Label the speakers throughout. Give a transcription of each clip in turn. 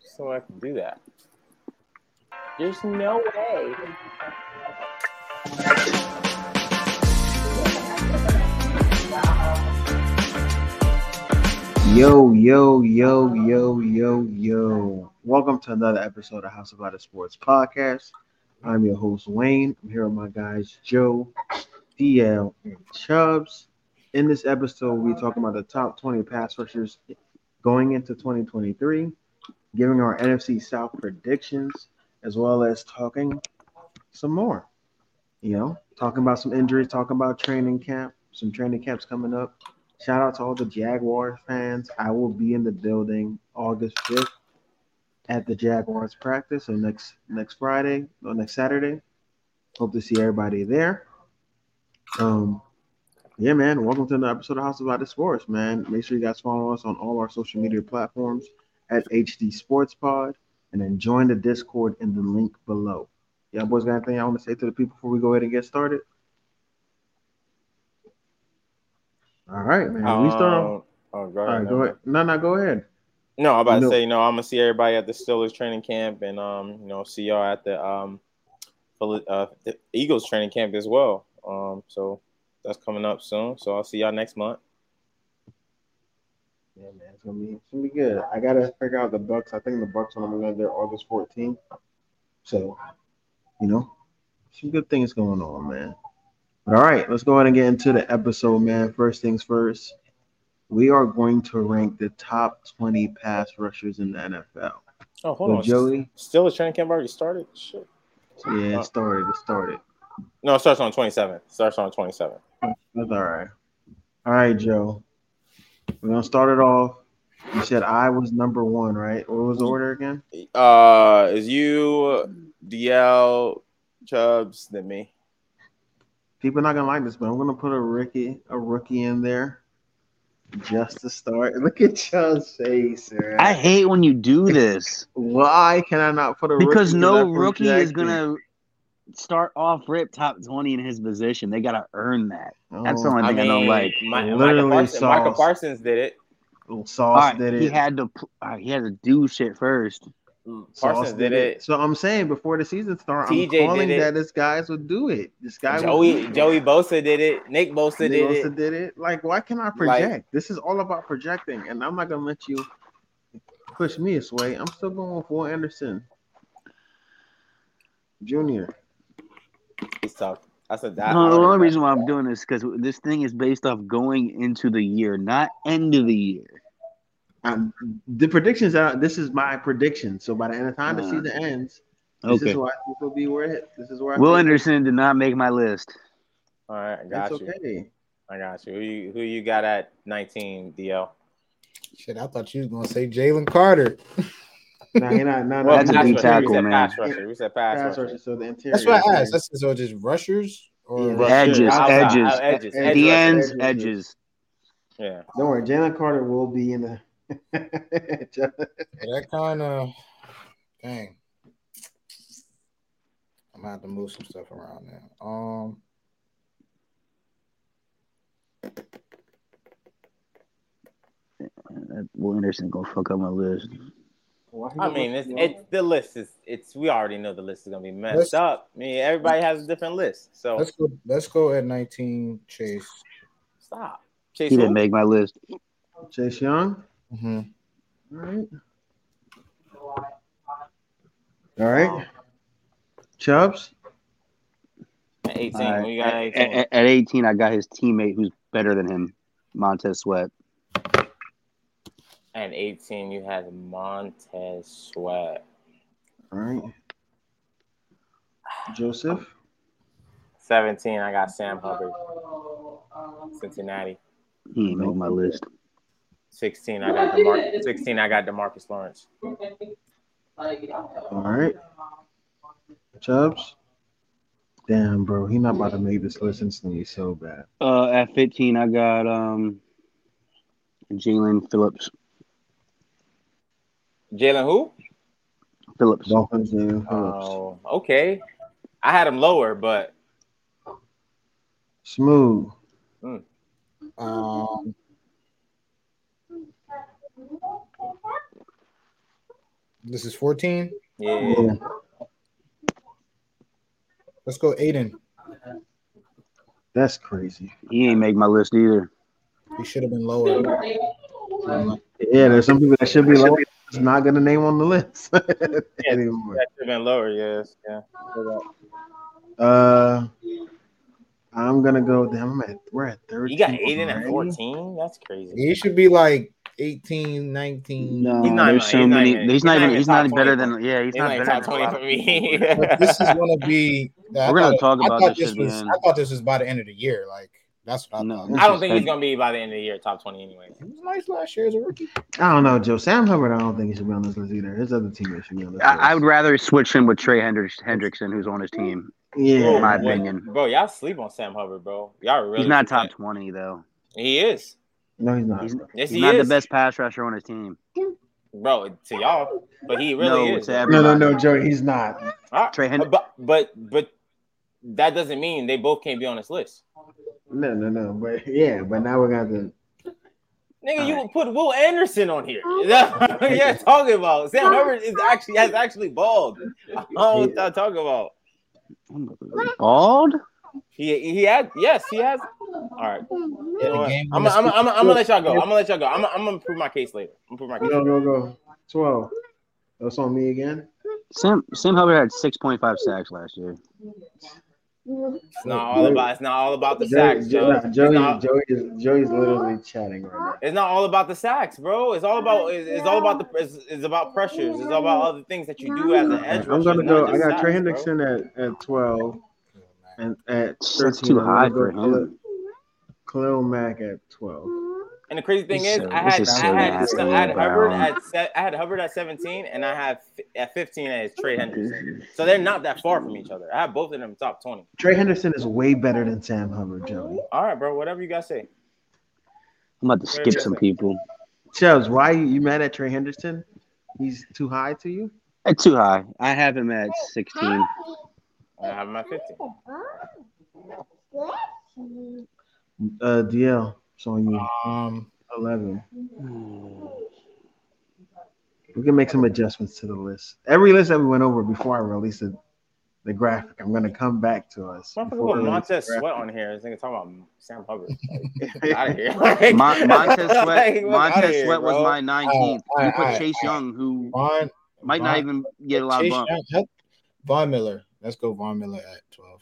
Speaker 1: so I can do that. There's no way.
Speaker 2: Yo, yo, yo, yo, yo, yo. Welcome to another episode of House of Out of Sports Podcast. I'm your host, Wayne. I'm here with my guys, Joe, DL, and Chubbs. In this episode, we're talking about the top 20 pass rushers going into 2023, giving our NFC South predictions, as well as talking some more. You know, talking about some injuries, talking about training camp, some training camps coming up. Shout out to all the Jaguars fans. I will be in the building August 5th at the Jaguars practice. So next next Friday or next Saturday. Hope to see everybody there. Um yeah, man. Welcome to another episode of House About the Sports, man. Make sure you guys follow us on all our social media platforms at HD Sports Pod and then join the Discord in the link below. Y'all boys got anything I want to say to the people before we go ahead and get started? All right, man. we start off.
Speaker 1: Um, oh, go
Speaker 2: All
Speaker 1: ahead,
Speaker 2: right,
Speaker 1: no,
Speaker 2: go ahead. No, no, go ahead.
Speaker 1: No, I'm about
Speaker 2: No.
Speaker 1: to say, no, I'm gonna see everybody at the Steelers training camp, and um, you know, see y'all at the um, Phil- uh, the Eagles training camp as well. Um, so that's coming up soon. So I'll see y'all next month.
Speaker 2: Yeah, man, it's gonna be it's gonna be good. I gotta figure out the Bucks. I think the Bucks are only gonna there August 14th. So, you know, some good things going on, man. But all right, let's go ahead and get into the episode, man. First things first, we are going to rank the top 20 pass rushers in the NFL.
Speaker 1: Oh, hold
Speaker 2: So,
Speaker 1: on,
Speaker 2: Joey,
Speaker 1: Steelers training camp already started. Shit.
Speaker 2: yeah,
Speaker 1: Uh,
Speaker 2: it started. It started.
Speaker 1: No, it starts on 27. Starts on 27.
Speaker 2: That's all right. All right, Joe. We're gonna start it off. You said I was number one, right? What was the order again?
Speaker 1: Uh, is you DL Chubbs than me?
Speaker 2: People not gonna like this, but I'm gonna put a rookie, a rookie in there, just to start. Look at Chubb's face, man.
Speaker 3: I hate when you do this
Speaker 2: Why can I not put a rookie?
Speaker 3: because
Speaker 2: in
Speaker 3: no
Speaker 2: that for
Speaker 3: rookie is
Speaker 2: Jackson?
Speaker 3: gonna start off rip top twenty in his position. They gotta earn that. That's the
Speaker 2: Oh,
Speaker 3: only thing I, don't like.
Speaker 1: Mi- Micah
Speaker 2: Literally
Speaker 1: Parsons, Micah
Speaker 2: sauce.
Speaker 1: Parsons did it.
Speaker 2: little
Speaker 3: All
Speaker 2: Sauce
Speaker 3: right,
Speaker 2: did
Speaker 3: he
Speaker 2: it.
Speaker 3: had to pl- all right, he had to do shit first.
Speaker 2: Sauce
Speaker 1: Parsons did it.
Speaker 2: So I'm saying before the season starts, I'm
Speaker 1: TJ did
Speaker 2: calling
Speaker 1: it.
Speaker 2: that this guys would do it. This guy
Speaker 1: Joey
Speaker 2: would do it.
Speaker 1: Joey Bosa did it. Nick Bosa did
Speaker 2: Nick
Speaker 1: it.
Speaker 2: Bosa did it. Like, why can I project? this is all about projecting, and I'm not gonna let you push me this way. I'm still going with Will Anderson Jr.
Speaker 1: It's tough. I said that.
Speaker 3: No, the only reason why I'm doing this because this thing is based off going into the year, not end of the year.
Speaker 2: Um, the predictions are this is my prediction. So by the end of time the
Speaker 3: Uh,
Speaker 2: season ends, this
Speaker 3: Okay,
Speaker 2: is where I think will be where it. This is where I
Speaker 3: Will
Speaker 2: think
Speaker 3: Anderson did not make my list.
Speaker 1: All right, I got
Speaker 2: It's
Speaker 1: you.
Speaker 2: okay.
Speaker 1: I got you. Who you who you got at 19 DL?
Speaker 4: Shit, I thought you was gonna say Jalen Carter.
Speaker 2: No, you're not. No,
Speaker 3: Well,
Speaker 2: no,
Speaker 3: That's a
Speaker 1: pass
Speaker 3: deep
Speaker 1: rusher.
Speaker 3: tackle,
Speaker 1: we said
Speaker 3: man.
Speaker 1: pass rusher. We said pass,
Speaker 2: pass
Speaker 1: rusher.
Speaker 2: rusher, So the interior.
Speaker 4: That's what I asked. That's so just rushers or
Speaker 2: Yeah.
Speaker 3: Edges,
Speaker 1: Outside,
Speaker 3: edges,
Speaker 1: out- edges,
Speaker 2: Edge
Speaker 3: the
Speaker 2: rushers,
Speaker 3: ends,
Speaker 2: edge rushers.
Speaker 3: edges.
Speaker 1: Yeah.
Speaker 2: Don't worry, Jalen Carter will be in the.
Speaker 4: that kind of dang. I'm gonna have to move some stuff around now. Um,
Speaker 3: That Uh, Will Anderson gonna fuck up my list.
Speaker 1: I mean, it's, it's the list is it's we already know the list is gonna be messed
Speaker 4: Let's-
Speaker 1: up. I mean, everybody has a different list. So
Speaker 4: let's go. Let's go at 19 Chase.
Speaker 1: stop. Chase
Speaker 3: He didn't
Speaker 1: who?
Speaker 3: make my list.
Speaker 2: Chase Young.
Speaker 4: Mhm.
Speaker 2: All right. All right. Chubbs.
Speaker 1: At 18.
Speaker 3: All right.
Speaker 1: Who you got at 18?
Speaker 3: At, at- at 18, I got his teammate who's better than him, Montez Sweat.
Speaker 1: And 18, you had Montez Sweat.
Speaker 2: All right. Joseph.
Speaker 1: 17, I got Sam Hubbard. Cincinnati.
Speaker 3: He ain't on my list.
Speaker 1: 16, I got DeMar- 16, I got Demarcus Lawrence.
Speaker 2: All right. Chubbs. Damn, bro, he not about to make this list instantly so bad.
Speaker 3: Uh, at 15, I got um, Jalen Phillips.
Speaker 1: Jalen who?
Speaker 3: Phillips.
Speaker 2: Dolphins and Phillips.
Speaker 1: Oh, okay. I had him lower, but
Speaker 2: Smooth.
Speaker 4: Um, This is 14.
Speaker 1: Yeah.
Speaker 2: Yeah.
Speaker 4: Let's go Aiden.
Speaker 2: That's crazy.
Speaker 3: He ain't make my list either.
Speaker 4: He should have been lower.
Speaker 2: Yeah, there's some people that should be like, it's not gonna name on the list anymore.
Speaker 1: That should have been lower, yes. Yeah.
Speaker 2: Uh, I'm gonna go. Damn, I'm at we're at thirty.
Speaker 1: You got Aiden at 14? That's crazy.
Speaker 4: He should be like 18, 19.
Speaker 3: No,
Speaker 1: He's not
Speaker 3: there's
Speaker 1: even- he's not
Speaker 3: so many.
Speaker 1: even-
Speaker 3: he's not even. He's not
Speaker 1: top
Speaker 3: better
Speaker 1: 20.
Speaker 3: than. Yeah,
Speaker 1: He's
Speaker 3: he's not
Speaker 1: not even
Speaker 3: better
Speaker 1: top 20
Speaker 3: than.
Speaker 1: for me.
Speaker 4: But this is gonna be.
Speaker 3: We're gonna talk about
Speaker 4: I thought
Speaker 3: this at the
Speaker 4: was,
Speaker 3: end.
Speaker 4: I thought this was by the end of the year. Like that's what I
Speaker 3: No.
Speaker 4: thought.
Speaker 1: I don't think he's going to be by the end of the year top 20 anyway.
Speaker 4: He was nice last year as a rookie.
Speaker 2: I don't know, Joe. Sam Hubbard. I don't think he should be on this list either. His other teammates should be on this.
Speaker 3: I, I would
Speaker 2: list.
Speaker 3: rather switch him with Trey Hendricks, Hendrickson, who's on his team.
Speaker 2: Yeah,
Speaker 3: in my
Speaker 1: Bro,
Speaker 3: opinion.
Speaker 1: Bro, y'all sleep on Sam Hubbard, bro. Y'all really.
Speaker 3: He's not
Speaker 1: do
Speaker 3: top
Speaker 1: that.
Speaker 3: twenty though.
Speaker 1: He is.
Speaker 2: No, he's not.
Speaker 3: He's,
Speaker 1: Yes,
Speaker 3: he's
Speaker 1: he
Speaker 3: not
Speaker 1: is.
Speaker 3: the best pass rusher on his team.
Speaker 1: Bro, to y'all. But he really
Speaker 3: No,
Speaker 1: is.
Speaker 3: to every-
Speaker 2: No, no, no, Joe. He's not.
Speaker 1: All right.
Speaker 3: Trey Hen-
Speaker 1: But, but, but that doesn't mean they both can't be on this list.
Speaker 2: No, no, no. But yeah, but now we're gonna. Have to,
Speaker 1: Nigga, you put Will Anderson on here. That's what you're talking about. Sam Hubbard is actually has actually balled. I don't know what y'all talking about.
Speaker 3: Bald?
Speaker 1: He he has yes he has. All right, you know what?
Speaker 4: game
Speaker 1: I'm gonna
Speaker 4: was-
Speaker 1: I'm gonna- I'm gonna- I'm gonna let y'all go. I'm gonna let y'all go. I'm gonna- I'm gonna prove my case later. I'm gonna prove my case.
Speaker 2: go, go, go. Twelve. That's on me again.
Speaker 3: Sam Sam Hubbard had six point five sacks last year.
Speaker 1: It's not all about it's not all about the
Speaker 2: Joey,
Speaker 1: sacks, Joe.
Speaker 2: Joey,
Speaker 1: It's
Speaker 2: Joey,
Speaker 1: not,
Speaker 2: Joey is Joey's literally chatting right
Speaker 1: it's not all about the sacks, bro. It's all about it's, it's all about the it's, it's about pressures. It's all about other things that you do as an
Speaker 2: now.
Speaker 1: edge rusher.
Speaker 2: I'm gonna
Speaker 1: It's not
Speaker 2: go. I
Speaker 1: just
Speaker 2: got Trey
Speaker 1: sacks, bro.
Speaker 2: Hendrickson at, at twelve and at
Speaker 3: That's
Speaker 2: thirteen.
Speaker 3: too
Speaker 2: I'm gonna
Speaker 3: high
Speaker 2: go
Speaker 3: for
Speaker 2: Khalil-
Speaker 3: him.
Speaker 2: Khalil Mack at twelve.
Speaker 1: And the crazy thing
Speaker 3: This
Speaker 1: is,
Speaker 3: is so-
Speaker 1: I
Speaker 3: this
Speaker 1: had
Speaker 3: is so
Speaker 1: I had,
Speaker 3: nasty,
Speaker 1: I had
Speaker 3: bro.
Speaker 1: Hubbard at se- I had Hubbard at 17, and I have fi- at 15 as Trey Hendrickson. So they're not that far from each other. I have both of them top 20.
Speaker 2: Trey Henderson is way better than Sam Hubbard, Joey.
Speaker 1: All right, bro. Whatever you guys say.
Speaker 3: I'm about to skip some people.
Speaker 2: Chubbs, why you, you mad at Trey Henderson? He's too high to you?
Speaker 3: At too high. I have him at sixteen.
Speaker 1: I have my 15.
Speaker 2: Uh, DL, it's on you.
Speaker 4: Um,
Speaker 2: Eleven. Hmm. We can make some adjustments to the list. Every list that we went over before I release the, the graphic, I'm gonna come back to us.
Speaker 1: Motherfucker
Speaker 2: before I
Speaker 1: put
Speaker 2: release
Speaker 1: Montez
Speaker 2: the
Speaker 1: Sweat on here. This nigga talking about Sam Hubbard.
Speaker 2: graphic.
Speaker 1: out of here.
Speaker 3: Mon- Montez Sweat,
Speaker 1: Like, fuck outta
Speaker 3: Montez
Speaker 1: here,
Speaker 3: Sweat was
Speaker 1: bro.
Speaker 3: my 19th.
Speaker 4: All right,
Speaker 3: you
Speaker 4: all
Speaker 3: put
Speaker 4: right,
Speaker 3: Chase
Speaker 4: all right.
Speaker 3: Young, who
Speaker 4: Vaughn
Speaker 3: might
Speaker 4: Von-
Speaker 3: not even get a lot of
Speaker 4: Chase
Speaker 3: bump.
Speaker 4: Young- huh? Von Miller. Let's go Von Miller at 12.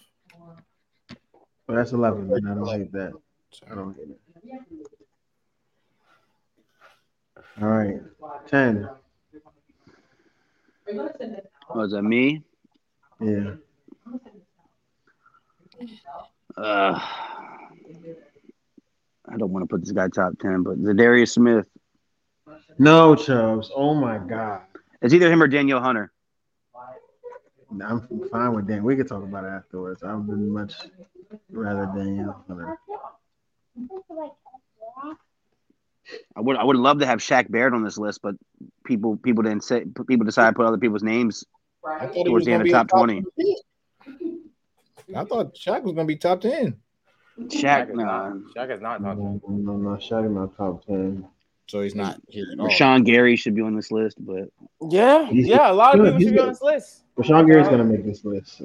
Speaker 2: But that's eleven, man. I don't hate that. I
Speaker 4: Sorry.
Speaker 2: don't hate it. All right. Ten.
Speaker 3: Was that me?
Speaker 2: Yeah.
Speaker 3: Uh, I don't want to put this guy top ten, but Zadarius Smith.
Speaker 2: No, Chubbs. Oh my god.
Speaker 3: It's either him or Daniel Hunter.
Speaker 2: Nah, I'm fine with Dan. We could talk about it afterwards. I would much rather Daniel Hunter.
Speaker 3: I would I would love to have Shaq Barrett on this list, but people people didn't say people decided to put other people's names.
Speaker 4: I thought he
Speaker 3: Towards
Speaker 4: was
Speaker 3: the end
Speaker 4: gonna
Speaker 3: of
Speaker 4: be a
Speaker 3: top 20.
Speaker 4: 10. I thought Shaq was gonna be top ten.
Speaker 3: Shaq,
Speaker 1: is
Speaker 3: nah.
Speaker 1: not- Shaq is not top 20.
Speaker 2: No, no, no. Shaq in my top ten.
Speaker 4: So he's not here at all.
Speaker 3: Rashawn Gary should be on this list, but
Speaker 1: Yeah,
Speaker 2: He's-
Speaker 1: yeah. A lot of
Speaker 2: he's
Speaker 1: people should be
Speaker 2: good.
Speaker 1: on this list.
Speaker 2: Rashawn Gary's gonna make this list.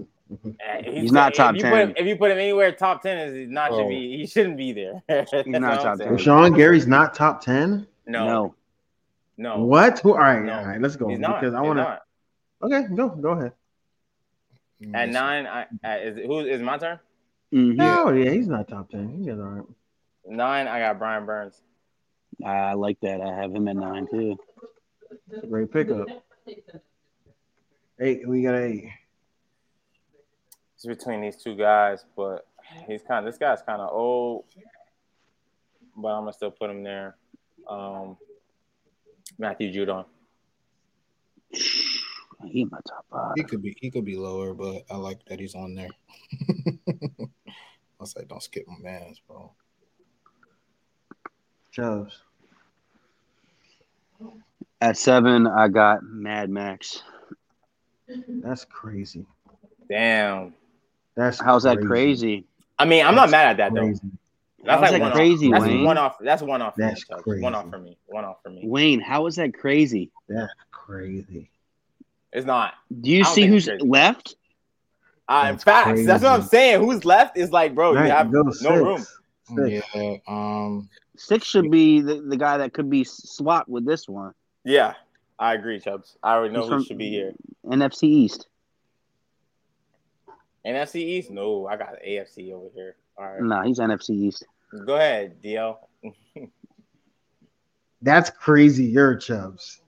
Speaker 1: Eh,
Speaker 3: He's not
Speaker 1: if
Speaker 3: top
Speaker 1: you put him-
Speaker 3: 10.
Speaker 1: if you put him anywhere top ten, is he not should
Speaker 4: Oh.
Speaker 1: be. He shouldn't be there. That's
Speaker 3: not
Speaker 1: what I'm
Speaker 3: top
Speaker 1: saying.
Speaker 3: 10.
Speaker 2: Rashawn Gary's not top ten.
Speaker 3: no.
Speaker 1: No, no.
Speaker 2: What? Who- All right,
Speaker 1: Oh, No.
Speaker 2: all right. Let's go
Speaker 1: He's not.
Speaker 2: because I
Speaker 1: He's
Speaker 2: want to.
Speaker 1: not.
Speaker 2: Okay, go, go ahead.
Speaker 4: Mm,
Speaker 1: At
Speaker 4: yes.
Speaker 1: nine, I, I is it, who is my turn?
Speaker 3: Mhm.
Speaker 2: No, yeah, he's not top ten. He's all right.
Speaker 1: Nine, I got Brian Burns.
Speaker 3: I like that. I have him at nine too.
Speaker 2: It's a great pickup. Eight. We got eight.
Speaker 1: It's between these two guys, but he's kind. of This guy's kind of old, but I'm gonna still put him there. Um, Matthew Judon.
Speaker 3: He in my top five.
Speaker 4: He could be he could be lower, but I like that he's on there. Unless I don't skip my man's, bro.
Speaker 2: Chubbs.
Speaker 3: At seven, I got Mad Max.
Speaker 2: That's crazy.
Speaker 1: Damn.
Speaker 2: That's
Speaker 3: How's that crazy?
Speaker 1: I mean, I'm not mad at that though.
Speaker 2: Crazy.
Speaker 1: That's
Speaker 3: How's
Speaker 1: like
Speaker 3: that
Speaker 1: one
Speaker 3: crazy,
Speaker 1: off.
Speaker 3: Wayne?
Speaker 1: That's one off. That's one off. For
Speaker 2: That's
Speaker 1: me, Chuck.
Speaker 2: crazy.
Speaker 1: One off for me. One off for me.
Speaker 3: Wayne, how is that crazy?
Speaker 2: That's crazy.
Speaker 1: It's not.
Speaker 3: Do you
Speaker 1: I don't
Speaker 3: see
Speaker 1: think
Speaker 3: who's
Speaker 1: it's crazy.
Speaker 3: left?
Speaker 1: Uh, in
Speaker 4: That's
Speaker 1: facts, that's what I'm
Speaker 2: crazy.
Speaker 1: saying. Who's left is like, bro,
Speaker 2: Right,
Speaker 1: Oh, you have
Speaker 2: go
Speaker 1: no
Speaker 2: six.
Speaker 1: room.
Speaker 2: Six.
Speaker 4: Yeah. Um.
Speaker 3: Six should be the, the guy that could be swapped with this one.
Speaker 1: Yeah, I agree, Chubbs. I already know
Speaker 3: He's
Speaker 1: who
Speaker 3: from-
Speaker 1: should be here.
Speaker 3: NFC East.
Speaker 1: NFC East? No, I got AFC over here. All right.
Speaker 3: Nah, he's NFC East.
Speaker 1: Go ahead, DL.
Speaker 2: That's crazy, your chubs.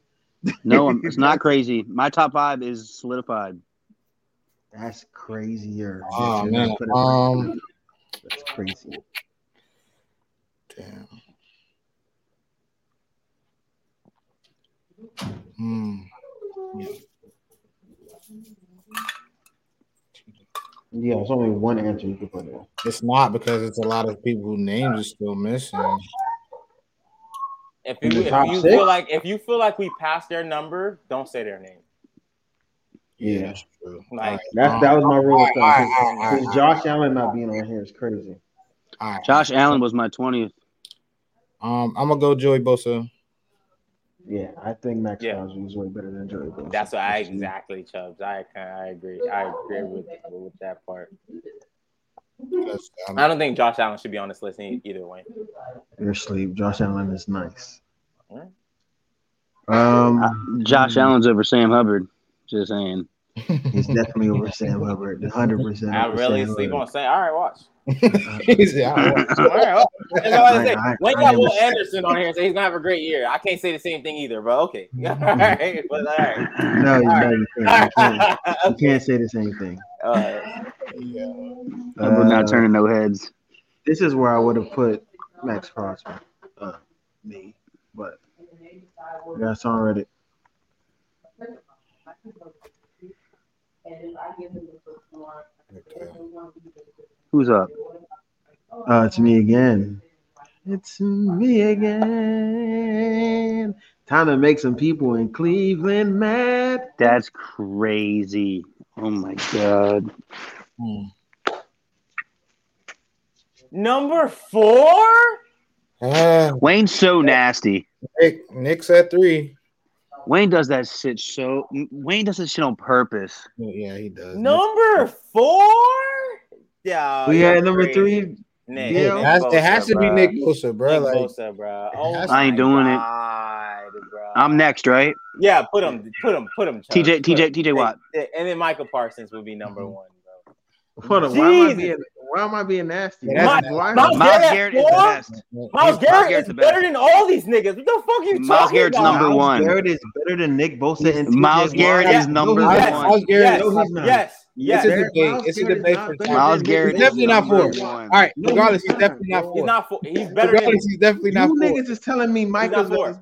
Speaker 3: No, I'm- it's not crazy. My top five is solidified.
Speaker 2: That's crazier.
Speaker 4: Oh
Speaker 2: Let's
Speaker 4: man.
Speaker 2: put it like
Speaker 4: Um.
Speaker 2: that. that's crazy.
Speaker 4: Damn. Hmm.
Speaker 2: Yeah, there's only one answer you can put in.
Speaker 4: It's not because it's a lot of people whose names are still missing.
Speaker 1: If
Speaker 4: In
Speaker 1: you,
Speaker 4: the
Speaker 1: if
Speaker 4: top
Speaker 1: you
Speaker 4: six?
Speaker 1: feel like if you feel like we passed their number, don't say their name.
Speaker 2: Yeah.
Speaker 4: that's true.
Speaker 1: Like
Speaker 2: That's that was my rule of
Speaker 4: Um, All right,
Speaker 2: thumb.
Speaker 4: all right, all
Speaker 2: Because
Speaker 4: right,
Speaker 2: Josh Allen not being on here is crazy.
Speaker 4: all right.
Speaker 3: Josh Allen was my 20th.
Speaker 4: Um, I'm gonna go Joey Bosa.
Speaker 2: Yeah, I think Max
Speaker 1: Yeah.
Speaker 2: Crosby is way better than Joey Bosa.
Speaker 1: that's what I exactly, Chubbs. I kind I agree. I agree with with that part.
Speaker 4: because I'm-
Speaker 1: I don't think Josh Allen should be on this list e- either way.
Speaker 2: You're asleep. Josh Allen is nice.
Speaker 1: Alright. Mm-hmm.
Speaker 3: Uh,
Speaker 2: Um,
Speaker 3: Josh Allen's over Sam Hubbard. Just saying.
Speaker 2: he's definitely over Sam Hubbard. 100%.
Speaker 1: I
Speaker 2: over
Speaker 1: really
Speaker 2: Sam
Speaker 1: sleep
Speaker 2: Hubbard.
Speaker 1: on saying, all right, watch.
Speaker 4: He said, "I want
Speaker 1: All right, watch. That's all I say.
Speaker 2: I- I-
Speaker 1: When you
Speaker 2: I
Speaker 1: got Will
Speaker 2: understand.
Speaker 1: Anderson on here and say he's gonna have a great year, I can't say the same thing either, but okay. All right, but all right.
Speaker 2: No, you, no, you can't. You can't. You
Speaker 1: okay.
Speaker 2: can't say the same thing.
Speaker 1: All right.
Speaker 4: Yeah.
Speaker 3: Hubbard not
Speaker 2: Uh,
Speaker 3: turning no heads.
Speaker 2: This is where I would have put Max Crosby. Uh, me, but that's already.
Speaker 3: Who's up?
Speaker 2: Uh, it's me again. It's me again. Time to make some people in Cleveland mad.
Speaker 3: That's crazy. Oh my god.
Speaker 4: Hmm.
Speaker 1: Number four?
Speaker 4: Ah,
Speaker 3: Wayne's so nasty.
Speaker 4: Nick, Nick's at three.
Speaker 3: Wayne does that shit so. Wayne does that shit on purpose.
Speaker 4: Yeah, he does.
Speaker 1: Number four? Oh, Yeah.
Speaker 2: We
Speaker 1: you're
Speaker 2: had number
Speaker 1: crazy.
Speaker 2: three.
Speaker 1: Nick,
Speaker 4: Nick,
Speaker 2: Yeah.
Speaker 4: it has, it has to be
Speaker 1: Bosa,
Speaker 4: Nick
Speaker 1: bruh.
Speaker 4: Bosa, bro.
Speaker 1: Nick
Speaker 4: like,
Speaker 1: Bosa, bruh. Oh
Speaker 4: has-
Speaker 3: I ain't
Speaker 1: my
Speaker 3: doing it.
Speaker 1: God, bruh.
Speaker 3: I'm next, right?
Speaker 1: Yeah, put him, put him, put him. Chubbs.
Speaker 3: TJ, TJ, TJ Watt.
Speaker 1: And, and then Michael Parsons would be number one, bro.
Speaker 2: Hold on, why am I
Speaker 1: Jesus.
Speaker 2: being why am I being nasty?
Speaker 4: Yeah, that's-
Speaker 2: why,
Speaker 1: my-
Speaker 2: why-
Speaker 3: Miles
Speaker 1: Garrett
Speaker 3: Garrett is the
Speaker 1: four?
Speaker 3: best.
Speaker 1: Miles Garrett
Speaker 3: Garrett's
Speaker 1: is
Speaker 3: the best.
Speaker 1: better than all these niggas. What the fuck are you
Speaker 3: Miles
Speaker 1: talking
Speaker 3: Garrett's
Speaker 1: about?
Speaker 3: number
Speaker 2: Miles
Speaker 3: one.
Speaker 2: Garrett is better than Nick Bosa and TJ
Speaker 3: Miles
Speaker 2: Watt.
Speaker 3: Garrett
Speaker 1: is
Speaker 2: No,
Speaker 3: number
Speaker 2: he's
Speaker 1: one.
Speaker 2: not.
Speaker 4: Miles Garrett.
Speaker 1: Yes.
Speaker 2: No, he's not.
Speaker 1: Yes, yes.
Speaker 4: This is the
Speaker 2: Miles
Speaker 4: thing. It's the
Speaker 2: Garrett is
Speaker 4: debate
Speaker 2: not
Speaker 4: for
Speaker 2: better
Speaker 4: time.
Speaker 3: Miles
Speaker 2: than
Speaker 3: Garrett
Speaker 2: Nick
Speaker 4: He's definitely
Speaker 3: is
Speaker 4: not
Speaker 3: number
Speaker 4: four.
Speaker 3: one.
Speaker 4: All right,
Speaker 2: No,
Speaker 4: regardless,
Speaker 2: he's
Speaker 4: he's definitely
Speaker 2: not.
Speaker 4: not
Speaker 1: He's
Speaker 4: four.
Speaker 1: not four. He's better than.
Speaker 4: Regardless, he's definitely not
Speaker 2: You
Speaker 4: four.
Speaker 2: niggas is telling me
Speaker 1: not
Speaker 2: Micah's
Speaker 1: four.
Speaker 2: is-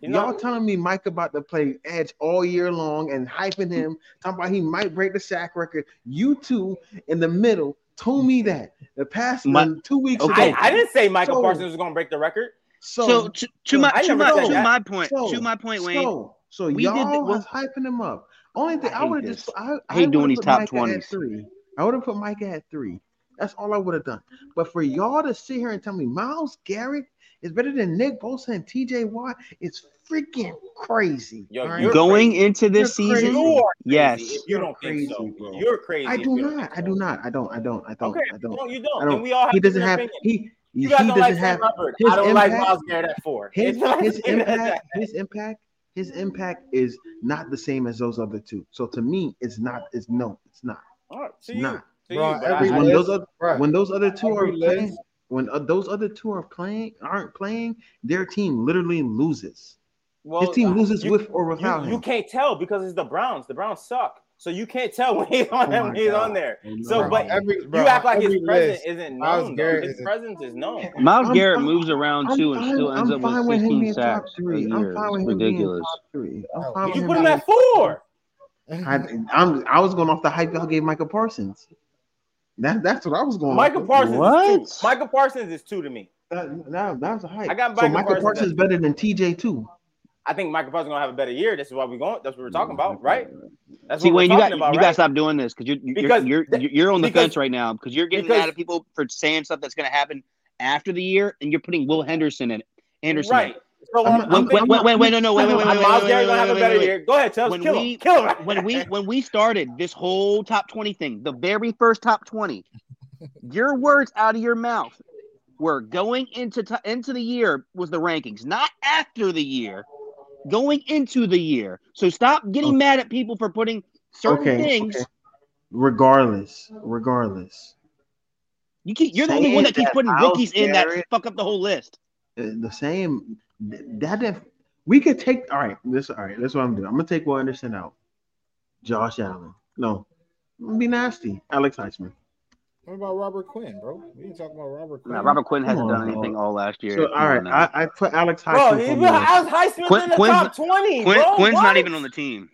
Speaker 1: He's
Speaker 2: y'all
Speaker 1: not,
Speaker 2: telling me Micah about to play edge all year long and hyping him, talking about he might break the sack record. You two in the middle told me that the past
Speaker 3: My-
Speaker 2: um, two weeks
Speaker 3: Okay.
Speaker 2: ago.
Speaker 1: I, I didn't say Michael
Speaker 2: So-
Speaker 1: Parsons was going to break the record.
Speaker 2: so,
Speaker 3: So
Speaker 2: so,
Speaker 3: to, to my
Speaker 1: I
Speaker 3: to
Speaker 1: never
Speaker 3: my,
Speaker 1: said
Speaker 3: to
Speaker 1: that.
Speaker 3: my point
Speaker 2: So-
Speaker 3: to my point, Wayne.
Speaker 2: so,
Speaker 3: we
Speaker 2: y'all
Speaker 3: did the-
Speaker 2: was hyping him up. Only thing
Speaker 3: I
Speaker 2: I,
Speaker 3: hate
Speaker 2: would have just
Speaker 3: this.
Speaker 2: I,
Speaker 3: I hate doing
Speaker 2: would've
Speaker 3: these
Speaker 2: put
Speaker 3: top
Speaker 2: Micah at
Speaker 3: 20s.
Speaker 2: Three. I would have put Micah at three. That's all I would have done. But for y'all to sit here and tell me Miles Garrett is better than Nick Bosa and TJ Watt is freaking crazy.
Speaker 1: Yo,
Speaker 2: all right?
Speaker 1: You're
Speaker 3: Going
Speaker 1: crazy.
Speaker 3: into this
Speaker 2: You're crazy.
Speaker 3: season,
Speaker 1: You are crazy
Speaker 3: yes.
Speaker 1: If you don't think so,
Speaker 2: Crazy, bro.
Speaker 1: you're crazy.
Speaker 2: I
Speaker 1: if
Speaker 2: do
Speaker 1: you don't
Speaker 2: not.
Speaker 1: think
Speaker 2: I
Speaker 1: so.
Speaker 2: do not. I don't. I don't. I don't.
Speaker 1: Okay,
Speaker 2: I don't.
Speaker 1: No, you don't.
Speaker 2: I don't.
Speaker 1: And we all have
Speaker 2: He doesn't
Speaker 1: different
Speaker 2: have.
Speaker 1: opinions.
Speaker 2: He. He
Speaker 1: You guys
Speaker 2: doesn't
Speaker 1: don't like
Speaker 2: have.
Speaker 1: Sam Hubbard.
Speaker 2: his
Speaker 1: I don't like
Speaker 2: impact-
Speaker 1: Miles Garrett at four.
Speaker 2: His,
Speaker 1: It's not-
Speaker 2: his
Speaker 1: it's not
Speaker 2: impact.
Speaker 1: that.
Speaker 2: His impact. His impact is not the same as those other two. So to me, it's not. It's no. It's not.
Speaker 1: All right, to
Speaker 2: It's
Speaker 1: you.
Speaker 2: not.
Speaker 1: To
Speaker 4: Bro,
Speaker 1: you, but I-
Speaker 4: every
Speaker 2: Because when
Speaker 1: I-
Speaker 4: list-
Speaker 2: those other,
Speaker 4: Right.
Speaker 2: when those other two are
Speaker 4: Every
Speaker 2: playing,
Speaker 4: list.
Speaker 2: when uh, those other two are playing, aren't playing, their team literally loses.
Speaker 1: well, uh,
Speaker 2: His team loses
Speaker 1: you-
Speaker 2: with or
Speaker 1: you,
Speaker 2: without
Speaker 1: you
Speaker 2: him.
Speaker 1: can't tell because it's the Browns. The Browns suck. So you can't tell when he's on
Speaker 2: Oh my
Speaker 1: when he's
Speaker 2: God.
Speaker 1: on there.
Speaker 2: Oh,
Speaker 1: So,
Speaker 2: no.
Speaker 1: but
Speaker 4: Every, bro,
Speaker 1: you act like his
Speaker 4: every
Speaker 1: presence
Speaker 4: list.
Speaker 1: isn't
Speaker 4: Miles
Speaker 1: known. Though.
Speaker 4: Garrett
Speaker 1: His
Speaker 4: is-
Speaker 1: presence is known.
Speaker 3: Miles
Speaker 2: I'm
Speaker 3: Garrett
Speaker 2: fine-
Speaker 3: moves around
Speaker 2: I'm
Speaker 3: too and
Speaker 2: fine-
Speaker 3: still ends
Speaker 2: I'm
Speaker 3: up
Speaker 2: fine
Speaker 3: with
Speaker 2: with him
Speaker 3: 16
Speaker 2: being top
Speaker 3: sacks a
Speaker 2: three. I'm
Speaker 3: year.
Speaker 2: fine with
Speaker 3: It's
Speaker 2: him being
Speaker 3: ridiculous.
Speaker 2: top three. I'm
Speaker 4: Oh,
Speaker 2: fine
Speaker 4: did
Speaker 2: with
Speaker 1: You
Speaker 2: him
Speaker 1: put him
Speaker 2: being-
Speaker 1: at four.
Speaker 2: I, I'm, I was going off the hype y'all gave Michael Parsons. That, that's what I was going.
Speaker 1: Michael
Speaker 2: off.
Speaker 1: Parsons
Speaker 3: What?
Speaker 1: is two. Michael Parsons is two to me.
Speaker 2: That, that, that was a hype.
Speaker 1: I got Michael
Speaker 2: so Michael
Speaker 1: Parsons
Speaker 2: Parsons
Speaker 1: at-
Speaker 2: better than TJ too.
Speaker 1: I think Michael Parsons gonna have a better year. That's what we're going. That's what
Speaker 3: Mm,
Speaker 1: we're talking about, right? That's
Speaker 3: See,
Speaker 1: what
Speaker 3: Wayne,
Speaker 1: we're
Speaker 3: you
Speaker 1: talking
Speaker 3: got
Speaker 1: about,
Speaker 3: you got to
Speaker 1: right?
Speaker 3: stop doing this because you're you're,
Speaker 1: Because
Speaker 3: you're
Speaker 1: th-
Speaker 3: you're you're on the
Speaker 1: because-
Speaker 3: fence right now because you're getting
Speaker 1: because-
Speaker 3: mad at people for saying stuff that's going to happen after the year and you're putting Will Henderson in it. Anderson, in
Speaker 1: right.
Speaker 3: it.
Speaker 1: So I'm,
Speaker 3: Wait, wait, wait, wait, wait, no, no, wait, Um, wait, wait, wait,
Speaker 1: Miles Garrett's
Speaker 3: wait, wait,
Speaker 1: gonna have a
Speaker 3: wait,
Speaker 1: better
Speaker 3: wait,
Speaker 1: year. Go ahead, Tubbs.
Speaker 3: When
Speaker 1: kill
Speaker 3: we-
Speaker 1: him. Kill him.
Speaker 3: when we when we started this whole top 20 thing the very first top 20 your words out of your mouth were going into t- into the year was the rankings not after the year going into the year so stop getting
Speaker 2: Okay.
Speaker 3: mad at people for putting certain
Speaker 2: Okay,
Speaker 3: things
Speaker 2: okay. Regardless, regardless,
Speaker 3: you keep you're the only
Speaker 2: Saying
Speaker 3: one that keeps
Speaker 2: that
Speaker 3: putting
Speaker 2: Miles
Speaker 3: rookies in that
Speaker 2: Garrett-
Speaker 3: fuck up the whole list
Speaker 2: uh, the same. th- That if we could take, all right, this, all right, that's what I'm doing. I'm gonna take Will Anderson out. Josh Allen, no, I'm gonna be nasty. Alex Heisman.
Speaker 4: What about Robert Quinn, bro? We didn't talk about Robert Quinn.
Speaker 3: Nah, robert quinn
Speaker 2: Come
Speaker 3: hasn't
Speaker 2: on,
Speaker 3: done
Speaker 2: dog.
Speaker 3: anything all last year
Speaker 2: So, all right,
Speaker 3: Come on now.
Speaker 2: I, I put Alex
Speaker 1: Bro,
Speaker 2: Heisman.
Speaker 1: he,
Speaker 2: for Will.
Speaker 1: Alex Heisman's
Speaker 3: Quinn-
Speaker 1: in the
Speaker 3: Quinn's
Speaker 1: top
Speaker 3: not-
Speaker 1: twenty.
Speaker 3: quinn,
Speaker 1: bro,
Speaker 3: quinn's
Speaker 1: what?
Speaker 3: not even on the team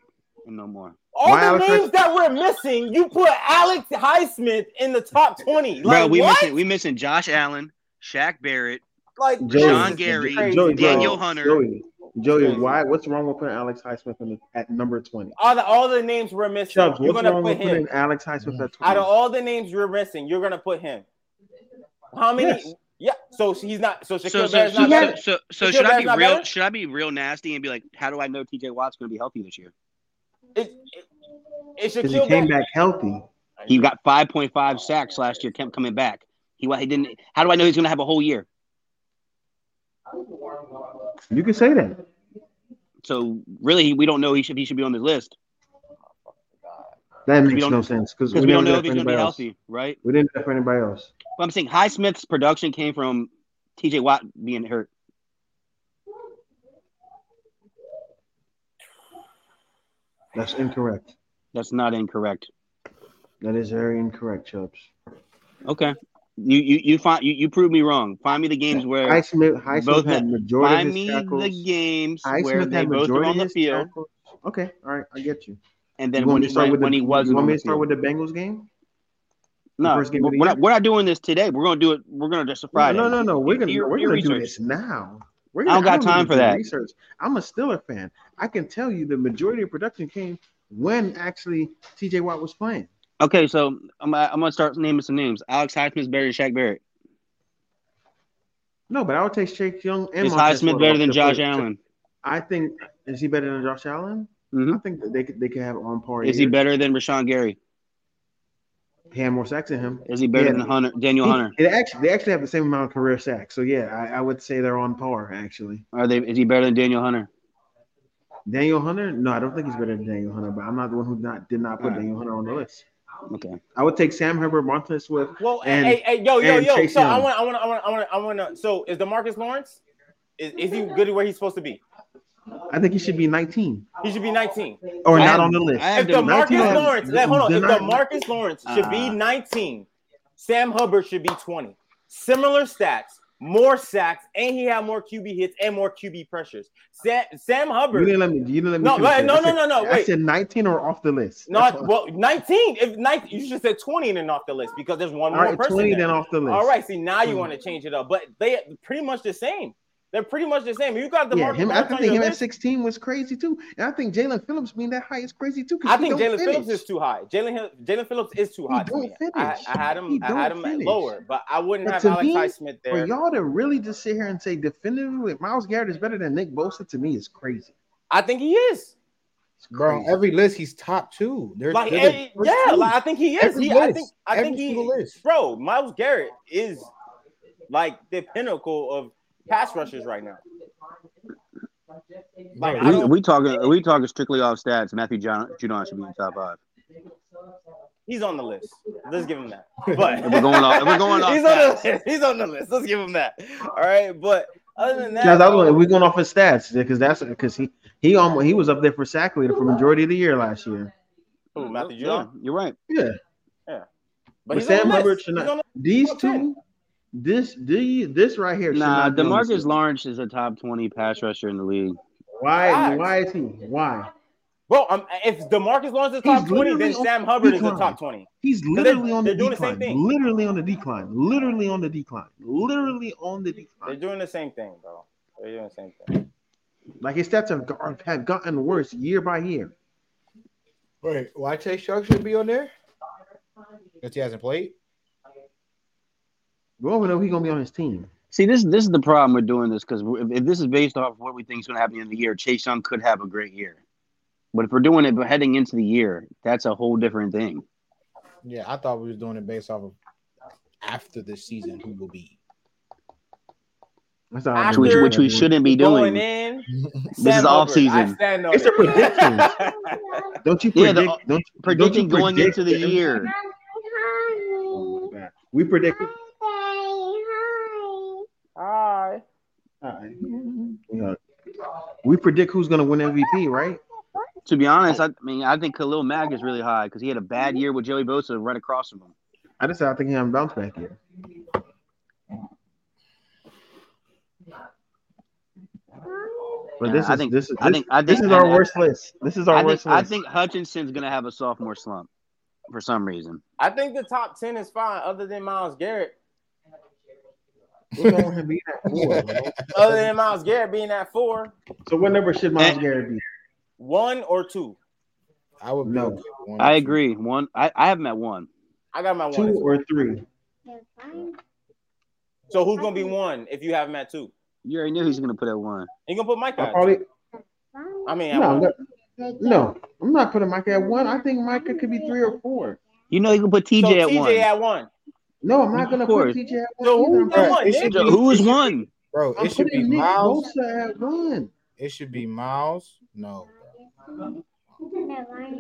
Speaker 3: no more
Speaker 1: All
Speaker 2: Why
Speaker 1: the
Speaker 2: Alex
Speaker 1: names
Speaker 2: Heisman-
Speaker 1: that we're missing, you put Alex Highsmith in the top twenty. Like
Speaker 3: bro we
Speaker 1: what?
Speaker 3: missing we missing josh allen Shaq Barrett,
Speaker 1: Like
Speaker 2: Joey.
Speaker 1: this
Speaker 3: John
Speaker 1: is
Speaker 3: Gary,
Speaker 1: crazy,
Speaker 2: Joey,
Speaker 1: bro.
Speaker 3: Daniel Hunter.
Speaker 2: Joey, Joey,
Speaker 1: Crazy.
Speaker 2: why? What's wrong with putting Alex Highsmith in the, at number twenty?
Speaker 1: All the all the names we're missing,
Speaker 2: Chubbs,
Speaker 1: you're
Speaker 2: what's
Speaker 1: gonna
Speaker 2: wrong
Speaker 1: put
Speaker 2: with
Speaker 1: him.
Speaker 2: putting Alex Highsmith at
Speaker 1: Out of
Speaker 2: twenty?
Speaker 1: all the names you're missing, you're gonna put him. How many?
Speaker 2: Yes.
Speaker 1: Yeah. So he's not. So Shaquille
Speaker 3: so so
Speaker 1: Barrett's
Speaker 3: so,
Speaker 1: not
Speaker 3: so
Speaker 1: better.
Speaker 3: so so
Speaker 1: Shaquille
Speaker 3: should I
Speaker 1: Barrett's
Speaker 3: be
Speaker 1: not
Speaker 3: real?
Speaker 1: better?
Speaker 3: Should I be real nasty and be like, how do I know TJ Watt's going to be healthy this year?
Speaker 1: It, it, it's
Speaker 2: Because he
Speaker 1: Shaquille
Speaker 2: came
Speaker 1: Barrett.
Speaker 2: back healthy.
Speaker 3: He got five point five sacks last year. Kept coming back. He wa- he didn't. How do I know he's going to have a whole year?
Speaker 2: You can say that.
Speaker 3: So really, we don't know he should he should be on this list
Speaker 2: That
Speaker 3: We
Speaker 2: makes
Speaker 3: don't-
Speaker 2: no sense because we,
Speaker 3: because we
Speaker 2: never
Speaker 3: don't know
Speaker 2: did that
Speaker 3: if
Speaker 2: for
Speaker 3: he's going to
Speaker 2: anybody
Speaker 3: be
Speaker 2: else.
Speaker 3: healthy, right?
Speaker 2: We didn't do that for anybody else.
Speaker 3: But I'm saying Highsmith's production came from TJ Watt being hurt.
Speaker 2: That's incorrect.
Speaker 3: That's not incorrect.
Speaker 2: That is very incorrect, Chubbs.
Speaker 3: Okay, you you you find you, you prove me wrong. Find me the games where
Speaker 2: Highsmith, Highsmith
Speaker 3: Both
Speaker 2: had
Speaker 3: the-
Speaker 2: majority
Speaker 3: find
Speaker 2: of his
Speaker 3: me
Speaker 2: tackles.
Speaker 3: the games
Speaker 2: Highsmith
Speaker 3: where they
Speaker 2: had
Speaker 3: both were
Speaker 2: majority
Speaker 3: on
Speaker 2: of
Speaker 3: the
Speaker 2: his
Speaker 3: field.
Speaker 2: tackles. Okay, all right, I get you.
Speaker 3: And
Speaker 2: you
Speaker 3: then
Speaker 2: want
Speaker 3: when
Speaker 2: me
Speaker 3: he
Speaker 2: to start
Speaker 3: ran-
Speaker 2: with
Speaker 3: when
Speaker 2: the,
Speaker 3: he wasn't
Speaker 2: you
Speaker 3: on
Speaker 2: want me
Speaker 3: the
Speaker 2: to start
Speaker 3: field.
Speaker 2: with the Bengals game?
Speaker 3: No,
Speaker 2: first game of the
Speaker 3: we're not,
Speaker 2: year?
Speaker 3: we're not doing this today. We're gonna do it. We're gonna just a Friday.
Speaker 2: No, no, no, no. We're
Speaker 3: Do
Speaker 2: gonna
Speaker 3: your-
Speaker 2: we're
Speaker 3: do your
Speaker 2: gonna do
Speaker 3: research.
Speaker 2: this now. We're
Speaker 3: I
Speaker 2: gonna,
Speaker 3: don't got
Speaker 2: even
Speaker 3: time for
Speaker 2: do
Speaker 3: that.
Speaker 2: Research. I'm a Stiller fan. I can tell you the majority of production came when actually T.J. Watt was playing.
Speaker 3: Okay, so I'm, gonna- I'm gonna start naming some names. Alex Highsmith better than Shaq Barrett.
Speaker 2: No, but I would take Shake Young and
Speaker 3: Is
Speaker 2: Montez Ford
Speaker 3: Highsmith better
Speaker 2: off
Speaker 3: than
Speaker 2: the
Speaker 3: Josh
Speaker 2: field.
Speaker 3: Allen?
Speaker 2: I think is he better than Josh Allen?
Speaker 3: Mhm.
Speaker 2: I think that they could they could have on par.
Speaker 3: Is he
Speaker 2: years.
Speaker 3: better than Rashawn Gary?
Speaker 2: He had more sacks than him.
Speaker 3: Is he better
Speaker 2: Yeah.
Speaker 3: than Hunter Daniel
Speaker 2: He-
Speaker 3: Hunter?
Speaker 2: It actually, they actually have the same amount of career sacks. So yeah, I, I would say they're on par actually.
Speaker 3: Are they? Is he better than Daniel Hunter?
Speaker 2: Daniel Hunter? No, I don't think he's better than Daniel Hunter. But I'm not the one who not did not put
Speaker 3: Alright.
Speaker 2: Daniel Hunter on the list.
Speaker 3: Okay.
Speaker 2: I would take Sam Herbert, Montez Swift.
Speaker 1: Well,
Speaker 2: And-
Speaker 1: hey, hey, yo, yo,
Speaker 2: and
Speaker 1: yo.
Speaker 2: Chase
Speaker 1: So I
Speaker 2: Young.
Speaker 1: want, I want, I want, I want, I want to. So is Demarcus Lawrence? Is, is he good where he's supposed to be?
Speaker 2: I think he should be 19
Speaker 1: He should be 19.
Speaker 2: or
Speaker 3: I
Speaker 2: not
Speaker 3: have-
Speaker 2: on the list.
Speaker 3: I have
Speaker 1: If
Speaker 3: the
Speaker 2: Nineteen
Speaker 1: Demarcus
Speaker 2: has- Ah.
Speaker 1: Lawrence, like, hold on. If
Speaker 2: then I-
Speaker 1: Demarcus Lawrence should be
Speaker 3: Uh.
Speaker 1: 19, Sam Hubbard should be 20. Similar stats, more sacks, and he had more QB hits and more QB pressures. Sam, Sam
Speaker 2: you
Speaker 1: Hubbard.
Speaker 2: didn't let me. You didn't let me.
Speaker 1: No,
Speaker 2: finish
Speaker 1: wait,
Speaker 2: it.
Speaker 1: no,
Speaker 2: I
Speaker 1: no,
Speaker 2: said-
Speaker 1: no, no.
Speaker 2: I
Speaker 1: Wait,
Speaker 2: said 19 or off the list. That's
Speaker 1: not
Speaker 2: all.
Speaker 1: well. 19. If 19, you should say 20 and then off the list because there's one
Speaker 2: all
Speaker 1: more
Speaker 2: right,
Speaker 1: person.
Speaker 2: 20
Speaker 1: there.
Speaker 2: then off the list.
Speaker 1: All right, see now you want to change it up, but they pretty much the same. They're pretty much the same. You got the
Speaker 2: Yeah, him. I
Speaker 1: on
Speaker 2: think
Speaker 1: your
Speaker 2: him at
Speaker 1: list.
Speaker 2: 16 was crazy too, and I think Jalen Phillips being that high is crazy too. 'cause
Speaker 1: I
Speaker 2: he
Speaker 1: think
Speaker 2: don't
Speaker 1: Jalen Phillips
Speaker 2: finish.
Speaker 1: is too high. Jalen Hill- Jalen Phillips is too
Speaker 2: He
Speaker 1: high to
Speaker 2: don't
Speaker 1: me. I,
Speaker 2: finish.
Speaker 1: I had him.
Speaker 2: He
Speaker 1: I had
Speaker 2: don't
Speaker 1: him
Speaker 2: finish.
Speaker 1: lower, but I wouldn't
Speaker 2: But
Speaker 1: have
Speaker 2: to
Speaker 1: Alex
Speaker 2: me,
Speaker 1: Highsmith
Speaker 2: For
Speaker 1: there.
Speaker 2: y'all to really just sit here and say definitively Miles Garrett is better than Nick Bosa to me is crazy.
Speaker 1: I think he is.
Speaker 2: It's
Speaker 4: bro.
Speaker 2: crazy.
Speaker 4: Every list he's top two. They're,
Speaker 1: Like,
Speaker 4: they're the
Speaker 1: eh,
Speaker 4: first
Speaker 1: yeah,
Speaker 4: two.
Speaker 1: like I think he is.
Speaker 4: Every
Speaker 1: He, I
Speaker 4: list.
Speaker 1: think, I
Speaker 4: Every
Speaker 1: think he,
Speaker 4: single list.
Speaker 1: bro, Miles Garrett is like the pinnacle of pass rushers right now. Like, I
Speaker 4: Bro,
Speaker 3: We,
Speaker 1: don't-
Speaker 3: we talking? Are we talking strictly off stats? Matthew John, Judon should be in the top five.
Speaker 1: He's on the list. Let's give him that. But
Speaker 3: If we're going off- if we're going off
Speaker 1: he's on the
Speaker 3: stats.
Speaker 1: list. He's on the list. Let's give him that. All right, but other than that,
Speaker 2: Yeah, that was, we're going off his stats because that's because he he almost he was up there for sack leader for majority of the year last year.
Speaker 1: Who, Matthew
Speaker 3: Yeah,
Speaker 1: Judon?
Speaker 3: you're right.
Speaker 2: Yeah,
Speaker 1: But
Speaker 2: But
Speaker 1: he's on
Speaker 2: Sam
Speaker 1: the list.
Speaker 2: Hubbard should
Speaker 1: He's
Speaker 2: not-
Speaker 1: on the-
Speaker 2: these
Speaker 1: Okay.
Speaker 2: two, this the this right here. should
Speaker 3: Nah,
Speaker 2: not be on this
Speaker 3: Demarcus
Speaker 2: list.
Speaker 3: Lawrence is a top twenty pass rusher in the league.
Speaker 2: Why
Speaker 1: Facts.
Speaker 2: why is he why
Speaker 1: Bro, um, if Demarcus Lawrence is top
Speaker 2: He's
Speaker 1: twenty, then
Speaker 2: literally on
Speaker 1: Sam Hubbard is the
Speaker 2: decline.
Speaker 1: top twenty.
Speaker 2: he's
Speaker 1: they-
Speaker 2: literally on the
Speaker 1: they're doing the same
Speaker 2: decline?
Speaker 1: thing.
Speaker 2: literally on the decline. Literally on the decline. Literally on the
Speaker 1: They're
Speaker 2: decline.
Speaker 1: doing the same thing, bro. They're doing the same thing.
Speaker 2: Like his stats have, got, have gotten worse year by year.
Speaker 4: Wait, why Chase Shark should be on there? Because he hasn't played.
Speaker 2: We all know he's gonna be on his team.
Speaker 3: See, this this is the problem with doing this because if, if this is based off what we think is going to happen in the year, Chase Young could have a great year. But if we're doing it heading into the year, that's a whole different thing.
Speaker 4: Yeah, I thought we was doing it based off of after this season who will be.
Speaker 2: That's how
Speaker 1: After-
Speaker 3: Which, which we
Speaker 2: Yeah.
Speaker 3: shouldn't be
Speaker 1: Going
Speaker 3: doing.
Speaker 1: in,
Speaker 3: This is off season.
Speaker 1: It's a
Speaker 2: Don't you
Speaker 3: Yeah,
Speaker 2: predict?
Speaker 3: the-
Speaker 2: don't,
Speaker 3: Predicting
Speaker 2: don't you
Speaker 3: going
Speaker 2: predict
Speaker 3: into the
Speaker 2: that-
Speaker 3: year.
Speaker 2: Oh my God. We predict.
Speaker 1: Hi.
Speaker 2: Yeah. We predict who's gonna win MVP, right?
Speaker 3: To be honest, I, I mean, I think Khalil Mack is really high because he had a bad year with Joey Bosa right across from him.
Speaker 2: I just said I think he had a bounce back here. But this
Speaker 3: Yeah, I
Speaker 2: is
Speaker 3: think-
Speaker 2: this is
Speaker 3: I think. I think
Speaker 2: this is
Speaker 3: and
Speaker 2: our
Speaker 3: I-
Speaker 2: worst list. This is our
Speaker 3: I
Speaker 2: worst
Speaker 3: think, I
Speaker 2: list.
Speaker 3: think Hutchinson's going to have a sophomore slump for some reason.
Speaker 1: I think the top ten is fine, other than Miles Garrett.
Speaker 2: What's wrong with him being at four, man?
Speaker 1: Other than Miles Garrett being at four,
Speaker 2: so what number should Miles
Speaker 3: And-
Speaker 2: Garrett be?
Speaker 1: one or two.
Speaker 4: I would be
Speaker 2: No.
Speaker 4: okay with one
Speaker 3: I
Speaker 4: or two.
Speaker 3: agree. One, I, I have met one.
Speaker 1: I got my one.
Speaker 2: Two
Speaker 1: and two.
Speaker 2: or three?
Speaker 1: So who's gonna be one if you have him at two?
Speaker 3: You already knew he's going to put at one.
Speaker 1: You gonna put Mike
Speaker 2: I
Speaker 1: at?
Speaker 2: probably
Speaker 1: I mean, at
Speaker 2: no,
Speaker 1: one.
Speaker 2: no, no. I'm not putting Micah at one. I think Micah could be three or four.
Speaker 3: You know you can put TJ
Speaker 1: so
Speaker 3: at
Speaker 1: TJ
Speaker 3: one.
Speaker 1: at one.
Speaker 2: No, I'm not
Speaker 3: Of
Speaker 2: gonna
Speaker 3: course.
Speaker 2: put TJ at one.
Speaker 1: So who's
Speaker 2: either. I'm
Speaker 1: at one?
Speaker 4: It
Speaker 1: Yeah.
Speaker 4: should
Speaker 3: So
Speaker 4: be-
Speaker 3: who is
Speaker 4: it should-
Speaker 3: one?
Speaker 4: Bro,
Speaker 2: I'm
Speaker 4: it should be
Speaker 2: putting Nick
Speaker 4: Miles.
Speaker 2: Bosa at one.
Speaker 4: It should be Miles. No.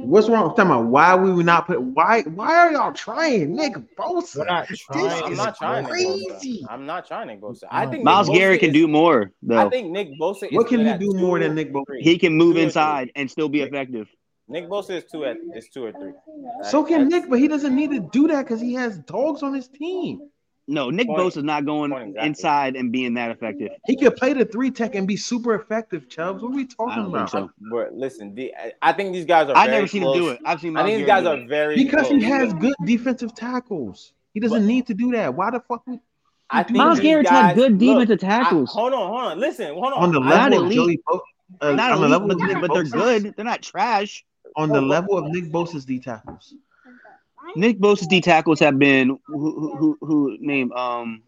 Speaker 2: What's wrong? I'm talking about why we would not put why why are y'all trying Nick
Speaker 4: We're
Speaker 2: Bosa?
Speaker 4: not trying.
Speaker 1: I'm
Speaker 2: is
Speaker 1: not trying to go.
Speaker 2: crazy.
Speaker 1: sir. I'm not trying to go. sir. I think
Speaker 3: Miles
Speaker 1: Nick Bosa
Speaker 3: Garrett can
Speaker 1: is-
Speaker 3: do more
Speaker 1: I
Speaker 3: though.
Speaker 1: think Nick Bosa. Is
Speaker 2: What can
Speaker 1: good
Speaker 2: he
Speaker 1: at
Speaker 2: do more
Speaker 1: two
Speaker 2: than Nick
Speaker 1: and
Speaker 2: Bosa?
Speaker 1: three.
Speaker 3: He can move
Speaker 1: Two and
Speaker 3: inside and still be effective.
Speaker 1: three. Nick Bosa is two at is two or three.
Speaker 2: So can
Speaker 1: That's-
Speaker 2: Nick, but he doesn't need to do that because he has dogs on his team.
Speaker 3: No, Nick
Speaker 1: Point-
Speaker 3: Bosa's not going
Speaker 1: point exactly.
Speaker 3: inside and being that effective.
Speaker 2: He could play the three tech and be super effective, Chubbs. What are we
Speaker 3: I
Speaker 2: talking
Speaker 3: don't think
Speaker 2: about?
Speaker 3: so.
Speaker 1: But listen, the, I- I think these guys are.
Speaker 3: I've
Speaker 1: very
Speaker 3: never seen
Speaker 1: close.
Speaker 3: him do it. I've seen
Speaker 1: I
Speaker 3: Miles
Speaker 1: think these
Speaker 3: Garrett
Speaker 1: guys
Speaker 3: do
Speaker 1: are
Speaker 3: it.
Speaker 1: very
Speaker 2: Because he
Speaker 1: close.
Speaker 2: has good defensive tackles. He doesn't
Speaker 1: But-
Speaker 2: need to do that. Why the fuck we
Speaker 1: I think
Speaker 3: Miles
Speaker 1: these
Speaker 3: Garrett's
Speaker 1: guys,
Speaker 3: had good
Speaker 1: look,
Speaker 3: defensive
Speaker 1: I-
Speaker 3: tackles.
Speaker 1: hold on, hold on. Listen, hold on.
Speaker 2: on the
Speaker 1: I-
Speaker 3: not
Speaker 2: level of
Speaker 3: elite.
Speaker 2: Joey Bosa? Uh,
Speaker 3: not
Speaker 2: on the
Speaker 3: elite,
Speaker 2: level
Speaker 3: but,
Speaker 2: of Nick
Speaker 3: but they're
Speaker 2: Bosa's-
Speaker 3: good. They're not trash.
Speaker 2: On the level of Nick Bosa's D tackles.
Speaker 3: Nick Bosa's D tackles have been who who who, who name um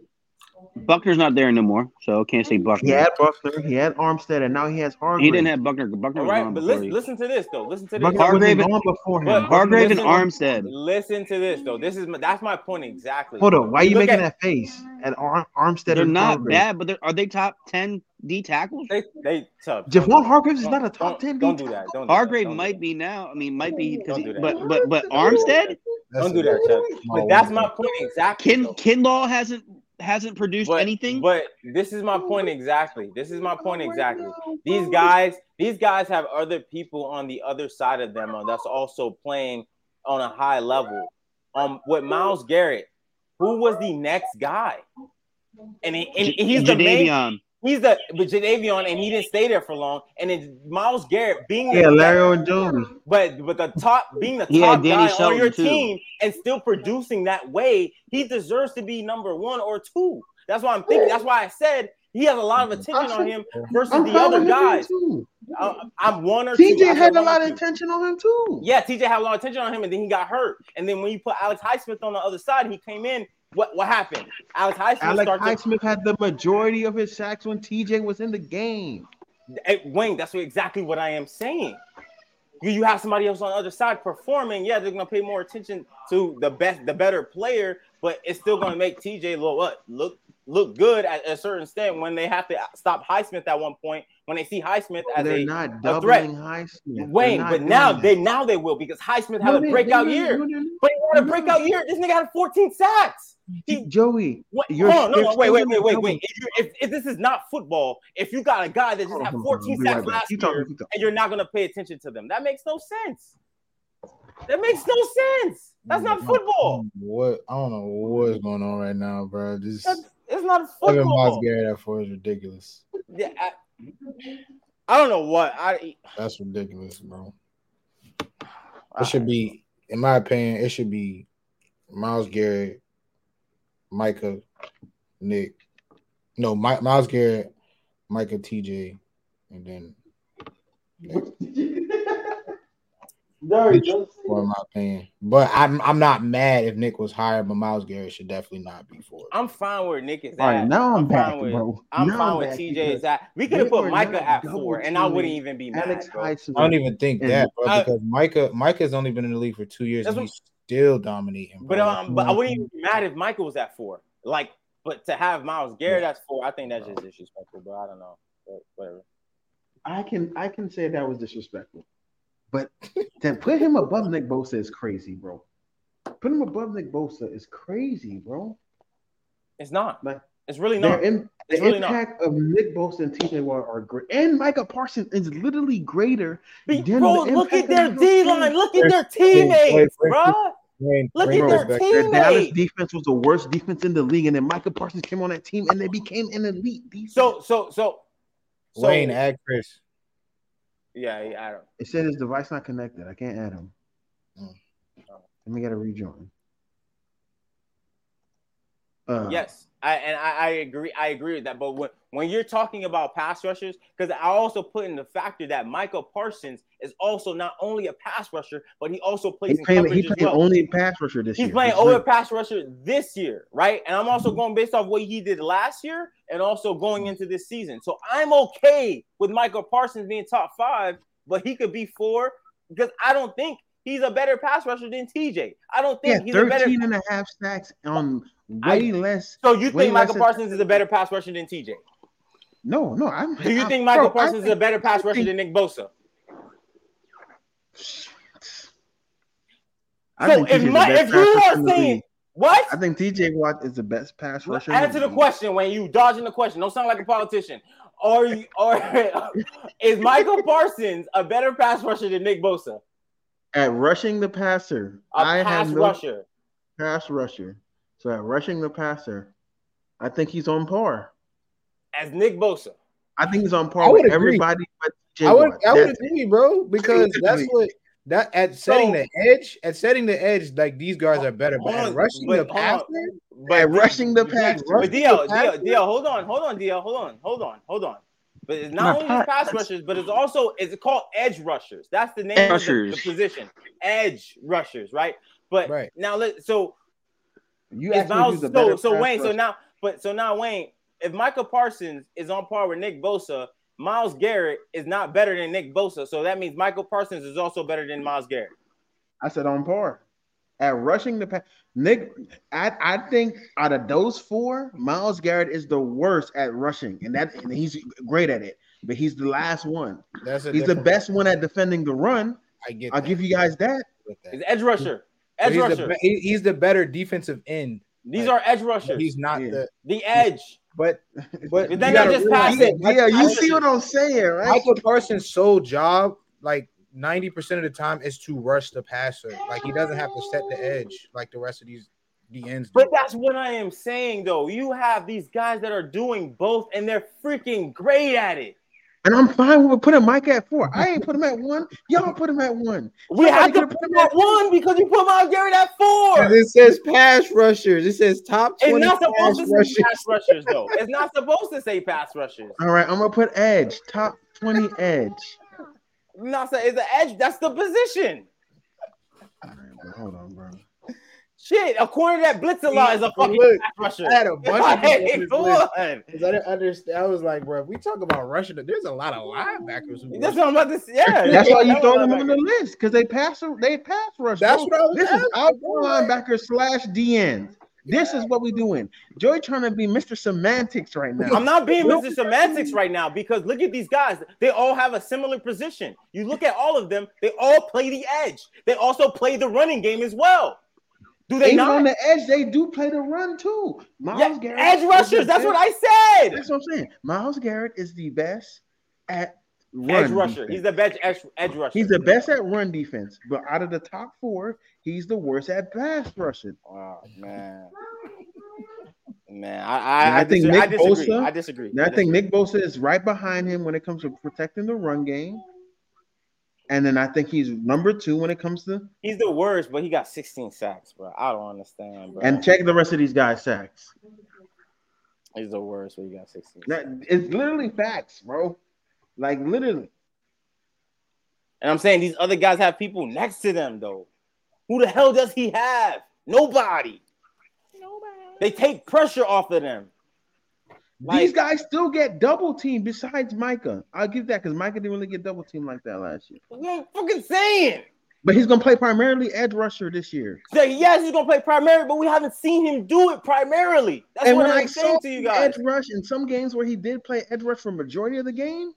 Speaker 3: Buckner's not there anymore, so can't say
Speaker 2: He
Speaker 3: Buckner.
Speaker 2: had Buckner, he had Armstead, and now he has Hargrave.
Speaker 3: He didn't have Buckner. Buckner
Speaker 1: all
Speaker 3: was
Speaker 1: right,
Speaker 3: gone
Speaker 1: but
Speaker 3: before
Speaker 1: listen,
Speaker 3: he-
Speaker 1: listen to this though. Listen to this.
Speaker 2: Buckner
Speaker 3: Hargrave
Speaker 2: wasn't
Speaker 3: and-
Speaker 2: on before him.
Speaker 1: But-
Speaker 3: Hargrave and
Speaker 1: Listen to-
Speaker 3: Armstead.
Speaker 1: Listen to this though. This is my, that's my point exactly.
Speaker 2: Hold on, why
Speaker 1: You
Speaker 2: you
Speaker 1: look
Speaker 2: making
Speaker 1: at-
Speaker 2: that face at Ar- Armstead?
Speaker 3: They're
Speaker 2: and
Speaker 3: not
Speaker 2: Hargrave?
Speaker 3: bad, but they're, are they top ten D tackles?
Speaker 1: They they tough.
Speaker 2: Javon Hargraves is not a
Speaker 1: Don't-
Speaker 2: top ten.
Speaker 1: Don't
Speaker 2: D
Speaker 1: do that.
Speaker 2: tackle.
Speaker 1: Don't do that.
Speaker 3: Hargrave
Speaker 1: Don't do
Speaker 3: might
Speaker 1: that.
Speaker 3: be now. I mean, might be because,
Speaker 1: Don't do that.
Speaker 3: but but but Armstead,
Speaker 1: Don't do that, Chuck. But that's my point exactly.
Speaker 3: Kin
Speaker 1: though.
Speaker 3: Kinlaw hasn't hasn't produced
Speaker 1: but,
Speaker 3: anything.
Speaker 1: But this is my point exactly. This is my point exactly. These guys, these guys have other people on the other side of them uh, that's also playing on a high level. Um, with Miles Garrett, who was the next guy, and, he, and
Speaker 3: J-
Speaker 1: he's the main.
Speaker 3: Jadavion.
Speaker 1: He's the but Jadavion, and he didn't stay there for long. And it's Miles Garrett being
Speaker 2: Yeah,
Speaker 1: the-
Speaker 2: Larry and Joey.
Speaker 1: but but the top being the
Speaker 3: He had
Speaker 1: top
Speaker 3: Danny
Speaker 1: guy on your
Speaker 3: Shelton, too.
Speaker 1: team and still producing that way, he deserves to be number one or two. That's why I'm thinking. That's why I said he has a lot of attention on him versus
Speaker 2: I'm
Speaker 1: the
Speaker 2: fine with
Speaker 1: other
Speaker 2: him
Speaker 1: guys.
Speaker 2: too.
Speaker 1: I, I'm one or two. I
Speaker 2: TJ
Speaker 1: said
Speaker 2: had a
Speaker 1: one or
Speaker 2: lot of
Speaker 1: two.
Speaker 2: attention on him too.
Speaker 1: Yeah, TJ had a lot of attention on him, and then he got hurt. And then when you put Alex Highsmith on the other side, he came in. What what happened? Alex Highsmith
Speaker 2: Alex
Speaker 1: started.
Speaker 2: Highsmith had the majority of his sacks when TJ was in the game.
Speaker 1: Hey, Wayne, that's what, exactly what I am saying. You, you have somebody else on the other side performing. Yeah, they're gonna pay more attention to the best, the better player, but it's still gonna make TJ look what look look good at a certain extent when they have to stop Highsmith at one point when they see Highsmith as
Speaker 2: They're
Speaker 1: a
Speaker 2: not
Speaker 1: a threat.
Speaker 2: doubling Highsmith. They're
Speaker 1: Wayne.
Speaker 2: not
Speaker 1: But
Speaker 2: doing
Speaker 1: now
Speaker 2: that.
Speaker 1: they now they will because Highsmith
Speaker 2: No,
Speaker 1: had a
Speaker 2: they-
Speaker 1: breakout
Speaker 2: no, they- no,
Speaker 1: year.
Speaker 2: they're not.
Speaker 1: But he had a breakout year. This nigga had 14 sacks. He
Speaker 2: Joey,
Speaker 1: what?
Speaker 2: You're-
Speaker 1: Hold on, no,
Speaker 2: you're
Speaker 1: no, wait, wait,
Speaker 2: still
Speaker 1: wait, wait,
Speaker 2: doing
Speaker 1: wait. If, you, if, if this is not football, if you got a guy that just had 14
Speaker 2: Be
Speaker 1: sacks
Speaker 2: right back.
Speaker 1: last
Speaker 2: Keep talking,
Speaker 1: year
Speaker 2: keep talking.
Speaker 1: and you're not going to pay attention to them, that makes no sense. That makes no sense. That's not football.
Speaker 4: What I don't know what's going on right now, bro. This
Speaker 1: That's, it's not
Speaker 4: having Miles
Speaker 1: football.
Speaker 4: Garrett at four is ridiculous.
Speaker 1: Yeah, I, I don't know what I.
Speaker 4: That's ridiculous, bro. It should be, in my opinion, it should be Miles Garrett, Micah, Nick. No, Mi- Miles Garrett, Micah, TJ, and then
Speaker 2: There you
Speaker 4: for in my opinion. But I'm I'm not mad if Nick was higher, but Miles Garrett should definitely not be for it.
Speaker 1: I'm fine where Nick is
Speaker 2: All right,
Speaker 1: at.
Speaker 2: now
Speaker 1: fine
Speaker 2: I'm, back,
Speaker 1: with-
Speaker 2: bro.
Speaker 1: I'm
Speaker 2: Now
Speaker 1: fine with
Speaker 2: back
Speaker 1: TJ
Speaker 2: because
Speaker 1: is at. We could have
Speaker 2: we
Speaker 1: put
Speaker 2: were
Speaker 1: Micah
Speaker 2: not
Speaker 1: at
Speaker 2: double
Speaker 1: four, and I wouldn't
Speaker 2: teaming
Speaker 1: even be mad.
Speaker 2: Alex
Speaker 1: bro.
Speaker 2: Highsmith.
Speaker 4: I don't even think
Speaker 2: And-
Speaker 4: that, bro,
Speaker 1: I-
Speaker 4: because Micah Micah's only been in the league for two years
Speaker 1: That's
Speaker 4: and
Speaker 1: what-
Speaker 4: he's still dominating.
Speaker 1: But
Speaker 4: bro.
Speaker 1: um, but I wouldn't even be mad if Michael was at four. Like, but to have Miles Garrett at four, I think that's just disrespectful. But I don't know. But whatever.
Speaker 2: I can I can say that was disrespectful, but to put him above Nick Bosa is crazy, bro. Put him above Nick Bosa is crazy, bro.
Speaker 1: It's not.
Speaker 2: Like
Speaker 1: It's really
Speaker 2: their
Speaker 1: not.
Speaker 2: im- the
Speaker 1: it's really not.
Speaker 2: impact of Nick Bosa and TJ Watt are great, and Micah Parsons is literally greater.
Speaker 1: Be-
Speaker 2: Then
Speaker 1: bro,
Speaker 2: the
Speaker 1: look at
Speaker 2: impact
Speaker 1: their
Speaker 2: of the
Speaker 1: D line.
Speaker 2: team.
Speaker 1: Look at their
Speaker 4: Wait, wait,
Speaker 1: teammates,
Speaker 4: wait.
Speaker 1: bro.
Speaker 4: Bring-
Speaker 1: Look
Speaker 4: bring
Speaker 1: at their
Speaker 2: Bro,
Speaker 4: this back.
Speaker 2: the Dallas
Speaker 1: teammates.
Speaker 2: defense was the worst defense in the league, and then Micah Parsons came on that team, and they became an elite defense.
Speaker 1: So, so, so, so.
Speaker 4: Wayne, add Chris.
Speaker 1: yeah, yeah, I don't.
Speaker 2: it said his device not connected. I can't add him.
Speaker 1: Hmm.
Speaker 4: Mm.
Speaker 2: Let me get a rejoin. Uh,
Speaker 1: Yes, I and I, I agree. I agree with that. But when when you're talking about pass rushers, because I also put in the factor that Michael Parsons is also not only a pass rusher, but he also plays
Speaker 2: He
Speaker 1: in
Speaker 2: played,
Speaker 1: coverage
Speaker 2: he
Speaker 1: as
Speaker 2: played
Speaker 1: well.
Speaker 2: only pass rusher this Mm-hmm.
Speaker 1: He's
Speaker 2: year.
Speaker 1: playing
Speaker 2: That's
Speaker 1: over
Speaker 2: right.
Speaker 1: pass rusher this year, right? And I'm also going based off what he did last year and also going into this season. So I'm okay with Michael Parsons being top five, but he could be four because I don't think he's a better pass rusher than TJ. I don't
Speaker 2: Yeah,
Speaker 1: think he's a better.
Speaker 2: 13 and a half sacks on way less.
Speaker 1: So you
Speaker 2: Wayne
Speaker 1: think Michael
Speaker 2: Lester-
Speaker 1: Parsons is a better pass rusher than TJ?
Speaker 2: No, no. I'm,
Speaker 1: Do you
Speaker 2: I'm-
Speaker 1: think Michael
Speaker 2: bro, I
Speaker 1: Parsons is a better pass rusher than Nick Bosa?
Speaker 2: I
Speaker 1: So
Speaker 2: think
Speaker 1: if,
Speaker 2: TJ is the
Speaker 1: my,
Speaker 2: best
Speaker 1: if you
Speaker 2: pass rusher
Speaker 1: are
Speaker 2: in the
Speaker 1: saying
Speaker 2: league.
Speaker 1: what?
Speaker 2: I think TJ Watt is the best pass rusher. in
Speaker 1: Answer the
Speaker 2: league.
Speaker 1: question when you dodging the question. Don't sound like a politician. Are you or is Michael Parsons a better pass rusher than Nick Bosa?
Speaker 2: At rushing the passer,
Speaker 1: A
Speaker 2: I
Speaker 1: pass
Speaker 2: have no
Speaker 1: rusher.
Speaker 2: pass rusher. So at rushing the passer, I think he's on par.
Speaker 1: As Nick Bosa.
Speaker 2: I think he's on
Speaker 4: I
Speaker 2: par
Speaker 4: would
Speaker 2: with
Speaker 4: agree.
Speaker 2: everybody but TJ
Speaker 4: I would
Speaker 2: Watt.
Speaker 4: I would
Speaker 2: That's-
Speaker 4: agree, bro, because that's
Speaker 2: Exactly.
Speaker 4: what that at setting
Speaker 1: So-
Speaker 4: the edge, at setting the edge, like these guys are better. But
Speaker 1: Hold
Speaker 4: at
Speaker 1: on,
Speaker 4: rushing
Speaker 1: but
Speaker 4: the
Speaker 1: hold on.
Speaker 4: passer,
Speaker 1: But
Speaker 2: at rushing the
Speaker 1: but
Speaker 2: passer.
Speaker 4: rush-
Speaker 1: DL,
Speaker 4: passer?
Speaker 1: DL, DL, hold on, hold on, DL, hold on, hold on, hold on. But it's
Speaker 2: My
Speaker 1: not only
Speaker 2: pa-
Speaker 1: just pass rushers, but it's also it's called edge rushers. That's the name
Speaker 3: Edge
Speaker 1: of the, the
Speaker 3: rushers.
Speaker 1: position. Edge rushers, right? But
Speaker 4: Right.
Speaker 1: now let so
Speaker 2: You
Speaker 1: If
Speaker 2: asked me
Speaker 1: Miles-
Speaker 2: who's the
Speaker 1: so
Speaker 2: better
Speaker 1: so
Speaker 2: pass
Speaker 1: Wayne, so
Speaker 2: rusher.
Speaker 1: now but so now Wayne, if Michael Parsons is on par with Nick Bosa, Miles Garrett is not better than Nick Bosa. So that means Michael Parsons is also better than Miles Garrett.
Speaker 2: I said on par. At rushing the pass, Nick, I, I think out of those four, Miles Garrett is the worst at rushing, and that and he's great at it, but he's the last one.
Speaker 4: that's a
Speaker 2: He's the
Speaker 4: different-
Speaker 2: best one at defending the run.
Speaker 4: I get.
Speaker 2: I'll
Speaker 4: that.
Speaker 2: give you guys that.
Speaker 4: With that.
Speaker 1: He's edge rusher.
Speaker 4: But
Speaker 1: Edge
Speaker 4: he's,
Speaker 1: rusher.
Speaker 4: the, be- he- he's the better defensive end.
Speaker 1: These are edge
Speaker 4: But
Speaker 1: rushers.
Speaker 4: he's not
Speaker 2: Yeah.
Speaker 4: the.
Speaker 1: the edge.
Speaker 4: But but
Speaker 1: But
Speaker 4: you
Speaker 1: then
Speaker 4: gotta
Speaker 1: they just
Speaker 4: realize
Speaker 1: pass
Speaker 4: that
Speaker 1: it.
Speaker 4: Michael
Speaker 2: Yeah, you
Speaker 4: Parsons-
Speaker 2: see what I'm saying, right?
Speaker 4: Michael Parsons' sole job, like ninety percent of the time, is to rush the passer. Like he doesn't have to set the edge like the rest of these the ends.
Speaker 1: But
Speaker 4: do.
Speaker 1: that's what I am saying though. You have these guys that are doing both and they're freaking great at it.
Speaker 2: And I'm fine with putting Mike at four. I ain't put him at one. Y'all put him at one.
Speaker 1: We
Speaker 2: Somebody
Speaker 1: have to
Speaker 2: could've
Speaker 1: put
Speaker 2: put
Speaker 1: him
Speaker 2: him
Speaker 1: at one because you put Miles Garrett at four.
Speaker 4: 'Cause It says pass rushers. It says top
Speaker 1: It's
Speaker 4: twenty
Speaker 1: not supposed
Speaker 4: pass
Speaker 1: to say
Speaker 4: rushers.
Speaker 1: pass rushers though. It's not supposed to say pass rushers.
Speaker 2: All right, I'm gonna put Edge top twenty Edge.
Speaker 1: No, so it's the edge. That's the position.
Speaker 2: All right, bro, hold on, bro.
Speaker 1: Shit, a corner that blitz a lot is a fucking
Speaker 4: Look,
Speaker 1: pass rusher.
Speaker 4: I had a bunch of people on
Speaker 1: Like, come
Speaker 4: this list.
Speaker 1: on.
Speaker 4: 'Cause I didn't understand. I was like, bro, if we talk about rushing, there's a lot of linebackers. Who
Speaker 1: That's
Speaker 4: rush.
Speaker 1: what I'm about to say. Yeah,
Speaker 2: That's why you
Speaker 1: that's
Speaker 2: throw
Speaker 1: what I'm
Speaker 2: them
Speaker 1: about
Speaker 2: on
Speaker 1: to
Speaker 2: the list because they pass they pass rush. bro.
Speaker 4: That's what I was
Speaker 2: This is
Speaker 4: asking,
Speaker 2: out
Speaker 4: bro.
Speaker 2: linebacker slash DN. This is what we doing. Joy trying to be Mr. Semantics right
Speaker 1: say. I'm
Speaker 2: now.
Speaker 1: not being
Speaker 2: No.
Speaker 1: Mr. Semantics right now because look at these guys. They all have a similar position. You look at all of them, they all play the edge. They also play the running game as well. Do they
Speaker 2: Even
Speaker 1: not?
Speaker 2: on the edge, they do play the run too. Miles
Speaker 1: yeah,
Speaker 2: Garrett is
Speaker 1: edge
Speaker 2: the
Speaker 1: rushers. That's
Speaker 2: best-
Speaker 1: what I said.
Speaker 2: That's what I'm saying. Miles Garrett is the best at run.
Speaker 1: Edge rusher.
Speaker 2: defense.
Speaker 1: He's the best edge, edge rusher.
Speaker 2: He's the best at run defense, but out of the top four, he's the worst at pass rushing.
Speaker 1: Wow, man. Man, I I,
Speaker 2: I
Speaker 1: I,
Speaker 2: think
Speaker 1: disagree.
Speaker 2: Nick
Speaker 1: I disagree.
Speaker 2: Bosa-
Speaker 1: I disagree.
Speaker 2: And I
Speaker 1: disagree.
Speaker 2: think Nick Bosa is right behind him when it comes to protecting the run game. And then I think he's number two when it comes to
Speaker 1: he's the worst, but he got 16 sacks, bro. I don't understand, bro.
Speaker 2: and check the rest of these guys' sacks.
Speaker 1: he's the worst, but he got 16.
Speaker 2: That- it's literally facts, bro. Like literally.
Speaker 1: And I'm saying these other guys have people next to them though. Who the hell does he have? Nobody. Nobody. They take pressure off of them.
Speaker 2: These guys still get double teamed besides Micah. I'll give that because Micah didn't really get double teamed like that last year.
Speaker 1: What I'm fucking saying.
Speaker 2: But he's gonna play primarily edge rusher this year.
Speaker 1: That yes, he's gonna play primary, but we haven't seen him do it primarily. That's
Speaker 2: and
Speaker 1: what
Speaker 2: when I
Speaker 1: I'm saying
Speaker 2: saw
Speaker 1: to you
Speaker 2: him
Speaker 1: guys.
Speaker 2: edge rush in some games where he did play edge rush for majority of the game,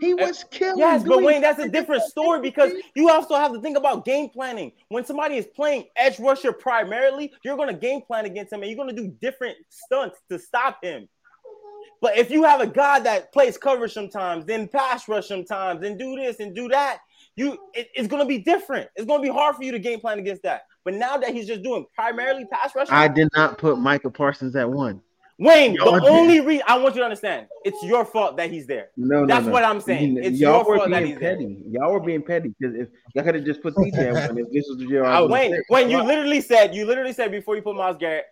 Speaker 2: he was killing.
Speaker 1: Yes, but
Speaker 2: doing-
Speaker 1: Wayne, that's a different story because you also have to think about game planning. When somebody is playing edge rusher primarily, you're going to game plan against him and you're going to do different stunts to stop him. But if you have a guy that plays cover sometimes, then pass rush sometimes, then do this and do that, you it- it's going to be different. It's going to be hard for you to game plan against that. But now that he's just doing primarily pass rush,
Speaker 2: I did not put Micah Parsons at one.
Speaker 1: Wayne,
Speaker 2: Y'all
Speaker 1: the
Speaker 2: did.
Speaker 1: only reason I want you to understand, it's your fault that he's there.
Speaker 2: No, no,
Speaker 1: That's
Speaker 2: no.
Speaker 1: what I'm saying. It's
Speaker 2: y'all
Speaker 1: your
Speaker 2: were
Speaker 1: fault that
Speaker 2: being
Speaker 1: he's there.
Speaker 2: petty. Y'all were being petty because if y'all could have just put CJ at one, if this was the year I
Speaker 1: Uh,
Speaker 2: was
Speaker 1: Wayne,
Speaker 2: gonna say.
Speaker 1: Wayne, you literally said you literally said before you put Miles Garrett.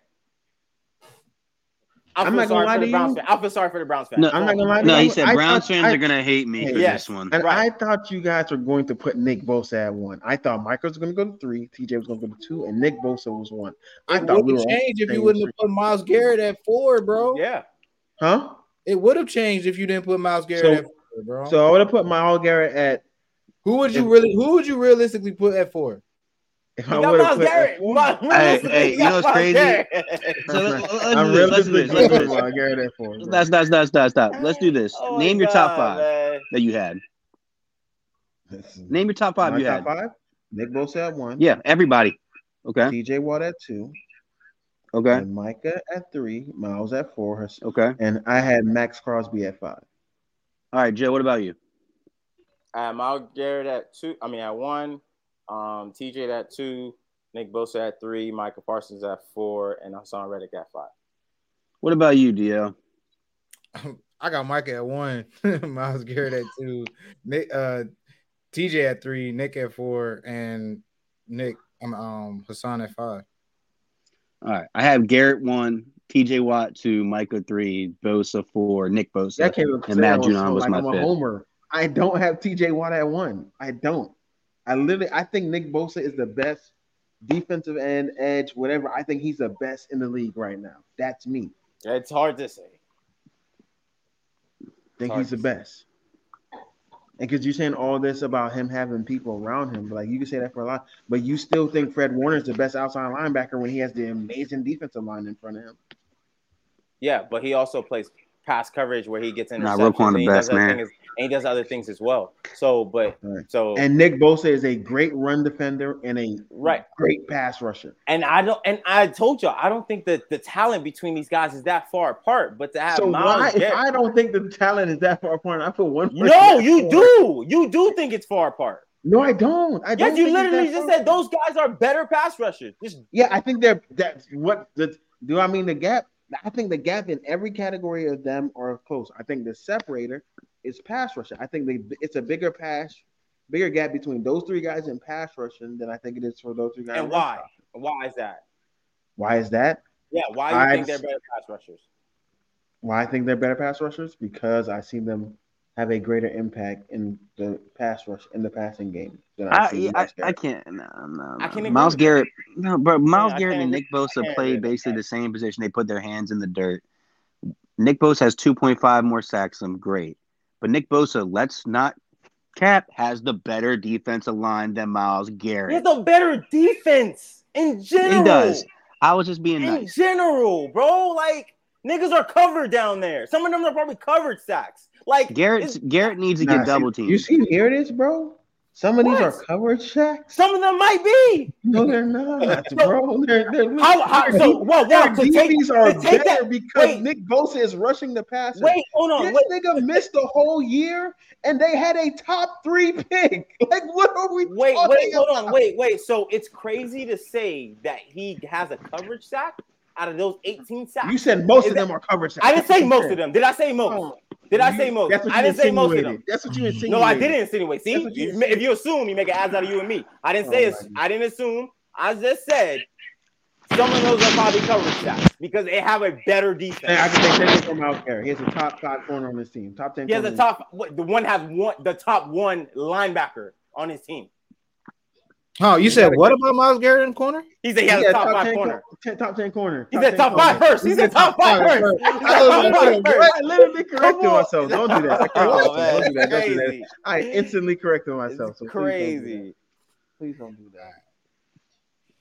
Speaker 1: I
Speaker 2: I'm
Speaker 1: feel
Speaker 2: not gonna
Speaker 1: sorry
Speaker 2: lie
Speaker 1: for
Speaker 2: to
Speaker 1: the Browns
Speaker 2: you.
Speaker 1: fan. I feel sorry for the Browns fan.
Speaker 3: No,
Speaker 2: I'm not gonna lie to
Speaker 3: No,
Speaker 2: you.
Speaker 3: he said
Speaker 2: I
Speaker 3: Browns
Speaker 2: thought-
Speaker 3: fans
Speaker 2: I-
Speaker 3: are gonna hate me for
Speaker 1: Yes.
Speaker 3: this one.
Speaker 2: And
Speaker 1: Right.
Speaker 2: I thought you guys were going to put Nick Bosa at one. I thought Michael was going to go to three, TJ was going to go to two, and Nick Bosa was one. I
Speaker 4: It
Speaker 2: thought
Speaker 4: would
Speaker 2: we
Speaker 4: have
Speaker 2: were,
Speaker 4: changed if
Speaker 2: saying
Speaker 4: you wouldn't have put Miles Garrett at four, bro.
Speaker 1: Yeah.
Speaker 2: huh?
Speaker 4: It would have changed if you didn't put Miles Garrett
Speaker 2: So-
Speaker 4: at four, bro.
Speaker 2: So I would have put Miles Garrett at.
Speaker 4: who would you really? Who would you realistically put at four?
Speaker 2: If
Speaker 1: You
Speaker 2: I
Speaker 1: got
Speaker 2: would
Speaker 1: Miles
Speaker 2: have put
Speaker 1: Garrett. Miles-
Speaker 3: Hey,
Speaker 1: listen,
Speaker 3: hey,
Speaker 1: you
Speaker 3: you
Speaker 1: got
Speaker 3: know what's
Speaker 1: Miles
Speaker 3: crazy?
Speaker 1: Garrett.
Speaker 3: So let, us
Speaker 2: I'm
Speaker 3: do this. Let's do
Speaker 2: realistically going to
Speaker 3: this. Let's do
Speaker 2: put
Speaker 3: this.
Speaker 2: Miles Garrett at four. bro.
Speaker 3: That's that's that's that's stop. Let's do this.
Speaker 1: Oh my
Speaker 3: Name your top
Speaker 1: God,
Speaker 3: five
Speaker 1: man.
Speaker 3: that you had.
Speaker 2: This is-
Speaker 3: Name your top five
Speaker 2: my
Speaker 3: you
Speaker 2: top
Speaker 3: had.
Speaker 2: five. Nick Bosa at one.
Speaker 3: Yeah, everybody. Okay.
Speaker 2: TJ Watt at two.
Speaker 3: Okay.
Speaker 2: And Micah at three. Miles at four.
Speaker 3: Okay. All
Speaker 2: And I had Max Crosby at five.
Speaker 3: right, Joe. What about you?
Speaker 1: I had Miles Garrett at two. I mean at one. Um, TJ at two. Nick Bosa at three. Michael Parsons at four, and Hassan Reddick at five.
Speaker 3: What about you, DL?
Speaker 4: I got Mike at one, Miles Garrett at two, Nick, uh, TJ at three, Nick at four, and Nick um, um Hassan at five.
Speaker 3: All right. I have Garrett one, TJ Watt two, Micah three, Bosa four, Nick Bosa.
Speaker 2: That came up
Speaker 3: And Matt
Speaker 2: clear. I
Speaker 3: Judon
Speaker 2: so-
Speaker 3: was
Speaker 2: like
Speaker 3: my
Speaker 2: I'm a
Speaker 3: fifth.
Speaker 2: homer. I don't have TJ Watt at one. I don't. I literally I think Nick Bosa is the best defensive end, edge, whatever. I think he's the best in the league right now. That's me.
Speaker 1: It's hard to say.
Speaker 2: I think he's the best. And because you're saying all this about him having people around him, like you can say that for a lot, but you still think Fred Warner's the best outside linebacker when he has the amazing defensive line in front of him.
Speaker 1: Yeah, but he also plays pass coverage where he gets
Speaker 3: Nah,
Speaker 1: interceptions.
Speaker 3: Roquan
Speaker 1: and
Speaker 3: the
Speaker 1: he does
Speaker 3: best,
Speaker 1: other
Speaker 3: man.
Speaker 1: things- and he does other things as well. So, but
Speaker 2: Right.
Speaker 1: so
Speaker 2: And Nick Bosa is a great run defender and a
Speaker 1: right.
Speaker 2: great pass rusher.
Speaker 1: And I don't. And I told y'all, I don't think that the talent between these guys is that far apart. But to have
Speaker 2: So why,
Speaker 1: Miles
Speaker 2: if
Speaker 1: Garrett,
Speaker 2: I don't think the talent is that far apart, I put one. person
Speaker 1: no,
Speaker 2: at
Speaker 1: you
Speaker 2: four.
Speaker 1: do. You do think it's far apart.
Speaker 2: No, I don't. I don't.
Speaker 1: Yes, you
Speaker 2: think it's
Speaker 1: literally
Speaker 2: that
Speaker 1: just
Speaker 2: far.
Speaker 1: said those guys are better pass rushers. Just
Speaker 2: Yeah, I think they're that's what the do. I mean the gap. I think the gap in every category of them are close. I think the separator is pass rushing. I think they, it's a bigger pass, bigger gap between those three guys in pass rushing than I think it is for those three guys.
Speaker 1: and
Speaker 2: in
Speaker 1: why?
Speaker 2: rush.
Speaker 1: Why is that?
Speaker 2: Why is that?
Speaker 1: Yeah, why do you
Speaker 2: I
Speaker 1: think they're
Speaker 2: just-
Speaker 1: better pass rushers?
Speaker 2: why I think they're better pass rushers because I see them have a greater impact in the pass rush in the passing game than I, see.
Speaker 3: I, I,
Speaker 2: Miles Garrett.
Speaker 3: I can't. No, no,
Speaker 1: I can
Speaker 3: no.
Speaker 1: agree
Speaker 3: Miles
Speaker 1: with that.
Speaker 3: Garrett. No, but Miles
Speaker 1: I
Speaker 3: Garrett
Speaker 1: can
Speaker 3: and
Speaker 1: agree-
Speaker 3: Nick Bosa
Speaker 1: can agree
Speaker 3: play
Speaker 1: with
Speaker 3: basically
Speaker 1: that.
Speaker 3: the same position. They put their hands in the dirt. Nick Bosa has 2.5 more sacks than him. Great. But Nick Bosa, let's not cap, has the better defensive line than Miles
Speaker 1: He
Speaker 3: Garrett.
Speaker 1: has a better defense in general.
Speaker 3: He does. I was just being
Speaker 1: in
Speaker 3: nice.
Speaker 1: general, bro. Like niggas are covered down there. Some of them are probably covered sacks. Like
Speaker 3: Garrett
Speaker 1: it's-
Speaker 3: Garrett needs to
Speaker 2: Nah,
Speaker 3: get
Speaker 2: see-
Speaker 3: double teamed.
Speaker 2: You see, here it is, bro. Some of these
Speaker 1: What?
Speaker 2: are coverage sacks.
Speaker 1: Some of them might be.
Speaker 2: No, they're not, bro. They're, they're
Speaker 1: How, how so? Whoa, whoa.
Speaker 2: their
Speaker 1: To take,
Speaker 2: DBs are
Speaker 1: to take
Speaker 2: better
Speaker 1: that-
Speaker 2: because
Speaker 1: wait.
Speaker 2: Nick Bosa is rushing the passer.
Speaker 1: wait, hold on.
Speaker 2: this
Speaker 1: Wait,
Speaker 2: nigga missed the whole year, and they had a top three pick. Like, what are we?
Speaker 1: wait,
Speaker 2: talking
Speaker 1: wait. Hold
Speaker 2: about?
Speaker 1: on. Wait, wait. So it's crazy to say that he has a coverage sack out of those 18 sacks.
Speaker 2: You said most
Speaker 1: Is
Speaker 2: of
Speaker 1: that-
Speaker 2: them are coverage sacks.
Speaker 1: I didn't
Speaker 2: That's
Speaker 1: say
Speaker 2: what you
Speaker 1: most
Speaker 2: said.
Speaker 1: of them. Did I say most? Did I say most?
Speaker 2: That's what you
Speaker 1: I didn't say most of
Speaker 2: insinuated.
Speaker 1: them.
Speaker 2: That's what you insinuated.
Speaker 1: No, I didn't insinuate. See,
Speaker 2: That's what you
Speaker 1: you, if you assume, you make an ass out of you and me. I didn't
Speaker 2: Oh
Speaker 1: say.
Speaker 2: my
Speaker 1: ass- I didn't assume. I just said some of those are probably coverage sacks because they have a better
Speaker 2: Hey, I
Speaker 1: defense.
Speaker 2: can take that from Miles Garrett. He has a top five corner on this team. Top ten.
Speaker 1: He has
Speaker 2: corner
Speaker 1: a
Speaker 2: in
Speaker 1: top. what- The one has one. The top one linebacker. on his team.
Speaker 4: Oh, you said what about Miles Garrett in the corner?
Speaker 1: He said he had a top, five
Speaker 2: 10
Speaker 1: corner.
Speaker 2: cor- 10 top 10 corner.
Speaker 1: He said top five first. He said top five first.
Speaker 2: I literally corrected
Speaker 1: on.
Speaker 2: myself. Don't do that. I corrected
Speaker 1: Oh,
Speaker 2: myself.
Speaker 1: man.
Speaker 2: Don't do that. Don't do that.
Speaker 1: Crazy.
Speaker 2: I instantly corrected myself.
Speaker 1: It's
Speaker 2: So please don't do that.
Speaker 1: crazy.
Speaker 2: Please don't do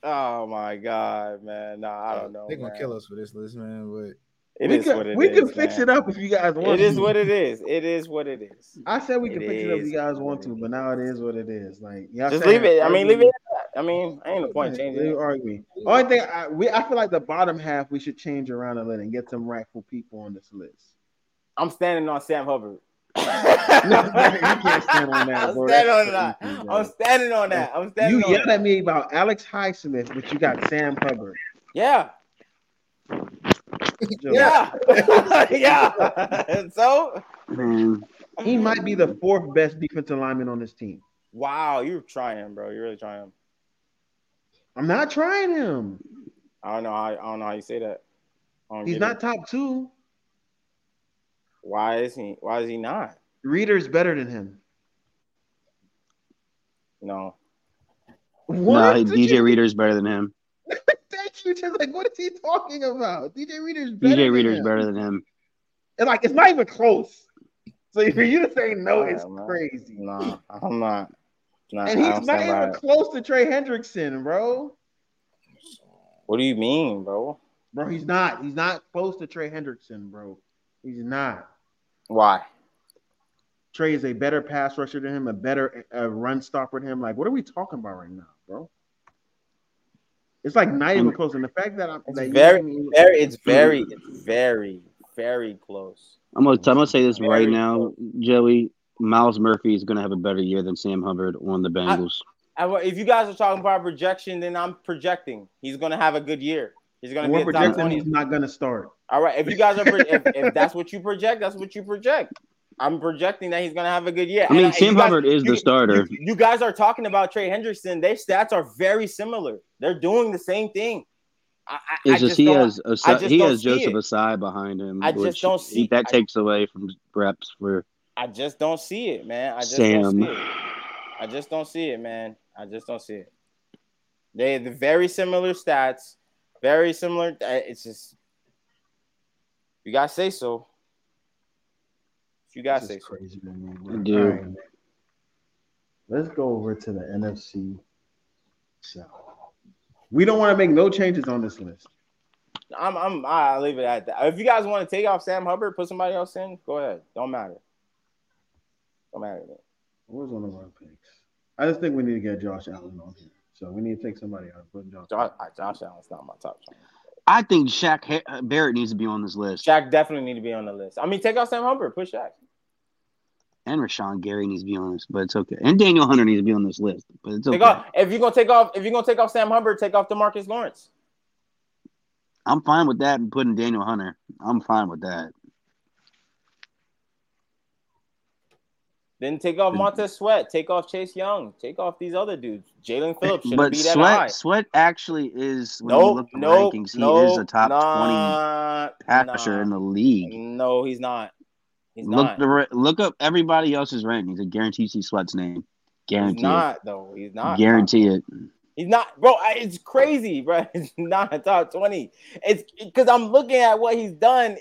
Speaker 2: that.
Speaker 1: Oh my god, man. Nah, I don't know.
Speaker 4: They're gonna
Speaker 1: man.
Speaker 4: kill us for this list, man. But
Speaker 1: It
Speaker 2: we
Speaker 1: is
Speaker 2: could,
Speaker 1: what it
Speaker 2: we
Speaker 1: is,
Speaker 2: could fix
Speaker 1: man.
Speaker 2: it up if you guys want
Speaker 1: It is
Speaker 2: to.
Speaker 1: what it is. It is what it is.
Speaker 2: I said we could
Speaker 1: it
Speaker 2: fix it up if
Speaker 1: is
Speaker 2: you guys
Speaker 1: what
Speaker 2: want
Speaker 1: it
Speaker 2: to,
Speaker 1: is.
Speaker 2: but now it is what it is. Like y'all
Speaker 1: Just
Speaker 2: saying-
Speaker 1: leave it. I mean, leave it. at that. I mean, ain't no point changing.
Speaker 2: Leave
Speaker 1: it.
Speaker 2: arguing. Only thing I we I feel like the bottom half we should change around a little and get some rightful people on this list.
Speaker 1: I'm standing on Sam Hubbard.
Speaker 2: No, you can't stand on that,
Speaker 1: I'm standing
Speaker 2: bro. That's
Speaker 1: on that.
Speaker 2: crazy, bro.
Speaker 1: I'm standing on that. I'm standing
Speaker 2: You
Speaker 1: on
Speaker 2: yelled
Speaker 1: that.
Speaker 2: at me about Alex Highsmith, but you got Sam Hubbard.
Speaker 1: Yeah.
Speaker 2: Joe,
Speaker 1: Yeah. yeah. And so
Speaker 3: Man.
Speaker 2: He might be the fourth best defensive lineman on this team.
Speaker 1: Wow, you're trying, bro. You're really trying.
Speaker 2: I'm not trying him.
Speaker 1: I don't know how I don't know how you say that. I don't
Speaker 2: He's
Speaker 1: get it.
Speaker 2: not top two.
Speaker 1: Why is he why is he not?
Speaker 2: Reader's better than him.
Speaker 1: No.
Speaker 3: No,
Speaker 2: What?
Speaker 3: he-
Speaker 2: Did
Speaker 3: DJ
Speaker 2: you-
Speaker 3: Reader's better than him.
Speaker 2: Thank you. Just like, what is he talking about? DJ Reader's better.
Speaker 3: DJ
Speaker 2: than
Speaker 3: Reader's
Speaker 2: him.
Speaker 3: better than him.
Speaker 2: And like, it's not even close. So for you to say no is
Speaker 1: Yeah, man.
Speaker 2: crazy.
Speaker 1: No, I'm not. Nah,
Speaker 2: And
Speaker 1: I
Speaker 2: he's
Speaker 1: don't
Speaker 2: not
Speaker 1: stand
Speaker 2: even
Speaker 1: by it.
Speaker 2: close to Trey Hendrickson, bro.
Speaker 1: What do you mean, bro?
Speaker 2: Bro, he's not. He's not close to Trey Hendrickson, bro. He's not.
Speaker 1: Why?
Speaker 2: Trey is a better pass rusher than him, a better uh run stopper than him. Like, what are we talking about right now, bro? It's like not even close. And the fact that I'm
Speaker 1: It's
Speaker 2: that you
Speaker 1: very,
Speaker 2: haven't even-
Speaker 1: Very it's very, it's very, very close.
Speaker 3: I'm gonna, I'm gonna say this right
Speaker 1: Very
Speaker 3: now, Joey. Miles Murphy is gonna have a better year than Sam Hubbard on the Bengals.
Speaker 1: I- well, if you guys are talking about projection, then I'm projecting. He's gonna have a good year. He's gonna
Speaker 2: we're
Speaker 1: be a top
Speaker 2: projecting
Speaker 1: twenty.
Speaker 2: he's not gonna start.
Speaker 1: All right. If you guys are, pro- if, if that's what you project, that's what you project. I'm projecting that he's gonna have a good year.
Speaker 3: I mean,
Speaker 1: And, uh,
Speaker 3: Sam
Speaker 1: you guys-
Speaker 3: Hubbard is the starter.
Speaker 1: You, you guys are talking about Trey Henderson. Their stats are very similar. They're doing the same thing. I, I, I
Speaker 3: It's just,
Speaker 1: just
Speaker 3: he
Speaker 1: don't-
Speaker 3: has a,
Speaker 1: I just
Speaker 3: he
Speaker 1: don't
Speaker 3: has
Speaker 1: see
Speaker 3: Joseph
Speaker 1: it.
Speaker 3: Asai behind him.
Speaker 1: I just
Speaker 3: which
Speaker 1: don't see-
Speaker 3: that
Speaker 1: I-
Speaker 3: takes away from reps for
Speaker 1: I just don't see it, man. I just don't
Speaker 3: Sam.
Speaker 1: see it. I just don't see it, man. I just don't see it. They the very similar stats, very similar. uh, It's just you guys say so. If You guys
Speaker 2: This
Speaker 1: say
Speaker 2: is
Speaker 1: so.
Speaker 2: crazy to me, bro.
Speaker 3: Dude.
Speaker 2: All right, man. Let's go over to the NFC South. We don't want to make no changes on this list.
Speaker 1: I'm I'm I leave it at that. If you guys want to take off Sam Hubbard, put somebody else in. Go ahead. Don't matter. Don't matter. to me.
Speaker 2: What was one of our picks? I just think we need to get Josh Allen on here. So we need to take somebody out. Put Josh.
Speaker 1: Josh, uh, Josh Allen's not my top. choice.
Speaker 3: I think Shaq Ha- uh, Barrett needs to be on this list,
Speaker 1: Shaq definitely need to be on the list. I mean, take off Sam Hubbard, put Shaq.
Speaker 3: and Rashawn Gary needs to be on this, but it's okay. And Daniel Hunter needs to be on this list, but it's okay.
Speaker 1: Take off if you're gonna take off if you're gonna take off Sam Hubbard, take off Demarcus Lawrence.
Speaker 3: I'm fine with that and putting Daniel Hunter. I'm fine with that.
Speaker 1: Then take off Montez Sweat, take off Chase Young, take off these other dudes. Jalen Phillips shouldn't
Speaker 3: but
Speaker 1: be that high.
Speaker 3: Sweat Sweat actually is when you
Speaker 1: Nope,
Speaker 3: look at the
Speaker 1: nope,
Speaker 3: rankings, he
Speaker 1: nope,
Speaker 3: is a top
Speaker 1: nah,
Speaker 3: twenty passer
Speaker 1: nah.
Speaker 3: in the league.
Speaker 1: No, he's not. He's
Speaker 3: Look
Speaker 1: not.
Speaker 3: the ra- look up everybody else's rankings. I guarantee you see Sweat's name.
Speaker 1: He's
Speaker 3: Guarantee
Speaker 1: not though. He's
Speaker 3: it.
Speaker 1: not.
Speaker 3: Guarantee it.
Speaker 1: He's not, bro. I- It's crazy, bro. It's not a top twenty. It's because I'm looking at what he's done.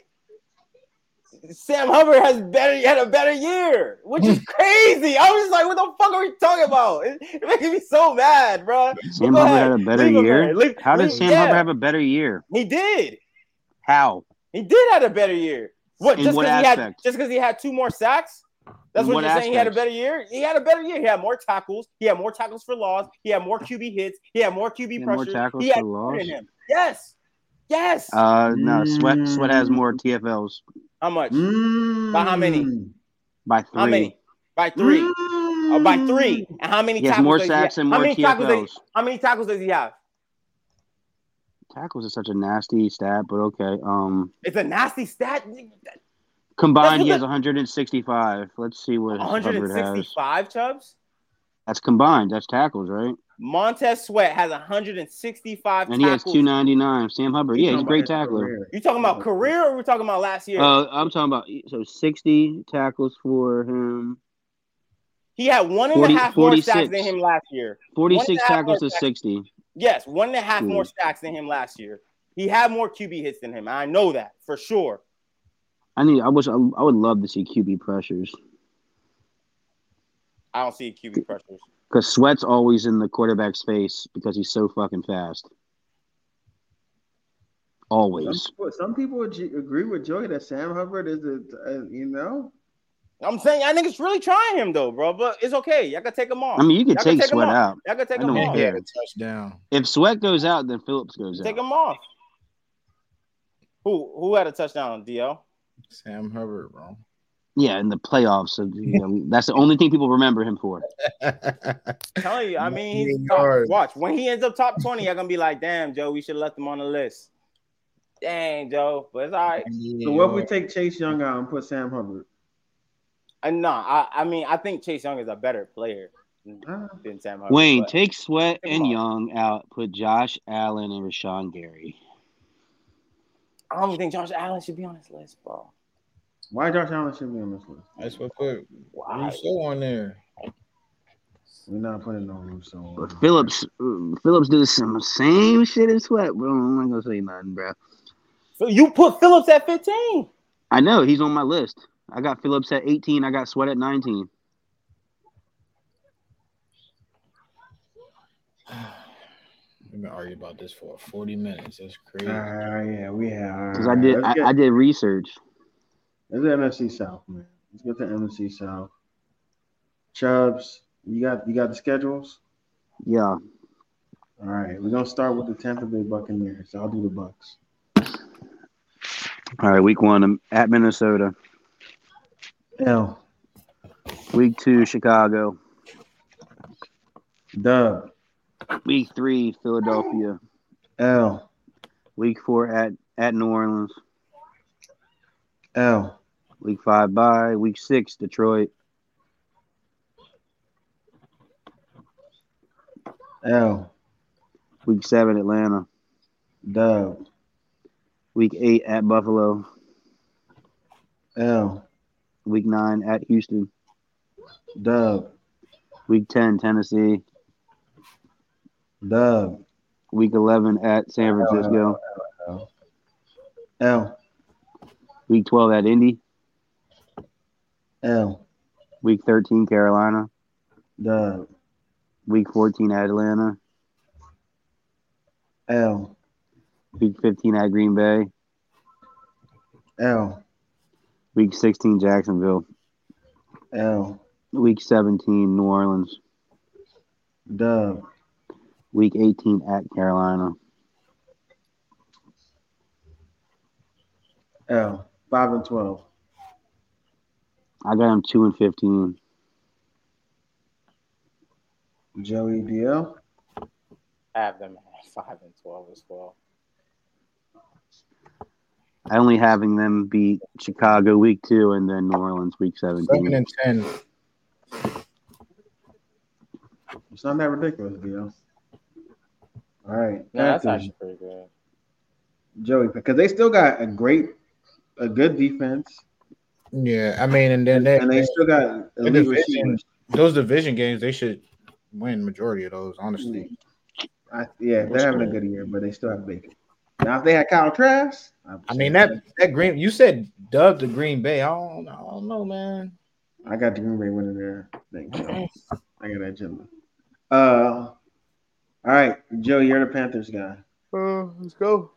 Speaker 1: Sam Hubbard has better had a better year, which is crazy. I was just like, what the fuck are we talking about? It, it making me so mad, bro.
Speaker 3: Sam
Speaker 1: Go
Speaker 3: Hubbard
Speaker 1: ahead.
Speaker 3: had a better
Speaker 1: Leave him
Speaker 3: year.
Speaker 1: there. Leave-
Speaker 3: How did
Speaker 1: leave-
Speaker 3: Sam
Speaker 1: yeah,
Speaker 3: Hubbard have a better year?
Speaker 1: He did.
Speaker 3: How?
Speaker 1: He did had a better year. What?
Speaker 3: In
Speaker 1: Just
Speaker 3: what
Speaker 1: because he had
Speaker 3: aspect?
Speaker 1: just because he had two more sacks. That's
Speaker 3: In
Speaker 1: what,
Speaker 3: what
Speaker 1: you're saying. He had a
Speaker 3: aspects?
Speaker 1: better year. He had a better year. He had more tackles. He had more tackles for loss. He had more QB hits. He had more QB
Speaker 3: had more
Speaker 1: pressures.
Speaker 3: tackles
Speaker 1: he had
Speaker 3: for
Speaker 1: more in
Speaker 3: loss?
Speaker 1: him. Yes. Yes.
Speaker 3: Uh, no, Sweat
Speaker 2: Mm.
Speaker 3: Sweat has more TFLs
Speaker 1: How much?
Speaker 2: Mm.
Speaker 1: By how many?
Speaker 3: by three.
Speaker 1: How many? By three.
Speaker 2: Mm.
Speaker 1: Uh, by three. And how many
Speaker 3: He has
Speaker 1: tackles
Speaker 3: more
Speaker 1: does
Speaker 3: sacks
Speaker 1: he have?
Speaker 3: and
Speaker 1: how
Speaker 3: more
Speaker 1: many tackles does
Speaker 3: TFLs.
Speaker 1: he, how many tackles does he have?
Speaker 3: Tackles is such a nasty stat, but okay. Um,
Speaker 1: It's a nasty stat.
Speaker 3: combined
Speaker 1: That's
Speaker 3: he has
Speaker 1: what
Speaker 3: 165. Let's see what Hubbard has.
Speaker 1: 165 chubs.
Speaker 3: That's combined. That's tackles, right?
Speaker 1: Montez Sweat has 165
Speaker 3: And he has
Speaker 1: tackles.
Speaker 3: 299. Sam Hubbard, yeah, he's a great tackler.
Speaker 2: Career.
Speaker 1: You talking about career or we're talking about last year?
Speaker 3: Uh, I'm talking about so 60 tackles for him.
Speaker 1: He had one and
Speaker 3: 40
Speaker 1: a half more
Speaker 3: 46.
Speaker 1: sacks than him last year. One and a
Speaker 3: 46
Speaker 1: half
Speaker 3: tackles to
Speaker 1: more sacks.
Speaker 3: 60.
Speaker 1: Yes, one and a half
Speaker 3: Hmm.
Speaker 1: more sacks than him last year. He had more QB hits than him. I know that for sure.
Speaker 3: I need. I wish. I, I would love to see QB pressures
Speaker 1: I don't see QB pressures.
Speaker 3: because Sweat's always in the quarterback's face because he's so fucking fast.
Speaker 2: Some
Speaker 3: Always.
Speaker 2: people, some people would g- agree with Joey that Sam Hubbard is the, uh, you know,
Speaker 1: I'm saying I think it's really trying him though, bro. But it's okay. Y'all can take him off.
Speaker 3: I mean, you could
Speaker 1: Y'all can
Speaker 3: take,
Speaker 1: take him
Speaker 3: Sweat
Speaker 1: off.
Speaker 3: out.
Speaker 1: Y'all can take
Speaker 3: I
Speaker 1: him
Speaker 3: don't
Speaker 1: off.
Speaker 4: And he had
Speaker 3: care.
Speaker 4: a touchdown.
Speaker 3: If Sweat goes out, then Phillips goes
Speaker 1: Take
Speaker 3: out.
Speaker 1: him off. Who who had a touchdown, DL?
Speaker 4: Sam Hubbard, bro.
Speaker 3: Yeah, in the playoffs. So, you know, that's the only thing people remember him for.
Speaker 1: telling you, I mean, he's
Speaker 4: Million
Speaker 1: top-
Speaker 4: yards.
Speaker 1: watch when he ends up top 20, you're gonna be like, damn, Joe, we should have left him on the list. Dang, Joe, but it's all right.
Speaker 2: so what if we take Chase Young out and put Sam Hubbard?
Speaker 1: And Uh, nah, I, I mean, I think Chase Young is a better player
Speaker 2: Uh,
Speaker 1: than Sam Hubbard.
Speaker 3: Wayne,
Speaker 1: but
Speaker 3: take Sweat
Speaker 1: Take him
Speaker 3: and
Speaker 1: off.
Speaker 3: Young out. Put Josh Allen and Rashawn Gary.
Speaker 1: I don't even think Josh Allen should be on this list, bro.
Speaker 2: why Josh Allen should be on this list?
Speaker 4: That's what put
Speaker 1: Why?
Speaker 4: Russo on there.
Speaker 2: We're not putting no Russo on.
Speaker 3: But Phillips, uh, Phillips do some same shit as Sweat, bro. I'm not gonna say nothing, bro.
Speaker 1: So you put Phillips at 15.
Speaker 3: I know he's on my list. I got Phillips at 18. I got Sweat at 19.
Speaker 4: We've been arguing about this for 40 minutes. That's
Speaker 2: Ah,
Speaker 4: crazy.
Speaker 2: yeah, we have.
Speaker 3: Because I did,
Speaker 2: Let's
Speaker 3: I,
Speaker 2: get,
Speaker 3: I did research.
Speaker 2: let's get NFC South, man. Let's get the NFC South. Chubbs, you got you got the schedules.
Speaker 3: Yeah,
Speaker 2: All right, we're gonna start with the Tampa Bay Buccaneers. I'll do the Bucks.
Speaker 3: all right. Week one, I'm at Minnesota.
Speaker 2: L.
Speaker 3: Week two, Chicago.
Speaker 2: Dub.
Speaker 3: Week three, Philadelphia.
Speaker 2: L.
Speaker 3: Week four, at at New Orleans.
Speaker 2: L.
Speaker 3: Week five, bye. Week six, Detroit.
Speaker 2: L.
Speaker 3: Week seven, Atlanta.
Speaker 2: Dub.
Speaker 3: Week eight, at Buffalo.
Speaker 2: L.
Speaker 3: Week nine, at Houston.
Speaker 2: Dub.
Speaker 3: Week ten, Tennessee.
Speaker 2: Dub.
Speaker 3: Week eleven, at San Francisco.
Speaker 2: L.
Speaker 3: Week twelve, at Indy.
Speaker 2: L.
Speaker 3: Week thirteen, Carolina.
Speaker 2: Dub.
Speaker 3: Week fourteen, at Atlanta.
Speaker 2: L.
Speaker 3: Week fifteen, at Green Bay.
Speaker 2: L.
Speaker 3: Week sixteen, Jacksonville.
Speaker 2: L.
Speaker 3: Week 17, New Orleans.
Speaker 2: Dub.
Speaker 3: Week 18 at Carolina.
Speaker 2: L. Five and twelve.
Speaker 3: I got them 2 and 15.
Speaker 2: Joey DL.
Speaker 1: I have them at 5 and 12 as well.
Speaker 3: I only having them beat Chicago week 2 and then New Orleans week
Speaker 4: 7
Speaker 3: 17.
Speaker 4: and 10.
Speaker 2: It's not that ridiculous, DL. All right.
Speaker 1: No, that's
Speaker 2: Panthers.
Speaker 1: actually pretty good.
Speaker 2: Joey, because they still got a great, a good defense,
Speaker 4: Yeah, I mean, and then
Speaker 2: and they
Speaker 4: they,
Speaker 2: still got
Speaker 4: the
Speaker 2: elite
Speaker 4: division-
Speaker 2: receivers.
Speaker 4: those division games, they should win majority of those, honestly.
Speaker 2: I, yeah, they're having a good year, but they still have Baker. Now, if they had Kyle Trask, I'd
Speaker 4: I
Speaker 2: say-
Speaker 4: mean, that that green, you said dub to Green Bay. I don't, I don't know, man.
Speaker 2: I got the Green Bay winning there. Thank you. I got that gentleman. Uh, all right, Joe, you're the Panthers guy.
Speaker 1: let's go.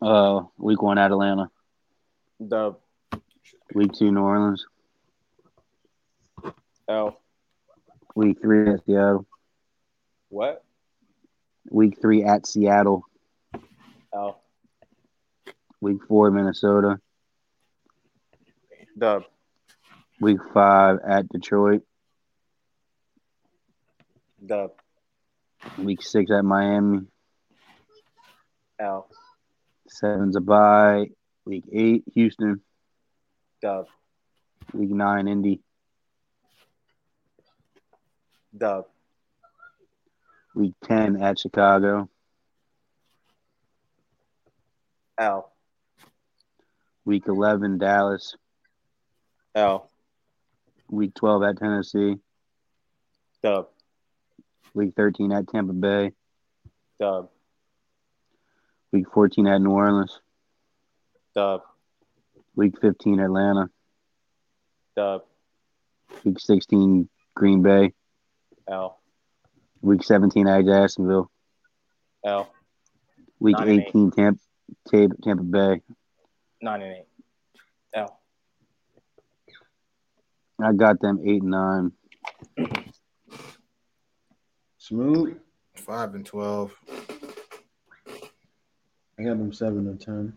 Speaker 3: Uh, week 1 at Atlanta.
Speaker 1: The
Speaker 3: Week 2, New Orleans.
Speaker 1: L
Speaker 3: Week 3 at Seattle.
Speaker 1: what?
Speaker 3: Week 3 at Seattle.
Speaker 1: L
Speaker 3: Week 4, Minnesota.
Speaker 1: Dub
Speaker 3: Week 5 at Detroit.
Speaker 1: Dub
Speaker 3: Week 6 at Miami.
Speaker 1: L
Speaker 3: 7's a bye. Week 8, Houston.
Speaker 1: Dub
Speaker 3: Week 9, Indy.
Speaker 1: Dub
Speaker 3: Week 10 at Chicago.
Speaker 1: L
Speaker 3: Week 11, Dallas.
Speaker 1: L
Speaker 3: Week 12 at Tennessee.
Speaker 1: Dub.
Speaker 3: Week 13 at Tampa Bay.
Speaker 1: Dub.
Speaker 3: Week 14 at New Orleans.
Speaker 1: Dub.
Speaker 3: Week 15 Atlanta.
Speaker 1: Dub.
Speaker 3: Week 16 Green Bay.
Speaker 1: L.
Speaker 3: Week 17 at Jacksonville.
Speaker 1: L.
Speaker 3: Week
Speaker 1: Nine and eight.
Speaker 3: 18 Tampa, Tampa, Tampa Bay.
Speaker 1: Nine and eight. L.
Speaker 3: I got them eight and nine.
Speaker 2: Smooth.
Speaker 4: Five and twelve.
Speaker 2: I got them seven and ten.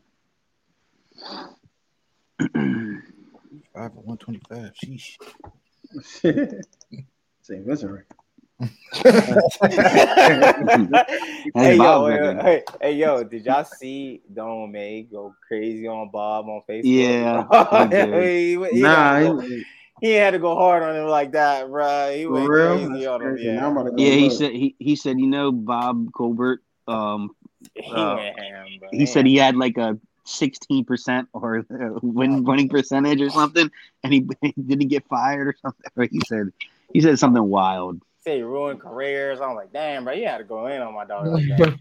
Speaker 4: Five and one twenty five. Sheesh.
Speaker 2: Same misery.
Speaker 1: hey yo,
Speaker 3: Bob,
Speaker 1: hey,
Speaker 3: man.
Speaker 1: hey, hey, yo, did y'all see Don May go crazy on Bob on Facebook?
Speaker 3: Yeah, he did.
Speaker 1: he, he,
Speaker 2: nah,
Speaker 1: had to
Speaker 2: it-
Speaker 1: go, he had to go hard on him like that, bruh. He
Speaker 2: for
Speaker 1: went
Speaker 2: real.
Speaker 1: crazy on
Speaker 2: That's
Speaker 1: him.
Speaker 2: crazy. Now
Speaker 1: Yeah,
Speaker 2: I'm about to go
Speaker 3: Yeah, he
Speaker 2: look.
Speaker 3: said he, he said you know Bob Colbert. Um,
Speaker 1: he
Speaker 3: Uh,
Speaker 1: went ham, bruh.
Speaker 3: he said he had like a sixteen percent or uh, win winning percentage or something, and he did he get fired or something. Or he said he said something wild.
Speaker 1: said he ruined careers. I'm like, damn, bro, you had to go in on my dog like that.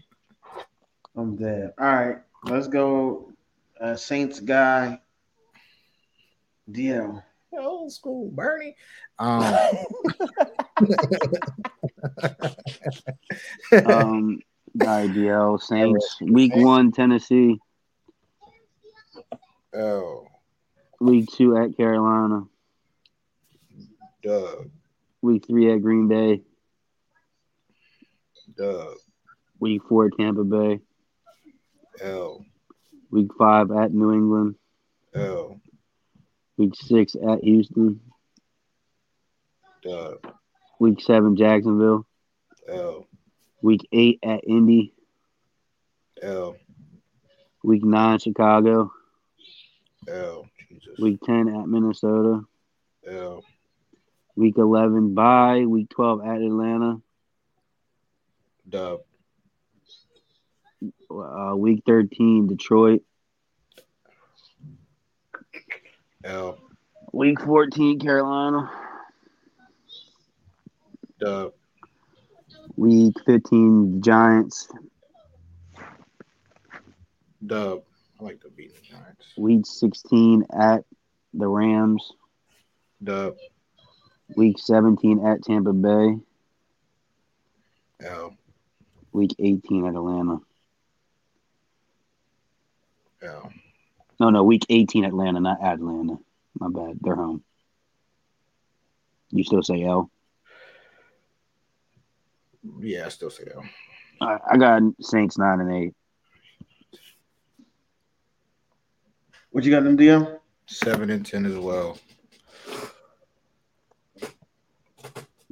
Speaker 2: I'm dead. All right, let's go. Uh, Saints guy. DL.
Speaker 4: Old school Bernie. Um,
Speaker 3: Um, IDL Saints week one Tennessee,
Speaker 4: oh,
Speaker 3: week two at Carolina,
Speaker 4: Doug,
Speaker 3: week three at Green Bay,
Speaker 4: Doug,
Speaker 3: week four at Tampa Bay,
Speaker 4: L,
Speaker 3: week five at New England,
Speaker 4: L,
Speaker 3: week six at Houston,
Speaker 4: Doug,
Speaker 3: week seven Jacksonville,
Speaker 4: L,
Speaker 3: week eight at Indy,
Speaker 4: L,
Speaker 3: week nine Chicago.
Speaker 4: L, Jesus,
Speaker 3: Week 10 at Minnesota.
Speaker 4: L,
Speaker 3: Week 11 by. Week 12 at Atlanta.
Speaker 4: Dub,
Speaker 3: Uh, week 13, Detroit.
Speaker 4: L,
Speaker 3: Week 14, Carolina.
Speaker 4: Dub,
Speaker 3: Week 15, Giants.
Speaker 4: Dub. I like to beat the Giants.
Speaker 3: Week 16 at the Rams.
Speaker 4: Dub,
Speaker 3: Week 17 at Tampa Bay.
Speaker 4: L,
Speaker 3: Week 18 at Atlanta.
Speaker 4: L,
Speaker 3: No, no, week 18 Atlanta, not Atlanta. My bad. They're home. You still say L?
Speaker 4: Yeah, I still say L.
Speaker 3: I, I got Saints 9 and 8.
Speaker 2: What you got them DL?
Speaker 4: Seven and ten as well.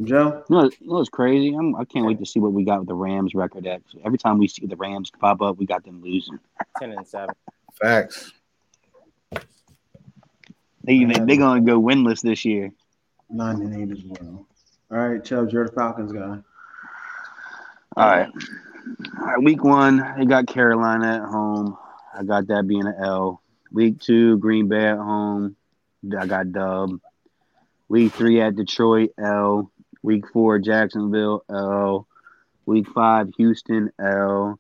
Speaker 2: Joe.
Speaker 3: No, you know it's crazy. I'm, I can't wait to see what we got with the Rams record. At every time we see the Rams pop up, we got them losing.
Speaker 1: Ten and seven.
Speaker 4: Facts.
Speaker 3: They even they gonna go winless this year.
Speaker 2: Nine and eight as well. All right, Chubbs, you're the Falcons guy.
Speaker 3: All right, Um, all right. Week one, they got Carolina at home. I got that being an L. Week two, Green Bay at home. I got dub. Week three at Detroit L. Week four, Jacksonville L. Week five, Houston L.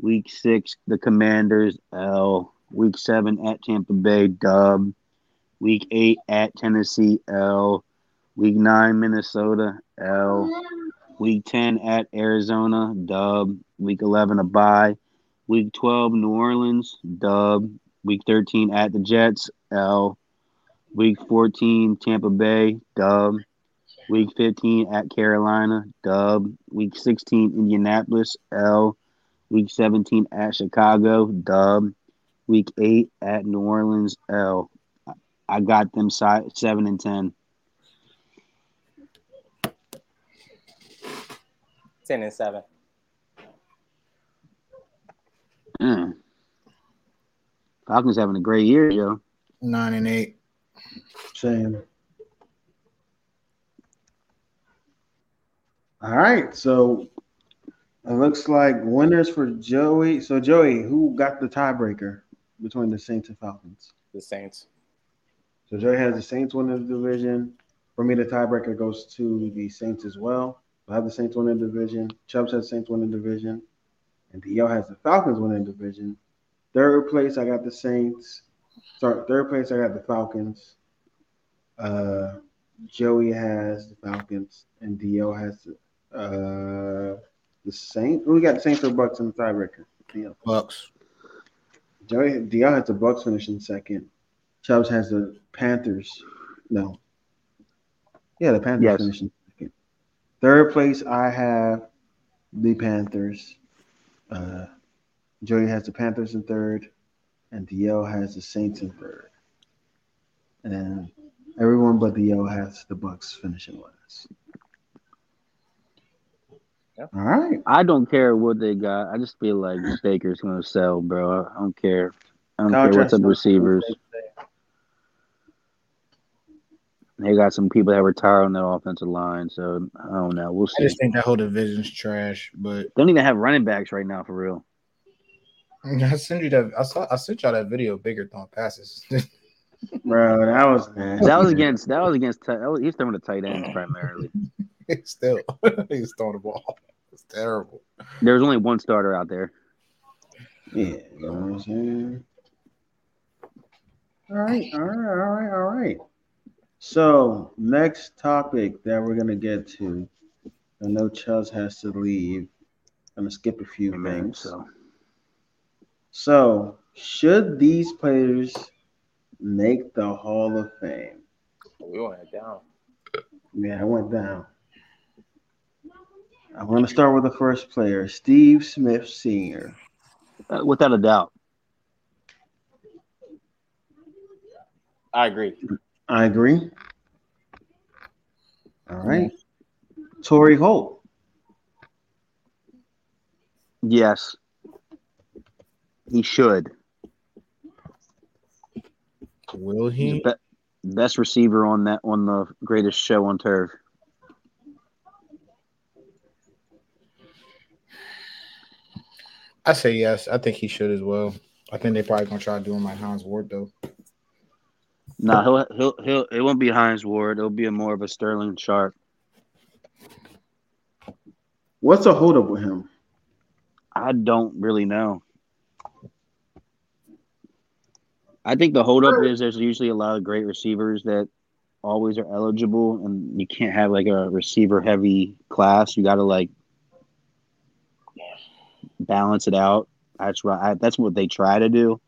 Speaker 3: Week six, the Commanders L. Week seven at Tampa Bay dub. Week eight at Tennessee L. Week nine, Minnesota L. Week 10 at Arizona, dub. Week 11, a bye. Week 12, New Orleans, dub. Week 13 at the Jets, L. Week 14, Tampa Bay, dub. Week 15 at Carolina, dub. Week 16, Indianapolis, L. Week 17 at Chicago, dub. Week 8 at New Orleans, L. I- I got them si- 7 and 10.
Speaker 1: Ten and seven.
Speaker 3: Mm. Falcons having a great year, yo.
Speaker 4: Nine and eight.
Speaker 2: Same. All right, so it looks like winners for Joey. So Joey, who got the tiebreaker between the Saints and Falcons?
Speaker 1: The Saints.
Speaker 2: So Joey has the Saints winning the division, For me, the tiebreaker goes to the Saints as well. I have the Saints winning the division. Chubbs has Saints winning the division. And DL has the Falcons winning the division. Third place, I got the Saints. Sorry, third place, I got the Falcons. Uh, Joey has the Falcons, and DL has the, uh, the Saints. We got the Saints or Bucks in the tiebreaker. DL.
Speaker 4: Bucks.
Speaker 2: Joey DL has the Bucks finishing second. Chubbs has the Panthers. No. Yeah, the Panthers
Speaker 3: Yes.
Speaker 2: finishing second. Third place, I have the Panthers. Uh, Joey has the Panthers in third, and DL has the Saints in third. And everyone but DL has the Bucks finishing last.
Speaker 1: Yep.
Speaker 2: All right.
Speaker 3: I don't care what they got. I just feel like Baker's gonna sell, bro. I don't care. I don't care what's up with receivers. They got some people that retire on that offensive line, so I don't know. We'll
Speaker 4: I
Speaker 3: see.
Speaker 4: just think that whole division's trash, but
Speaker 3: Don't even have running backs right now for real.
Speaker 4: I sent you that. I saw. I sent y'all that video. Bigger throwing passes.
Speaker 2: Bro, that was nasty.
Speaker 3: That was against. That was against. Tight, that was, he's throwing the tight ends primarily.
Speaker 4: It's still, he's throwing the ball. It's terrible.
Speaker 3: There was only one starter out there.
Speaker 2: Yeah, you know what I'm saying? All right, all right, all right, all right. So, next topic that we're going to get to. I know Chuz has to leave. I'm going to skip a few
Speaker 3: Amen.
Speaker 2: things. So.
Speaker 3: So
Speaker 2: should these players make the Hall of Fame?
Speaker 1: We went down.
Speaker 2: Yeah, I went down. I want to start with the first player, Steve Smith Sr.
Speaker 3: uh, without a doubt,
Speaker 1: I agree.
Speaker 2: I agree. All right. Tory Holt.
Speaker 3: yes, he should.
Speaker 4: Will
Speaker 3: He's
Speaker 4: he?
Speaker 3: the be- best receiver on that on the greatest show on turf.
Speaker 4: I say yes. I think he should as well. I think they probably gonna try doing like Hans Ward though.
Speaker 3: No, he'll he'll he'll it won't be Heinz Ward. It'll be a more of a Sterling Sharp.
Speaker 2: What's a hold up with him?
Speaker 3: I don't really know. I think the holdup is there's usually a lot of great receivers that always are eligible, and you can't have like a receiver heavy class. You got to like balance it out. That's right. I, that's what they try to do,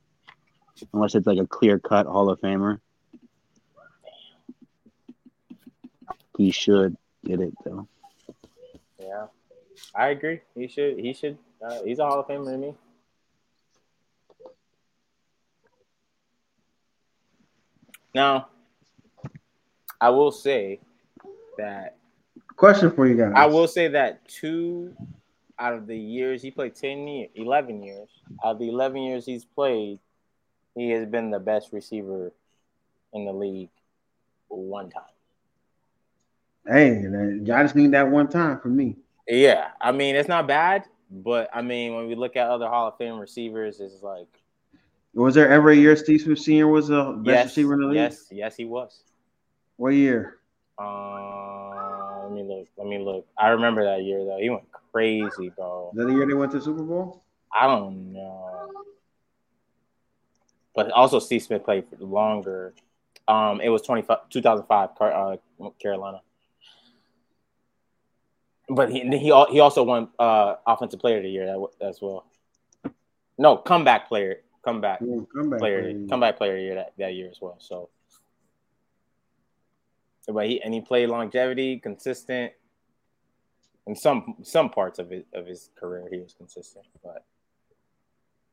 Speaker 3: unless it's like a clear cut Hall of Famer. He should get it though.
Speaker 1: Yeah, I agree. He should. He should. Uh, he's a Hall of Famer to me. Now, I will say that
Speaker 2: Question for you guys.
Speaker 1: I will say that two out of the years he played, ten year, eleven years out of the eleven years he's played, he has been the best receiver in the league one time.
Speaker 2: Hey, that- y'all just need that one time for me.
Speaker 1: Yeah, I mean it's not bad, but I mean when we look at other Hall of Fame receivers, it's like
Speaker 2: Was there ever a year Steve Smith Sr. was the best
Speaker 1: yes,
Speaker 2: receiver in the league?
Speaker 1: yes, yes, he was.
Speaker 2: What year?
Speaker 1: Uh, let me look. Let me look. I remember that year though. He went crazy, bro.
Speaker 2: Is that the year they went to the Super Bowl?
Speaker 1: I don't know. But also, Steve Smith played for longer. Um, it was 25, 2005, Car- uh, Carolina. But he he al- he also won uh, offensive player of the year that, w- as well. No, comeback player, comeback
Speaker 2: Yeah, comeback.
Speaker 1: player, comeback player of the year that, that year as well. So, but he and he played longevity, consistent. In some some parts of his of his career, he was consistent, but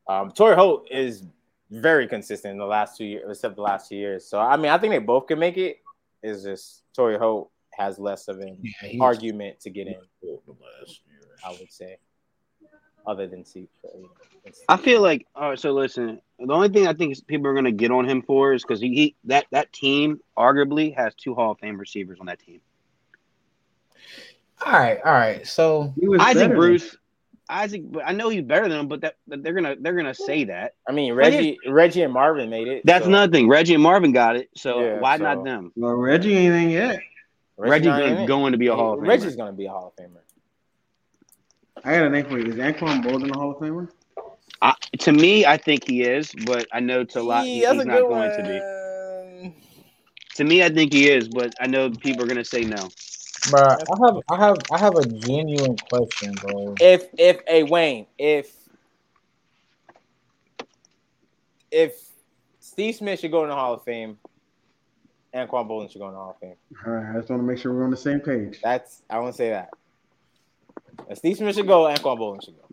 Speaker 1: um, Torrey Holt is very consistent in the last two years, except the last two years. So I mean, I think they both can make it. It's just Torrey Holt has less of an
Speaker 4: Yeah, he
Speaker 1: argument to get in,
Speaker 4: the last year.
Speaker 1: I would say, other than Steve. but, you know, it's-
Speaker 3: I feel like all right. So listen, the only thing I think is people are going to get on him for is because he, he that that team arguably has two Hall of Fame receivers on that team.
Speaker 4: All right, all right. So
Speaker 2: He was better
Speaker 3: Isaac
Speaker 2: than-
Speaker 3: Bruce, Isaac. but I know he's better than him, but that but they're gonna they're gonna say that.
Speaker 1: I mean,
Speaker 3: But here's-
Speaker 1: Reggie Reggie and Marvin made it.
Speaker 3: That's
Speaker 1: so-
Speaker 3: nothing. Reggie and Marvin got it, so
Speaker 1: Yeah,
Speaker 3: why
Speaker 1: so-
Speaker 3: not them?
Speaker 2: Well, Reggie ain't in yet.
Speaker 1: Rich
Speaker 3: Reggie's
Speaker 1: not in
Speaker 3: gonna,
Speaker 1: it.
Speaker 3: going to be a Hall of Famer.
Speaker 1: Reggie's gonna be a Hall of Famer.
Speaker 2: I got a name for you. Is Anquan Bolden a Hall of Famer?
Speaker 3: I, to me, I think he is, but I know to a lot he- he's not going to be.
Speaker 1: to be.
Speaker 3: To me, I think he is, but I know people are gonna say no.
Speaker 4: Bro, I have I have I have a genuine question, bro.
Speaker 1: If if a Wayne, if if Steve Smith should go in the Hall of Fame, Anquan Bolden should go in the Hall of Fame.
Speaker 2: All right, I just want to make sure we're on the same page.
Speaker 1: That's I won't say that. If Steve Smith should go, Anquan Bolden should go.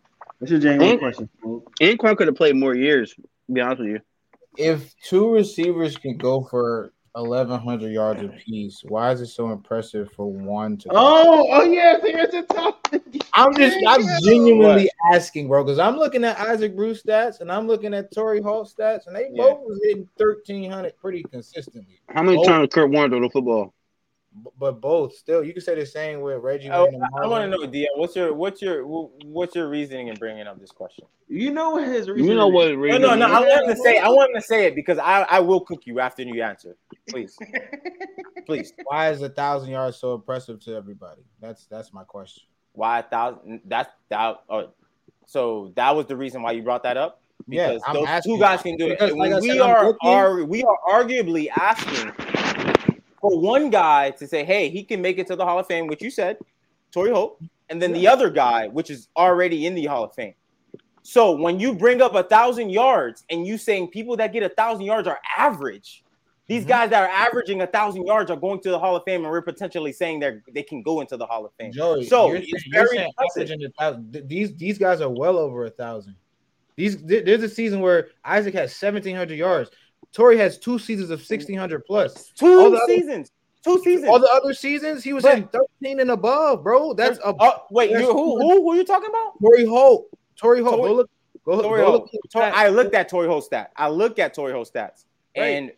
Speaker 2: That's your genuine
Speaker 3: Ain't-
Speaker 2: question.
Speaker 3: Oh,
Speaker 2: Smoke.
Speaker 3: Anquan could have played more years. To be honest with you,
Speaker 4: If two receivers can go for eleven hundred yards apiece, why is it so impressive for one to?
Speaker 2: Oh, oh yeah, I think that's a top.
Speaker 4: I'm just I'm genuinely asking, bro, because I'm looking at Isaac Bruce stats and I'm looking at Torrey Hall stats, and they
Speaker 1: Yeah.
Speaker 4: both was hitting thirteen hundred pretty consistently.
Speaker 3: how many
Speaker 4: Oh.
Speaker 3: times Kurt Warner throw the football?
Speaker 4: B- But both still, you can say the same with Reggie.
Speaker 1: Oh,
Speaker 4: Wayne and
Speaker 1: I want to
Speaker 4: Marvin.
Speaker 1: know, Dia, what's your what's your what's your reasoning in bringing up this question?
Speaker 2: You know what his reason?
Speaker 3: You know
Speaker 2: is.
Speaker 3: what?
Speaker 1: No,
Speaker 3: Reason
Speaker 1: no, no.
Speaker 3: is.
Speaker 1: I want him to say I want him to say it because I I will cook you after you answer. Please, please.
Speaker 4: Why is a thousand yards so impressive to everybody? That's that's my question.
Speaker 1: Why a thousand? That's that. Oh, so that was the reason why you brought that up. Because
Speaker 4: yeah, I'm
Speaker 1: those
Speaker 4: asking.
Speaker 1: two guys can do it.
Speaker 4: Because,
Speaker 1: And
Speaker 4: like I
Speaker 1: we
Speaker 4: said, I'm
Speaker 1: are,
Speaker 4: looking-
Speaker 1: are we are arguably asking for one guy to say, "Hey, he can make it to the Hall of Fame," which you said, Torrey Holt, and then the other guy, which is already in the Hall of Fame. So when you bring up a thousand yards and you saying people that get a thousand yards are average, these
Speaker 4: Mhm.
Speaker 1: guys that are averaging a thousand yards are going to the Hall of Fame, and we're potentially saying they they can go into the Hall of Fame.
Speaker 4: Joey,
Speaker 1: So,
Speaker 4: you're,
Speaker 1: it's
Speaker 4: saying-
Speaker 1: very
Speaker 4: you're saying
Speaker 1: impressive.
Speaker 4: averaging a thousand. Th- These these guys are well over a thousand. These th- there's a season where Isaac has seventeen hundred yards. Torrey has two seasons of sixteen hundred plus. All
Speaker 1: Two
Speaker 4: the other-
Speaker 1: seasons, two seasons.
Speaker 4: All the other seasons, he was
Speaker 1: But-
Speaker 4: in thirteen and above, bro. That's a
Speaker 1: oh, wait,
Speaker 4: that's-
Speaker 1: you, who, who who are you talking about?
Speaker 4: Torrey Holt. Torrey Holt.
Speaker 1: Torrey-
Speaker 4: go look. Go,
Speaker 1: Torrey
Speaker 4: go
Speaker 1: Holt.
Speaker 4: look. at
Speaker 1: Tor-
Speaker 4: that.
Speaker 1: I looked at Torrey Holt stat. I looked at Torrey Holt stats.
Speaker 4: Right.
Speaker 1: And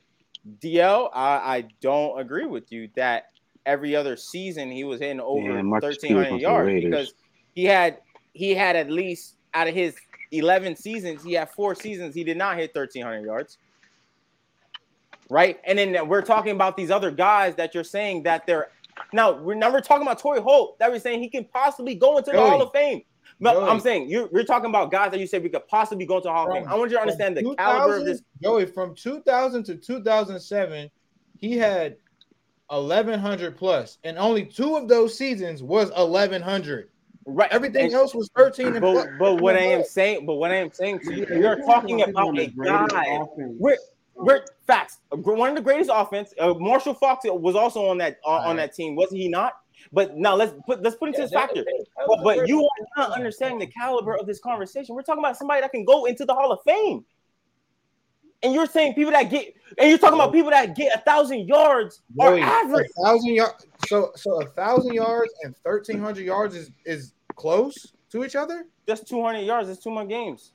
Speaker 1: DL, I, I don't agree with you that every other season he was hitting over
Speaker 3: Yeah, Marcus
Speaker 1: thirteen hundred
Speaker 3: Peters
Speaker 1: yards
Speaker 3: with the Raiders.
Speaker 1: because he had he had at least out of his eleven seasons, he had four seasons he did not hit thirteen hundred yards. Right, and then we're talking about these other guys that you're saying that they're now we're now we're talking about Torrey Holt that we're saying he can possibly go into the
Speaker 4: Joey.
Speaker 1: Hall of Fame. No,
Speaker 4: Joey.
Speaker 1: I'm saying you're, you're talking about guys that you said we could possibly go into the Hall of
Speaker 4: From-
Speaker 1: Fame. I want you to understand the
Speaker 4: from
Speaker 1: caliber of
Speaker 4: 2000
Speaker 1: this.
Speaker 4: Joey, from 2000 to 2007, he had 1100 plus, and only two of those seasons was 1100.
Speaker 1: Right,
Speaker 4: Everything
Speaker 1: and-
Speaker 4: else was 13 and plus.
Speaker 1: But, but what I am saying, but what I am saying to you, we are talking about a guy. We're, we're facts. One of the greatest offense. Uh, Marshall Fox was also on that uh, on that team, wasn't he not? But now let's put let's put into this factor. But, but you are not understanding the caliber of this conversation. We're talking about somebody that can go into the Hall of Fame, and you're saying people that get and you're talking about people that get a thousand yards are
Speaker 4: Joey, a
Speaker 1: average.
Speaker 4: thousand yards. So so a thousand yards and 1300 yards is is close to each other.
Speaker 1: Just 200 yards. That's two more games.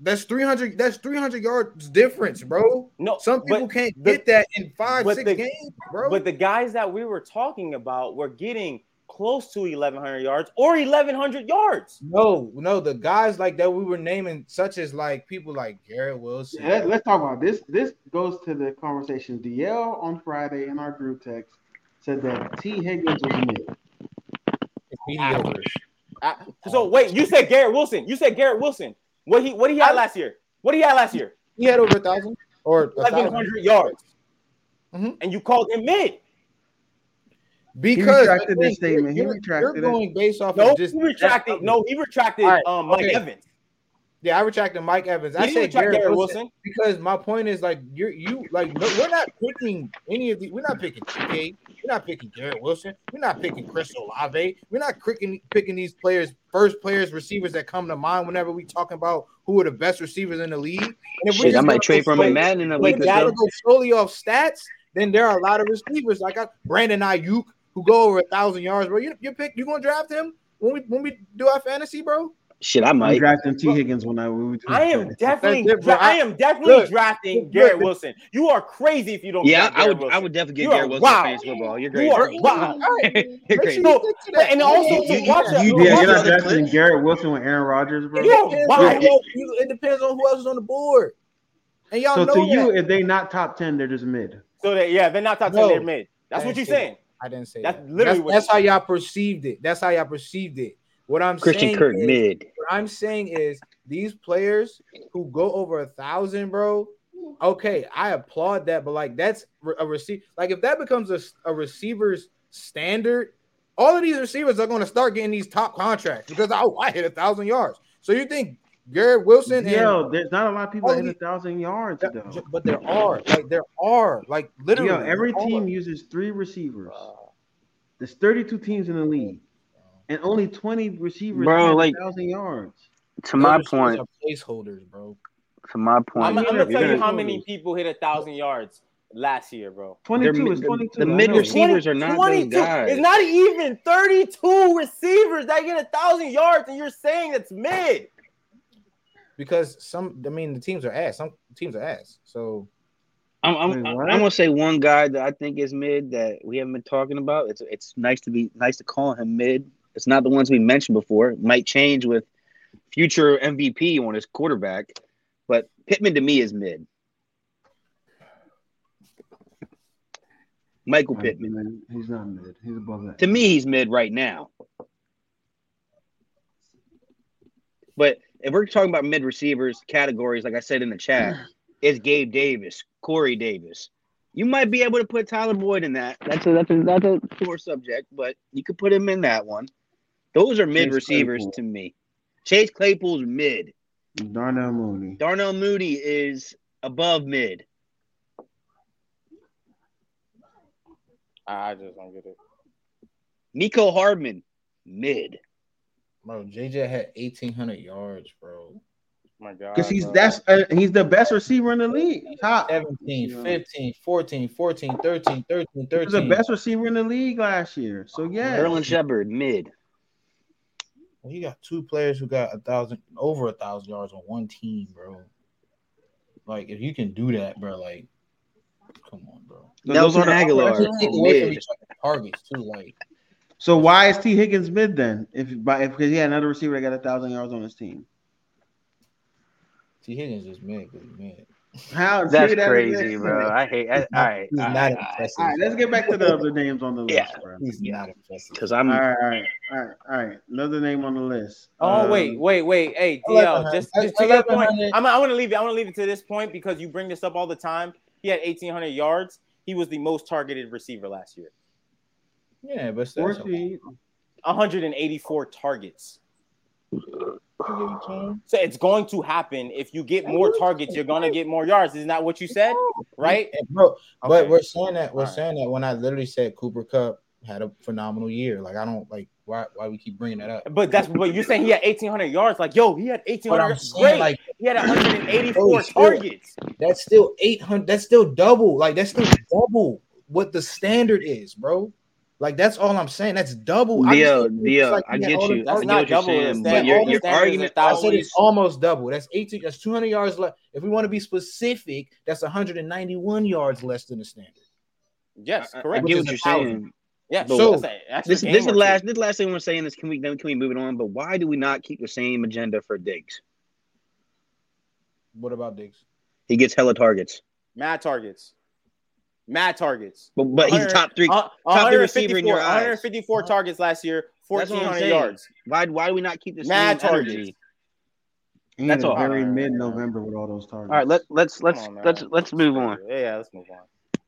Speaker 4: That's 300. That's 300 yards difference, bro.
Speaker 1: No,
Speaker 4: Some
Speaker 1: but-
Speaker 4: people can't
Speaker 1: the-
Speaker 4: get that in five
Speaker 1: but
Speaker 4: six
Speaker 1: the-
Speaker 4: games, bro.
Speaker 1: But the guys that we were talking about were getting close to 1,100 yards or 1,100 yards.
Speaker 4: No, no, the guys like that we were naming, such as like people like Garrett Wilson.
Speaker 2: Let, us talk about this. This goes to the conversation. DL on Friday in our group text said that T. Higgins was mid.
Speaker 4: mediocre.
Speaker 1: I- so wait, you said Garrett Wilson. You said Garrett Wilson. What he what he had last year? What he had last year?
Speaker 4: He had over a thousand or a thousand
Speaker 1: 1,100 yards.
Speaker 4: Mhm.
Speaker 1: And you called him mid.
Speaker 4: because
Speaker 2: retracted
Speaker 4: you're-
Speaker 2: his statement. He
Speaker 4: you're-
Speaker 2: retracted
Speaker 4: You're going based off
Speaker 1: No,
Speaker 4: of just
Speaker 1: he retracted. No, he retracted
Speaker 4: All right,
Speaker 1: um, Mike
Speaker 4: okay.
Speaker 1: Evans.
Speaker 4: Yeah, I retracted Mike Evans.
Speaker 1: He
Speaker 4: I
Speaker 1: didn't
Speaker 4: said
Speaker 1: retract
Speaker 4: Garrett,
Speaker 1: Garrett
Speaker 4: Wilson,
Speaker 1: Wilson.
Speaker 4: because my point is like you're you like no, we're not picking any of the we're not picking TK, we're not picking Garrett Wilson, we're not picking Chris Olave, we're not picking picking these players first players receivers that come to mind whenever we talking about who are the best receivers in the league. And if
Speaker 3: Shit,
Speaker 4: we're
Speaker 3: I
Speaker 4: just
Speaker 3: might
Speaker 4: gonna
Speaker 3: trade
Speaker 4: go
Speaker 3: from a
Speaker 4: solely-
Speaker 3: Madden in a
Speaker 4: But
Speaker 3: week
Speaker 4: if
Speaker 3: or
Speaker 4: you gotta
Speaker 3: so.
Speaker 4: go solely off stats, then there are a lot of receivers like I, Brandon Ayuk who go over a thousand yards, bro. You you pick you gonna draft him when we when we do our fantasy, bro.
Speaker 3: Shit, I
Speaker 2: I'm
Speaker 3: might.
Speaker 2: drafting T. Higgins when I when we do
Speaker 1: I am
Speaker 2: this.
Speaker 1: definitely,
Speaker 4: That's it, bro.
Speaker 1: dra- I am definitely
Speaker 4: Look,
Speaker 1: drafting
Speaker 4: look,
Speaker 1: Garrett
Speaker 4: look.
Speaker 1: Wilson. You are crazy if you don't.
Speaker 3: Yeah,
Speaker 1: draft
Speaker 3: I
Speaker 1: Garrett
Speaker 3: would. I
Speaker 1: Wilson.
Speaker 3: would definitely
Speaker 1: You
Speaker 3: get
Speaker 1: are
Speaker 3: Garrett Wilson
Speaker 1: wild.
Speaker 3: for fantasy football. You're
Speaker 1: You
Speaker 3: great.
Speaker 1: are wild.
Speaker 3: You're
Speaker 4: Make sure
Speaker 3: crazy.
Speaker 4: you
Speaker 1: So,
Speaker 4: stick to that.
Speaker 1: and also
Speaker 4: You-
Speaker 1: to
Speaker 4: you-
Speaker 1: watch
Speaker 4: you-
Speaker 1: out-
Speaker 4: you-
Speaker 2: Yeah,
Speaker 1: watch
Speaker 2: you're
Speaker 1: out-
Speaker 2: not drafting Garrett Wilson with Aaron Rodgers, bro.
Speaker 1: You're
Speaker 4: It depends on
Speaker 1: wild.
Speaker 4: who else- you- It depends on who else is on the board, and y'all
Speaker 2: So
Speaker 4: know
Speaker 2: to you,
Speaker 4: that.
Speaker 2: if they not top ten, they're just mid.
Speaker 1: So that yeah, they're not top ten.
Speaker 4: No.
Speaker 1: They're mid. That's what
Speaker 4: Thank
Speaker 1: you're
Speaker 4: you.
Speaker 1: saying.
Speaker 4: I didn't say
Speaker 5: That's
Speaker 4: that.
Speaker 5: literally
Speaker 4: that's,
Speaker 5: what-
Speaker 4: that's how y'all perceived it. That's how y'all perceived it. What I'm
Speaker 3: Christian
Speaker 4: saying
Speaker 3: Kirk
Speaker 4: is-
Speaker 3: mid.
Speaker 4: what I'm saying is these players who go over a thousand, bro. Okay, I applaud that, but like that's re- a receive. Like if that becomes a, a receiver's standard, all of these receivers are going to start getting these top contracts because oh, I hit a thousand yards. So you think Garrett Wilson?
Speaker 2: Yo,
Speaker 4: and,
Speaker 2: there's not a lot of people
Speaker 4: Oh,
Speaker 2: that hit
Speaker 4: yeah.
Speaker 2: a thousand yards though.
Speaker 4: but there are like there are like literally
Speaker 2: Yo, every
Speaker 4: there are.
Speaker 2: team uses three receivers. There's 32 teams in the league, and only 20 receivers
Speaker 3: Bro,
Speaker 2: hit
Speaker 3: like-
Speaker 2: a thousand yards.
Speaker 3: To my
Speaker 4: Those
Speaker 3: point,
Speaker 4: are placeholders, bro.
Speaker 3: to my
Speaker 1: I'm,
Speaker 3: point,
Speaker 1: I'm
Speaker 2: You're
Speaker 1: gonna tell
Speaker 2: gonna-
Speaker 1: you how many people hit a thousand yards last year, bro.
Speaker 2: 22
Speaker 6: mi-
Speaker 2: is 22.
Speaker 6: the
Speaker 2: I
Speaker 6: mid
Speaker 2: know.
Speaker 6: receivers are not those
Speaker 1: 22
Speaker 6: guys.
Speaker 1: It's not even 32 receivers that get a thousand yards, and you're saying it's mid.
Speaker 4: Because some, I mean, the teams are ass. Some teams are ass. So
Speaker 3: I'm, I'm,
Speaker 2: Wait,
Speaker 3: I'm
Speaker 2: what?
Speaker 3: gonna say one guy that I think is mid that we haven't been talking about. It's it's nice to be nice to call him mid. It's not the ones we mentioned before. It might change with future MVP on his quarterback, but Pittman to me is mid. Michael
Speaker 2: Nah,
Speaker 3: Pittman.
Speaker 2: man, He's not mid. He's above that.
Speaker 3: To me, he's mid right now. But if we're talking about mid receivers categories, like I said in the chat, it's Gabe Davis, Corey Davis. You might be able to put Tyler Boyd in that. That's a that's a that's a sore subject, but you could put him in that one. Those are mid receivers
Speaker 2: Claypool.
Speaker 3: to me. Chase Claypool's mid.
Speaker 2: Darnell Mooney.
Speaker 3: Darnell Moody is above mid.
Speaker 1: I I just don't get it.
Speaker 3: Nico Hardman, mid.
Speaker 4: Bro, JJ had eighteen hundred yards, bro.
Speaker 1: My God,
Speaker 2: Because he's
Speaker 1: bro.
Speaker 2: that's uh, he's the best receiver in the league. Top.
Speaker 4: 17,
Speaker 2: Yeah.
Speaker 4: 15, 14, 14, 13, 13,
Speaker 2: He
Speaker 4: 13.
Speaker 2: was the best receiver in the league last year. So yeah.
Speaker 3: Erlen Shepard, mid.
Speaker 4: Well, you got two players who got a thousand over a thousand yards on one team, bro. Like if you can do that, bro, like come on, bro.
Speaker 2: Those
Speaker 3: Nelson
Speaker 2: are the-
Speaker 3: Aguilar,
Speaker 4: Take away from
Speaker 3: mid.
Speaker 4: each other's targets too, like
Speaker 2: So why is T Higgins mid then? If by if because he had another receiver that got a thousand yards on his team.
Speaker 4: T Higgins is mad because he's mad.
Speaker 2: How
Speaker 3: That's
Speaker 2: T. that is
Speaker 3: crazy,
Speaker 2: mid?
Speaker 3: bro. I hate. I, all right,
Speaker 4: He's
Speaker 3: all
Speaker 4: not
Speaker 3: right,
Speaker 4: impressive.
Speaker 2: All right, let's get back to the other names on the list,
Speaker 3: Yeah.
Speaker 2: bro.
Speaker 4: He's
Speaker 3: Yeah.
Speaker 4: not impressive.
Speaker 3: because
Speaker 2: All
Speaker 3: I'm.
Speaker 2: right, all right, all right, all right. Another name on the list.
Speaker 1: Oh
Speaker 2: Uh,
Speaker 1: wait, wait, wait. Hey, DL,
Speaker 4: 1100.
Speaker 1: just, just to your point,
Speaker 4: 1100.
Speaker 1: I'm, I want to leave it. I want to leave it to this point because you bring this up all the time. He had 1,800 yards. He was the most targeted receiver last year.
Speaker 4: Yeah, but still, that's okay.
Speaker 2: 14.
Speaker 1: 184 targets. So it's going to happen. If you get more targets, you're going to get more yards. Isn't that what you said? Right?
Speaker 4: And bro, But
Speaker 1: Okay.
Speaker 4: we're saying that we're
Speaker 1: All right.
Speaker 4: saying that when I literally said Cooper Cup had a phenomenal year. Like I don't like why why we keep bringing that up.
Speaker 1: But that's but you're saying he had 1,800 yards. Like, yo, he had
Speaker 4: But
Speaker 1: 1,800
Speaker 4: I'm
Speaker 1: yards.
Speaker 4: saying
Speaker 1: Great.
Speaker 4: like
Speaker 1: he had 184
Speaker 4: Holy shit.
Speaker 1: targets.
Speaker 4: that's still eight hundred. That's still double. Like that's still double what the standard is, bro. Like that's all I'm saying. That's double. I just
Speaker 3: Dio,
Speaker 4: think it's
Speaker 3: Dio,
Speaker 4: like
Speaker 3: I
Speaker 4: he had
Speaker 3: get
Speaker 4: all the
Speaker 3: you. I
Speaker 1: That's
Speaker 3: get
Speaker 1: not
Speaker 3: what you're
Speaker 1: double. The
Speaker 3: saying, but
Speaker 1: standard-
Speaker 3: your,
Speaker 1: all the
Speaker 3: your
Speaker 1: standard is
Speaker 3: argument.
Speaker 1: a
Speaker 4: I
Speaker 1: thousand.
Speaker 4: said it's
Speaker 1: Always.
Speaker 4: almost double. That's 18. That's 200 yards less. If we want to be specific, that's 191 yards less than the standard.
Speaker 1: Yes,
Speaker 3: I- I
Speaker 1: correct.
Speaker 3: get
Speaker 4: Which
Speaker 3: what
Speaker 4: is
Speaker 3: you're
Speaker 4: a thousand.
Speaker 3: saying.
Speaker 1: yeah,
Speaker 3: So-
Speaker 1: so that's, that's a
Speaker 3: This, this is
Speaker 1: game
Speaker 3: the
Speaker 1: or two.
Speaker 3: last. This is the last thing we're saying. This can we then can we move it on? But why do we not keep the same agenda for Diggs?
Speaker 4: What about Diggs?
Speaker 3: He gets hella targets,
Speaker 1: Mad targets. Mad targets.
Speaker 3: but but he's
Speaker 1: 100
Speaker 3: top three.
Speaker 1: Uh,
Speaker 3: top three receiver in your
Speaker 1: 154 154
Speaker 3: eyes.
Speaker 1: targets last year,
Speaker 3: That's what I'm
Speaker 1: 1,400
Speaker 3: saying.
Speaker 1: yards.
Speaker 3: Why why do we not keep the same
Speaker 1: Mad targets.
Speaker 3: energy?
Speaker 2: He
Speaker 3: That's
Speaker 2: That's
Speaker 3: all.
Speaker 2: a very
Speaker 1: All right.
Speaker 2: mid-November with all those targets.
Speaker 3: All right, let let's
Speaker 1: Come
Speaker 3: let's
Speaker 1: on, man.
Speaker 3: let's let's move on.
Speaker 1: Yeah, yeah, let's move on.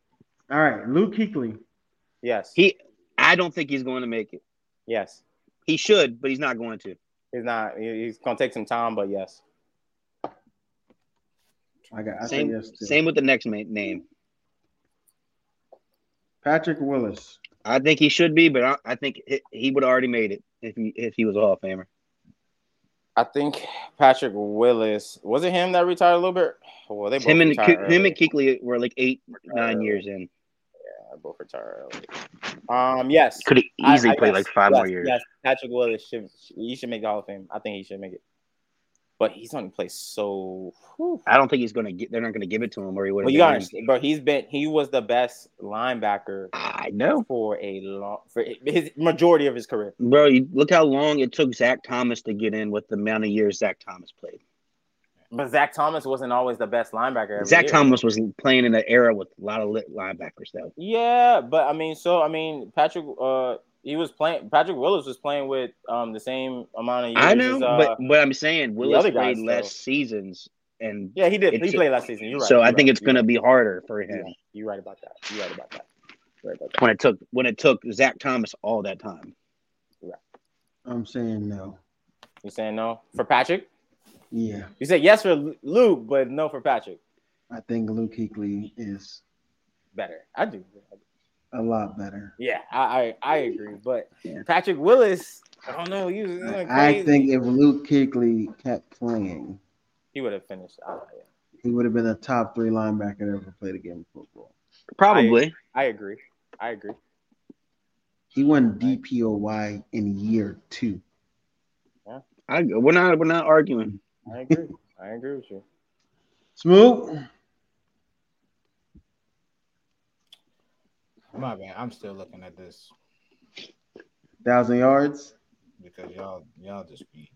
Speaker 2: all right. Luke Kuechly.
Speaker 1: Yes.
Speaker 3: He, I don't think he's going to make it.
Speaker 1: yes.
Speaker 3: He should, but he's not going to.
Speaker 1: He's not. he- He's gonna take some time, but yes.
Speaker 2: I got. I
Speaker 3: same
Speaker 2: say yes. Too.
Speaker 3: same with the next ma- name.
Speaker 2: Patrick Willis.
Speaker 3: I think he should be, but I, I think he, he would have already made it if he if he was a Hall of Famer.
Speaker 1: I think Patrick Willis was it him that retired a little bit. Well, they both
Speaker 3: Him and
Speaker 1: retired
Speaker 3: Ke- him
Speaker 1: early.
Speaker 3: and Keekly were like eight nine
Speaker 1: early.
Speaker 3: years in.
Speaker 1: Yeah, they both retired early. Um, yes,
Speaker 3: Could have
Speaker 1: I-
Speaker 3: easily
Speaker 1: I
Speaker 3: played
Speaker 1: guess,
Speaker 3: like five
Speaker 1: yes,
Speaker 3: more years.
Speaker 1: Yes, Patrick Willis should he should make the Hall of Fame. I think he should make it, but he's only played so. whew.
Speaker 3: I don't think he's gonna get. They're not gonna give it to him, or he would.
Speaker 1: Well, you gotta, understand, bro. He's been he was the best linebacker
Speaker 3: I know,
Speaker 1: for a long for his majority of his career.
Speaker 3: bro. You, look how long it took Zach Thomas to get in with the amount of years Zach Thomas played.
Speaker 1: But Zach Thomas wasn't always the best linebacker. every
Speaker 3: Zach
Speaker 1: year.
Speaker 3: Thomas was playing in an era with a lot of lit linebackers, though.
Speaker 1: Yeah, but I mean, so I mean, Patrick. Uh, he was playing. Patrick Willis was playing with um the same amount of years.
Speaker 3: I know,
Speaker 1: as, uh,
Speaker 3: but what I'm saying, Willis
Speaker 1: other
Speaker 3: played
Speaker 1: guys,
Speaker 3: less
Speaker 1: though.
Speaker 3: seasons, and
Speaker 1: yeah, he did. He
Speaker 3: it's-
Speaker 1: played last season. You're right.
Speaker 3: so I
Speaker 1: You're
Speaker 3: think
Speaker 1: right.
Speaker 3: it's going to be harder for
Speaker 1: You're
Speaker 3: him
Speaker 1: right. You're right about that. You're right about that. You're right about that.
Speaker 3: when it took when it took Zach Thomas all that time.
Speaker 2: I'm saying no.
Speaker 1: You saying no for Patrick?
Speaker 2: Yeah,
Speaker 1: You said yes for Lu- Luke, but no for Patrick.
Speaker 2: I think Luke Kuechly is
Speaker 1: Better. I do.
Speaker 2: a lot better.
Speaker 1: Yeah, I I, I agree. But
Speaker 3: Yeah.
Speaker 1: Patrick Willis, I don't know. He was uh, crazy.
Speaker 2: I think if Luke Kuechly kept playing,
Speaker 1: he would have finished. I, yeah.
Speaker 2: he would have been a top three linebacker that ever played a game of football.
Speaker 3: Probably.
Speaker 1: I agree. I agree.
Speaker 2: He won DPOY in year two.
Speaker 3: I, we're not we're not arguing.
Speaker 1: I agree. I agree with you.
Speaker 2: Smooth.
Speaker 4: My bad. I'm still looking at this
Speaker 2: thousand yards.
Speaker 4: because y'all y'all just be.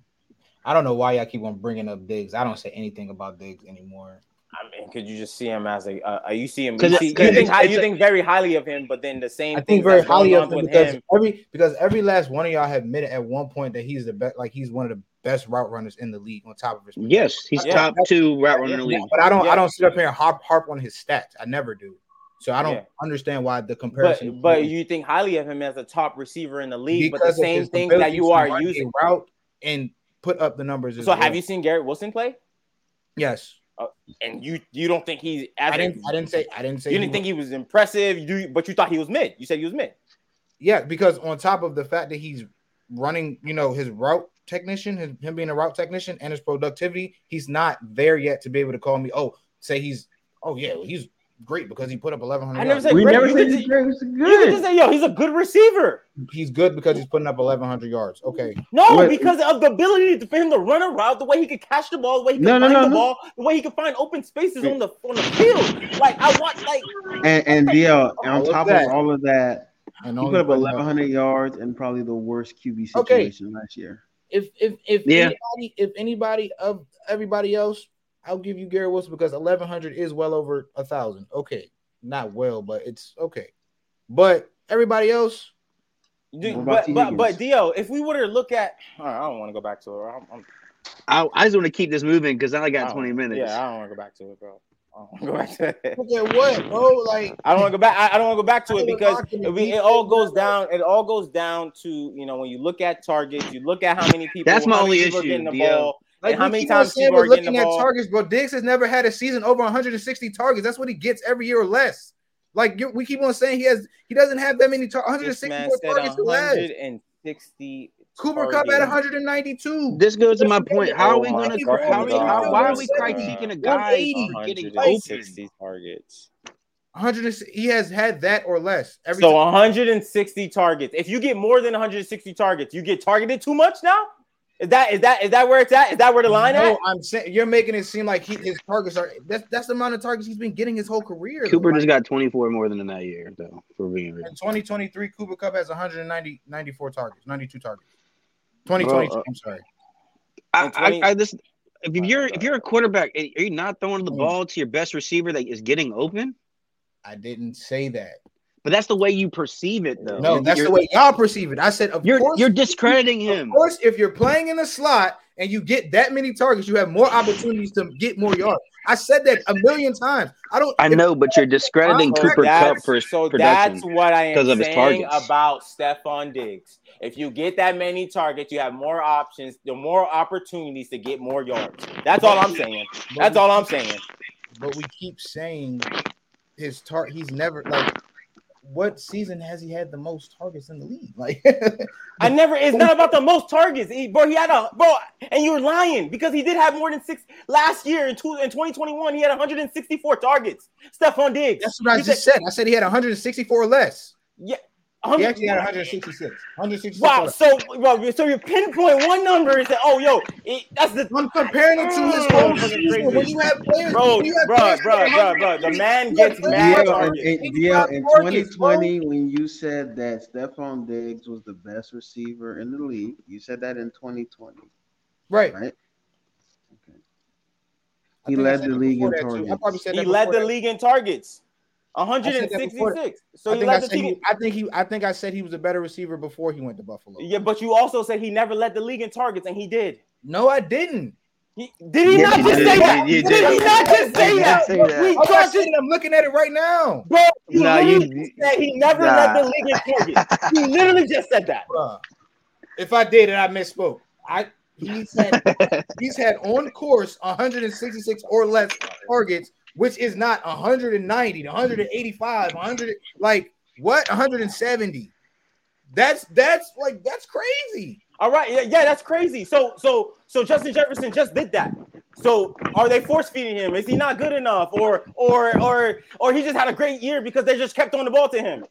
Speaker 4: I don't know why y'all keep on bringing up Diggs. I don't say anything about Diggs anymore.
Speaker 1: I mean, could you just see him as a? Uh, you see him. You,
Speaker 3: 'Cause
Speaker 1: see,
Speaker 3: it's-
Speaker 1: you think
Speaker 3: it's-
Speaker 1: high,
Speaker 3: it's
Speaker 1: you
Speaker 3: a-
Speaker 1: think very highly of him, but then the same.
Speaker 4: I think
Speaker 1: things
Speaker 4: very
Speaker 1: that's going
Speaker 4: highly of
Speaker 1: on
Speaker 4: him
Speaker 1: with
Speaker 4: because
Speaker 1: him.
Speaker 4: every because every last one of y'all have admitted at one point that he's the best, like he's one of the best route runners in the league. On top of his,
Speaker 3: Yes, he's
Speaker 1: Yeah.
Speaker 3: top two route runner in the
Speaker 4: Yeah,
Speaker 3: league.
Speaker 4: but I don't
Speaker 1: Yeah.
Speaker 4: I don't sit up here and harp harp on his stats. I never do. So I don't
Speaker 1: Yeah.
Speaker 4: understand why the
Speaker 1: But
Speaker 4: comparison.
Speaker 1: but you think highly of him as a top receiver in the league, but the
Speaker 4: because of
Speaker 1: same
Speaker 4: his
Speaker 1: things that
Speaker 4: ability
Speaker 1: you
Speaker 4: to
Speaker 1: are
Speaker 4: run a
Speaker 1: using.
Speaker 4: route and put up the numbers. as
Speaker 1: So have
Speaker 4: well.
Speaker 1: you seen Garrett Wilson play?
Speaker 4: Yes,
Speaker 1: And you you don't think he's as
Speaker 4: I didn't. I didn't say. I didn't say.
Speaker 1: you didn't think he was impressive. You do, but you thought he was mid. You said he was mid.
Speaker 4: Yeah, because on top of the fact that he's running, you know, his route technician, his, him being a route technician, and his productivity, he's not there yet to be able to call me. Oh, say he's. Oh yeah, well, he's great because he put up 1100.
Speaker 1: I never
Speaker 4: yards.
Speaker 1: said
Speaker 2: we
Speaker 1: great.
Speaker 2: never
Speaker 1: You
Speaker 2: said
Speaker 1: could
Speaker 2: he's
Speaker 1: ju-
Speaker 2: great. He's
Speaker 1: You could just
Speaker 2: good.
Speaker 1: say, yo, he's a good receiver.
Speaker 4: he's good because he's putting up 1100 yards. Okay,
Speaker 1: No,
Speaker 2: Wait.
Speaker 1: because of the ability to- for him to run around, the way he could catch the ball, the way he could
Speaker 2: No, no,
Speaker 1: find
Speaker 2: no,
Speaker 1: the
Speaker 2: no.
Speaker 1: ball, the way he could find open spaces on the on the field. Like I want, like
Speaker 2: And, and DL, on
Speaker 4: what's
Speaker 2: top
Speaker 4: that?
Speaker 2: of all of that,
Speaker 4: and
Speaker 2: he put
Speaker 4: only
Speaker 2: up
Speaker 4: putting
Speaker 2: 1,100 yards and probably the worst QB
Speaker 4: Okay.
Speaker 2: situation last year.
Speaker 4: If if if
Speaker 3: Yeah.
Speaker 4: anybody if anybody of everybody else, I'll give you Gary Wilson because 1100 is well over a thousand. Okay, not well, but it's okay. But everybody else,
Speaker 1: Dude,
Speaker 2: What about
Speaker 1: but
Speaker 2: T.
Speaker 1: but but
Speaker 2: Higgins?
Speaker 1: Dio, if we were to look at, all right, I don't want to go back to it. I'm, I'm,
Speaker 3: I, I just want to keep this moving because I only
Speaker 1: I
Speaker 3: got
Speaker 1: don't-
Speaker 3: 20 minutes.
Speaker 1: Oh, Yeah, I don't want to go back to it, bro. I don't want to go back to it.
Speaker 4: look at what, bro? Like
Speaker 1: I don't want to go back. I, I don't want to go back to it
Speaker 4: Tyler
Speaker 1: because
Speaker 4: Lockett
Speaker 1: it,
Speaker 4: and
Speaker 1: we- it
Speaker 4: Debo
Speaker 1: all goes down. It all goes down to you know when you look at targets, you look at how many people.
Speaker 3: That's my
Speaker 1: how many
Speaker 3: only
Speaker 1: people are
Speaker 3: issue,
Speaker 1: Getting the
Speaker 3: Dio.
Speaker 1: ball.
Speaker 4: Like
Speaker 1: And how
Speaker 4: we
Speaker 1: many
Speaker 4: keep on
Speaker 1: times
Speaker 4: saying
Speaker 1: people
Speaker 4: we're
Speaker 1: are getting
Speaker 4: looking
Speaker 1: the
Speaker 4: at
Speaker 1: ball?
Speaker 4: targets, bro? Diggs has never had a season over 160 targets. That's what he gets every year or less. Like you, we keep on saying he has, he doesn't have that many tar-
Speaker 1: This
Speaker 4: 164
Speaker 1: man said
Speaker 4: targets or less.
Speaker 1: 160.
Speaker 4: Cooper Cup had
Speaker 1: targets.
Speaker 4: 192.
Speaker 3: This goes to my point. How are we
Speaker 1: Oh my
Speaker 3: going to?
Speaker 1: God.
Speaker 3: How, are we- how why are we
Speaker 4: Uh,
Speaker 3: critiquing a guy for getting open?
Speaker 1: 160 targets.
Speaker 4: 100. and- He has had that or less every.
Speaker 1: so
Speaker 4: time.
Speaker 1: 160 targets. If you get more than 160 targets, you get targeted too much now. Is that is that is that where it's at? Is that where the line
Speaker 4: no,
Speaker 1: at?
Speaker 4: I'm saying you're making it seem like he, his targets are. That's that's the amount of targets he's been getting his whole career. though.
Speaker 3: Cooper
Speaker 4: Like,
Speaker 3: just got 24 more than in that year, though. For being real,
Speaker 4: in 2023, Cooper Cup has 190 94 targets, 92 targets. 2022.
Speaker 3: uh,
Speaker 4: I'm sorry.
Speaker 3: I,
Speaker 1: And
Speaker 3: I,
Speaker 1: 20
Speaker 3: I just if
Speaker 1: Oh,
Speaker 3: you're if you're a quarterback, and are you not throwing
Speaker 1: Mm.
Speaker 3: the ball to your best receiver that is getting open?
Speaker 4: I didn't say that.
Speaker 3: But that's the way you perceive it, though.
Speaker 4: No,
Speaker 3: You're-
Speaker 4: that's the
Speaker 3: you're-
Speaker 4: way y'all perceive it. I said, of
Speaker 3: You're
Speaker 4: course,
Speaker 3: you're discrediting
Speaker 4: of
Speaker 3: him.
Speaker 4: course, if you're playing in the slot and you get that many targets, you have more opportunities to get more yards. I said that a million times. I don't.
Speaker 3: I know, but you're discrediting
Speaker 4: So
Speaker 3: Cooper Cup
Speaker 4: that's-
Speaker 3: for his
Speaker 1: so
Speaker 3: production.
Speaker 1: that's what I am
Speaker 3: because of his
Speaker 1: saying
Speaker 3: targets.
Speaker 1: about Stephon Diggs. If you get that many targets, you have more options, the more opportunities to get more yards. That's all I'm saying. That's all I'm saying.
Speaker 4: But we keep saying his target. He's never like. What season has he had the most targets in the league? Like,
Speaker 1: I never. It's not about the most targets, he, bro. He had a bro, and you're lying because he did have more than six last year in, two, in 2021. He had 164 targets. Stephon Diggs.
Speaker 4: that's what I
Speaker 1: You
Speaker 4: just said. I said he had 164 or less. He
Speaker 1: 100
Speaker 4: actually had 166. 166.
Speaker 1: Wow. So, bro, so you pinpoint one number and say, "Oh, yo, it, that's the
Speaker 4: I'm comparing it to his whole season. When you have
Speaker 1: Mm.
Speaker 4: players,
Speaker 1: bro,
Speaker 4: when you have
Speaker 1: bro,
Speaker 4: players
Speaker 1: bro,
Speaker 4: with
Speaker 1: bro, bro." The
Speaker 4: 100
Speaker 1: man gets mad
Speaker 2: DL, in,
Speaker 1: targets.
Speaker 2: in,
Speaker 4: Big time
Speaker 2: DL, in
Speaker 4: targets, bro.
Speaker 2: 2020, when you said that Stephon Diggs was the best receiver in the league, you said that in 2020,
Speaker 4: Right.
Speaker 2: right? He
Speaker 4: think I
Speaker 2: led
Speaker 4: said
Speaker 2: the
Speaker 4: that
Speaker 2: league in
Speaker 4: before that, too. I probably
Speaker 2: targets.
Speaker 4: said
Speaker 1: He
Speaker 4: that
Speaker 1: led
Speaker 4: before
Speaker 1: the
Speaker 4: that.
Speaker 1: league in targets,
Speaker 4: before
Speaker 1: 166. So
Speaker 4: I
Speaker 1: he
Speaker 4: think, I,
Speaker 1: led the
Speaker 4: said
Speaker 1: team.
Speaker 4: he, I think he. I think I said he was a better receiver before he went to Buffalo.
Speaker 1: Yeah, but you also said he never led the league in targets, and he did.
Speaker 4: No, I didn't.
Speaker 1: He, did he
Speaker 2: Yes,
Speaker 1: not
Speaker 2: you
Speaker 1: just
Speaker 2: did.
Speaker 1: say
Speaker 2: You
Speaker 1: that?
Speaker 2: did. You
Speaker 1: Did, he
Speaker 2: did.
Speaker 1: not just say
Speaker 2: You
Speaker 1: that?
Speaker 2: did say that.
Speaker 1: We
Speaker 4: I'm, not
Speaker 1: just
Speaker 4: saying, I'm looking at it right now.
Speaker 1: Bro, you
Speaker 2: Nah, you-
Speaker 1: literally just said he never
Speaker 2: nah.
Speaker 1: led the league in targets. you literally just said that.
Speaker 4: Bruh. If I did it, I misspoke. I he's had he's had on course 166 or less targets, which is not 190, 185, 100. Like what? 170. That's that's like that's crazy.
Speaker 1: All right, yeah, yeah, that's crazy. So, so, so Justin Jefferson just did that. So, are they force feeding him? Is he not good enough, or, or, or, or he just had a great year because they just kept on the ball to him?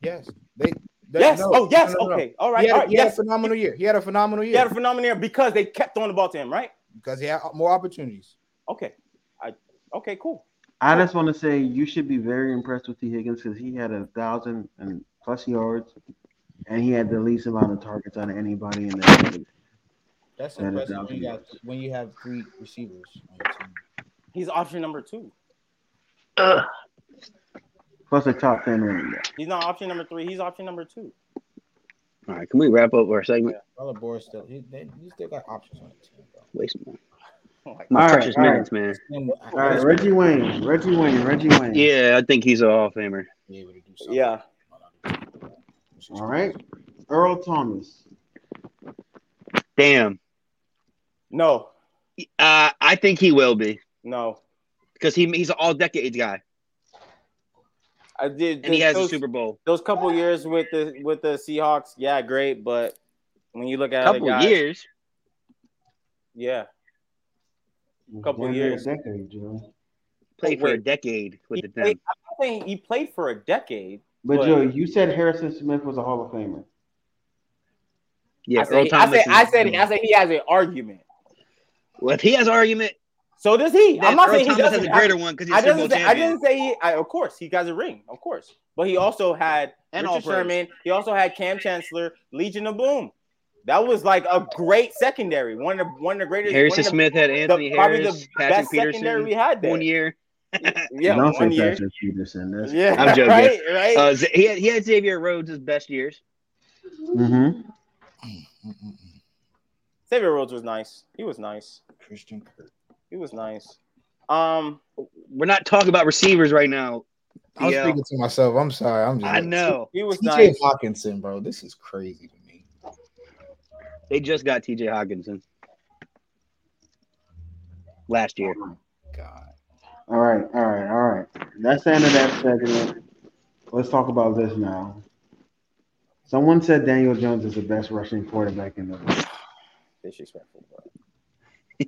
Speaker 4: Yes. They. that-
Speaker 1: Yes.
Speaker 4: no,
Speaker 1: oh, yes.
Speaker 4: no, no, no.
Speaker 1: Okay. All
Speaker 4: He
Speaker 1: right.
Speaker 4: had,
Speaker 1: All
Speaker 4: a-
Speaker 1: right.
Speaker 4: he had
Speaker 1: Yes.
Speaker 4: a phenomenal year. He had a phenomenal
Speaker 1: He had
Speaker 4: year
Speaker 1: a phenomenal year because they kept on the ball to him, right?
Speaker 4: because he had uh, more opportunities.
Speaker 1: Okay. I. Okay. Cool.
Speaker 2: I just want to say you should be very impressed with T. Higgins because he had a thousand and plus yards, and he had the least amount of targets out of anybody in the league.
Speaker 4: That's
Speaker 2: That is
Speaker 4: impressive when you, got,
Speaker 2: outrageous.
Speaker 4: when you have three receivers on your team.
Speaker 1: He's option number two.
Speaker 2: Plus a top ten running back.
Speaker 1: He's not option number three. He's option number two.
Speaker 3: All right, can we wrap up our segment?
Speaker 4: Brother Boris still he, they, he still got options on the team, bro.
Speaker 3: Waste more.
Speaker 1: Oh my
Speaker 3: My
Speaker 2: All right,
Speaker 3: precious
Speaker 2: all right.
Speaker 3: minutes, man.
Speaker 4: Him, I,
Speaker 2: All right, Reggie Wayne, Reggie Wayne, Reggie Wayne.
Speaker 3: Yeah, I think he's a Hall of Famer.
Speaker 4: be able to do something.
Speaker 1: Yeah.
Speaker 2: All right, Earl Thomas.
Speaker 3: Damn.
Speaker 1: No.
Speaker 3: Uh, I think he will be
Speaker 1: No.
Speaker 3: because he, he's an all decades guy
Speaker 1: I did.
Speaker 3: and he has a
Speaker 1: those-
Speaker 3: Super Bowl.
Speaker 1: Those couple years with the with the Seahawks, yeah, great. But when you look at
Speaker 3: Couple
Speaker 1: other guys,
Speaker 3: years.
Speaker 1: yeah, Couple
Speaker 2: Damn near
Speaker 1: years.
Speaker 2: a decade, Joe.
Speaker 3: Played for a
Speaker 1: Wait.
Speaker 3: decade with
Speaker 1: he
Speaker 3: the
Speaker 1: played,
Speaker 3: Dons.
Speaker 1: I think he played for a decade.
Speaker 2: But,
Speaker 1: But-
Speaker 2: Joe, you said Harrison Smith was a Hall of Famer.
Speaker 3: Yeah,
Speaker 1: I said,
Speaker 3: Earl
Speaker 1: he,
Speaker 3: Thomas.
Speaker 1: I said, I
Speaker 3: is-
Speaker 1: said, I said he has an argument.
Speaker 3: Well, if he has an argument,
Speaker 1: So does he? I'm
Speaker 3: then
Speaker 1: not
Speaker 3: Earl
Speaker 1: saying he
Speaker 3: Thomas has
Speaker 1: doesn't.
Speaker 3: a
Speaker 1: I,
Speaker 3: greater one because he's
Speaker 1: I
Speaker 3: a Super Bowl
Speaker 1: didn't say. I
Speaker 3: champion.
Speaker 1: didn't say. He, I, of course, he got a ring, of course. But he also had
Speaker 7: And all
Speaker 1: Richard
Speaker 7: praise.
Speaker 1: Sherman. He also had Cam Chancellor, Legion of Boom. That was like a great secondary. One of the one of the greatest.
Speaker 3: Harrison
Speaker 1: one of the-
Speaker 3: Smith had
Speaker 1: the-
Speaker 3: Anthony
Speaker 1: probably
Speaker 3: Harris,
Speaker 1: the
Speaker 3: Patrick
Speaker 1: best secondary we
Speaker 3: Peterson,
Speaker 1: had there.
Speaker 3: one year.
Speaker 1: Yeah,
Speaker 2: Don't
Speaker 1: one
Speaker 2: say
Speaker 1: year.
Speaker 2: Patrick Peterson. That's
Speaker 1: Yeah,
Speaker 3: I'm joking.
Speaker 1: right, right.
Speaker 3: Uh, Z- he, had, he had Xavier Rhodes' best years.
Speaker 2: Mhm.
Speaker 4: Mm-mm-mm.
Speaker 1: Xavier Rhodes was nice. He was nice.
Speaker 4: Christian Kirk.
Speaker 1: He was nice. Um,
Speaker 3: We're not talking about receivers right now.
Speaker 4: I was
Speaker 3: Yeah.
Speaker 4: speaking to myself. I'm sorry. I'm just
Speaker 3: I know
Speaker 1: he was
Speaker 4: TJ
Speaker 1: nice.
Speaker 4: Hawkinson, bro. This is crazy to me.
Speaker 3: they just got T.J. Hawkinson last year.
Speaker 4: God,
Speaker 2: All right, all right, all right. That's the end of that segment. Let's talk about this now. Someone said Daniel Jones is the best rushing quarterback in the league.
Speaker 1: Disrespectful. bro.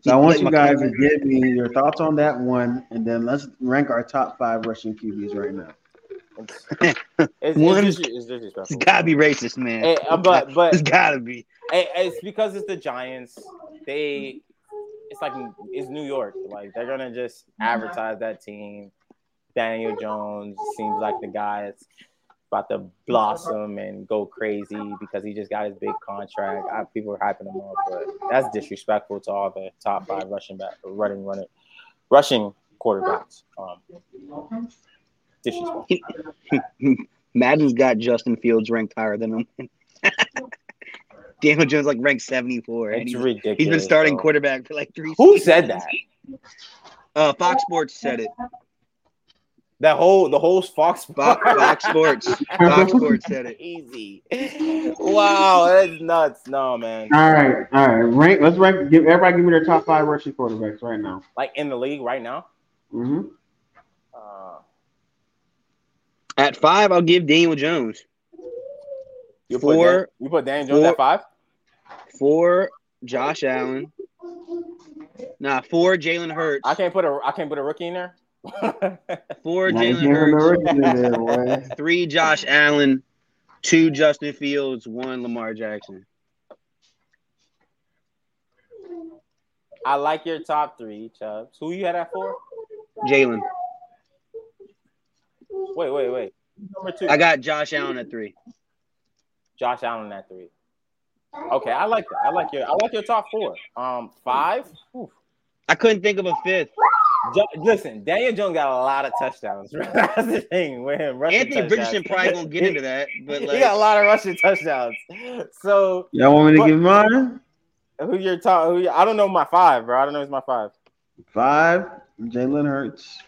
Speaker 2: So I want
Speaker 3: Like
Speaker 2: you
Speaker 3: my
Speaker 2: guys to
Speaker 3: cousin.
Speaker 2: give me your thoughts on that one, and then let's rank our top five rushing QBs right now.
Speaker 1: It's, it's,
Speaker 3: One-
Speaker 1: it's, dis- it's disrespectful.
Speaker 3: It's gotta be racist, man.
Speaker 1: Eh, uh, but but
Speaker 3: it's gotta be.
Speaker 1: eh, it's because it's the Giants. They it's like it's New York. Like they're gonna just advertise that team. Daniel Jones seems like the guy that's about to blossom and go crazy because he just got his big contract. I, people are hyping him up, but that's disrespectful to all the top five rushing back, running, running, rushing quarterbacks. Um, disrespectful.
Speaker 3: Madden's got Justin Fields ranked higher than him. Daniel Jones like ranked 74. and
Speaker 1: It's
Speaker 3: he's,
Speaker 1: ridiculous.
Speaker 3: he's been starting
Speaker 1: bro.
Speaker 3: quarterback for like three.
Speaker 1: Who
Speaker 3: seasons.
Speaker 1: said that?
Speaker 3: Uh, Fox Sports said it.
Speaker 1: That whole the whole Fox
Speaker 3: Fox, Fox Sports. Fox Sports said it.
Speaker 1: Easy. Wow, that's nuts. No, man.
Speaker 2: All right, all right. Rank. Let's rank. Give everybody give me their top five rushing quarterbacks right now.
Speaker 1: Like in the league right now.
Speaker 2: Mm-hmm.
Speaker 1: Uh,
Speaker 3: At five, I'll give Daniel Jones.
Speaker 1: you put Dan,
Speaker 3: Four,
Speaker 1: you put Dan Jones
Speaker 3: four-
Speaker 1: at five.
Speaker 3: four, Josh Allen. Nah, four, Jalen Hurts.
Speaker 1: I can't put a I can't put a rookie in there.
Speaker 3: Four, Jalen Hurts.
Speaker 2: there, boy.
Speaker 3: Three, Josh Allen. Two, Justin Fields. One, Lamar Jackson.
Speaker 1: I like your top three, Chubbs. Who you had at four?
Speaker 3: Jalen.
Speaker 1: Wait, wait, wait. Number two.
Speaker 3: I got Josh Allen at three.
Speaker 1: Josh Allen at three. Okay, I like that. I like your I like your top four. Um, five. Oof.
Speaker 3: I couldn't think of a fifth.
Speaker 1: Jo- listen, Daniel Jones got a lot of touchdowns. That's the thing with him. rushing
Speaker 3: Anthony Richardson
Speaker 1: touchdowns.
Speaker 3: probably gonna get into that, but
Speaker 1: he got a
Speaker 3: like
Speaker 1: lot of rushing touchdowns. So
Speaker 2: Y'all want me to
Speaker 1: What?
Speaker 2: give mine?
Speaker 1: who you're talking? Who you- I don't know my five, bro. I don't know who's my five.
Speaker 2: Five, Jalen Hurts.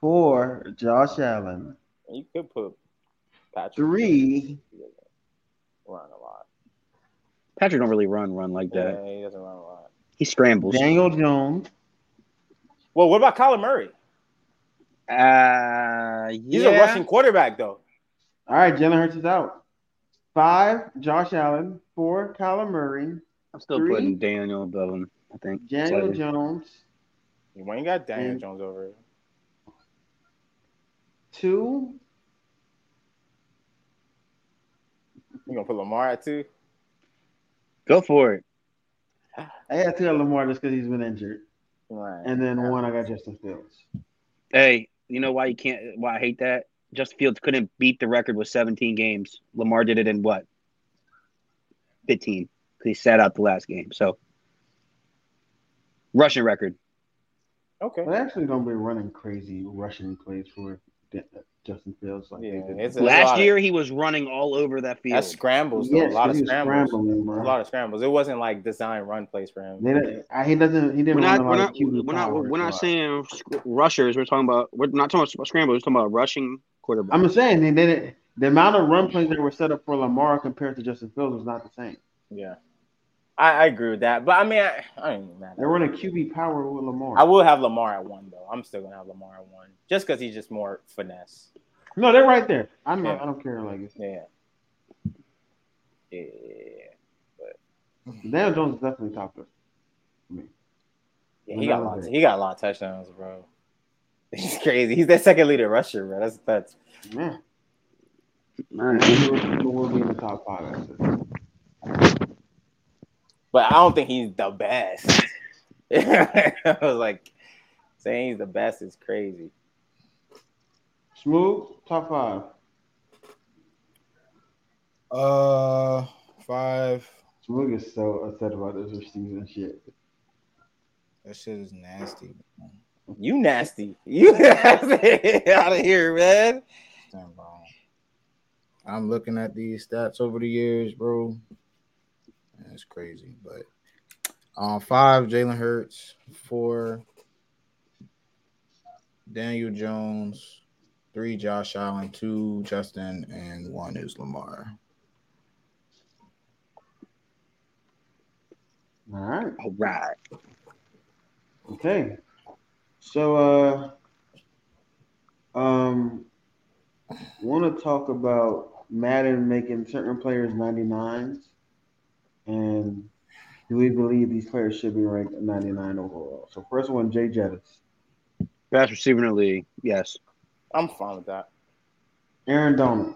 Speaker 2: Four, Josh Allen.
Speaker 1: You could put Patrick.
Speaker 2: Three,
Speaker 1: Run a lot.
Speaker 3: Patrick don't really run run like that.
Speaker 1: Yeah, he doesn't run a lot.
Speaker 3: He scrambles.
Speaker 2: Daniel Jones.
Speaker 1: Well, what about Kyler Murray?
Speaker 3: Uh,
Speaker 1: He's
Speaker 3: yeah.
Speaker 1: a rushing quarterback, though.
Speaker 2: All right, Jalen Hurts is out. Five, Josh Allen. Four, Kyler Murray.
Speaker 3: I'm still
Speaker 2: three.
Speaker 3: putting Daniel above him. I think.
Speaker 2: Daniel
Speaker 3: slightly.
Speaker 2: Jones.
Speaker 1: You ain't got Daniel
Speaker 2: Mm.
Speaker 1: Jones over. it.
Speaker 2: Two.
Speaker 1: You gonna put Lamar at two?
Speaker 3: Go for it.
Speaker 2: I had to go Lamar just because he's been injured.
Speaker 1: Right.
Speaker 2: And then one, I got Justin Fields.
Speaker 3: Hey, you know why you can't? Why I hate that? Justin Fields couldn't beat the record with 17 games. Lamar did it in what? 15. 'cause he sat out the last game. So rushing record.
Speaker 1: okay.
Speaker 2: But actually, don't be running crazy rushing plays for Da- Justin Fields like
Speaker 1: Yeah,
Speaker 2: they did.
Speaker 1: it's a- lot
Speaker 3: Last
Speaker 1: of-
Speaker 3: year he was running all over that field.
Speaker 1: That scrambles, though.
Speaker 2: Yes,
Speaker 1: a lot of
Speaker 2: he was
Speaker 1: scrambles.
Speaker 2: scrambling,
Speaker 1: A
Speaker 2: bro.
Speaker 1: lot of scrambles. It wasn't like design run plays for him.
Speaker 2: They didn't- I, he doesn't. He didn't.
Speaker 3: we're
Speaker 2: run
Speaker 3: not,
Speaker 2: a lot
Speaker 3: we're
Speaker 2: of
Speaker 3: not,
Speaker 2: QB
Speaker 3: we're not,
Speaker 2: power,
Speaker 3: we're not
Speaker 2: so-
Speaker 3: saying sc- rushers. We're talking about, we're not talking about scramblers. We're talking about rushing quarterback.
Speaker 2: I'm saying they didn't. The amount of run plays that were set up for Lamar compared to Justin Fields was not the same.
Speaker 1: Yeah, I, I agree with that. But I mean, I, I don't even
Speaker 2: They
Speaker 1: matter.
Speaker 2: were in a QB power with Lamar.
Speaker 1: I will have Lamar at one though. I'm still gonna have Lamar at one, just because he's just more finesse.
Speaker 2: no, they're right there. I'm not,
Speaker 1: Yeah.
Speaker 2: I don't care. Like it's-
Speaker 1: Yeah. Yeah.
Speaker 2: Daniel Jones is definitely top three.
Speaker 1: Yeah, he got a lot. He got a lot of touchdowns, bro. He's crazy. He's their second leader rusher, bro. That's that's
Speaker 2: Man,
Speaker 3: All right.
Speaker 2: he will, he will be in the top five. That's it.
Speaker 1: but I don't think he's the best. I was like, saying he's the best is crazy.
Speaker 2: Smooth top five.
Speaker 4: Uh, five.
Speaker 2: Smooth is so upset about this receiving shit.
Speaker 4: That shit is nasty.
Speaker 1: You nasty. You nasty out of here, man.
Speaker 4: Damn, bro. I'm looking at these stats over the years, bro. And It's crazy, but um, five Jalen Hurts, four Daniel Jones, three Josh Allen, two Justin, and one is Lamar.
Speaker 2: All right.
Speaker 3: All right.
Speaker 2: Okay. So uh um wanna talk about Madden making certain players 99s and do we believe these players should be ranked at 99 overall? So first one, Jay Jettis.
Speaker 3: Best receiver in the league. Yes.
Speaker 1: I'm fine with that.
Speaker 2: Aaron Donald,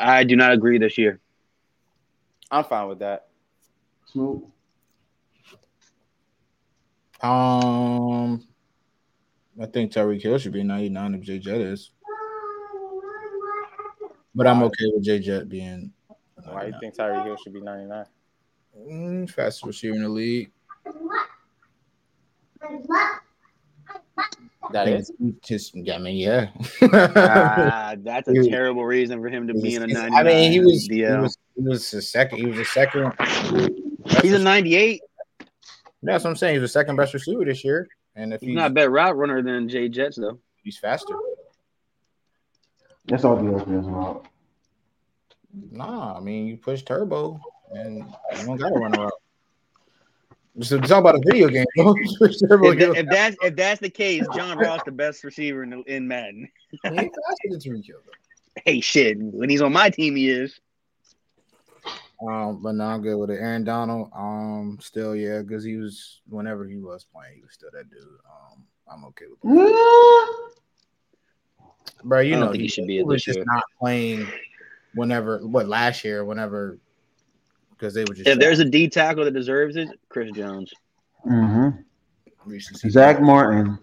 Speaker 3: I do not agree this year.
Speaker 1: I'm fine with that.
Speaker 2: Snoop,
Speaker 4: Um, I think Tyreek Hill should be 99 if Jay Jet is, but I'm okay with Jay Jet being.
Speaker 1: Why you think Tyreek Hill should be 99?
Speaker 4: Mm, fastest receiver in the league.
Speaker 1: That
Speaker 4: think
Speaker 1: is.
Speaker 4: it's just, I mean, yeah.
Speaker 3: Ah, that's a
Speaker 4: Dude.
Speaker 3: terrible reason for him to be in a
Speaker 4: It's-
Speaker 3: 99.
Speaker 4: I mean, he was, he
Speaker 3: DL.
Speaker 4: was, he was the second. He was the second.
Speaker 3: He's a 98.
Speaker 4: That's what I'm saying. He was the second best receiver this year, and if
Speaker 3: He's
Speaker 4: he's,
Speaker 3: not a better route runner than Jay Jets, though.
Speaker 4: he's faster,
Speaker 2: That's all the openers about.
Speaker 4: nah. I mean, you push turbo, and you don't gotta run around. So talk about a video game. bro. Push turbo,
Speaker 3: If,
Speaker 4: get-
Speaker 3: that- if that's if that's the case, John Ross the best receiver in, the, in Madden.
Speaker 4: he ain't faster than Tyreek Hill,
Speaker 3: Hey, shit. When he's on my team, he is.
Speaker 4: though. Um, but no, I'm good with it. Aaron Donald, um, still yeah, because he was whenever he was playing, he was still that dude. Um, I'm okay with that. bro. You
Speaker 3: I don't
Speaker 4: know,
Speaker 3: think he should be
Speaker 4: Oh, he
Speaker 3: at
Speaker 4: was
Speaker 3: this
Speaker 4: just
Speaker 3: year.
Speaker 4: not playing whenever what last year, whenever because they were just
Speaker 3: If there's a D tackle that deserves it, Chris Jones.
Speaker 2: hmm
Speaker 4: a
Speaker 2: Zach Martin.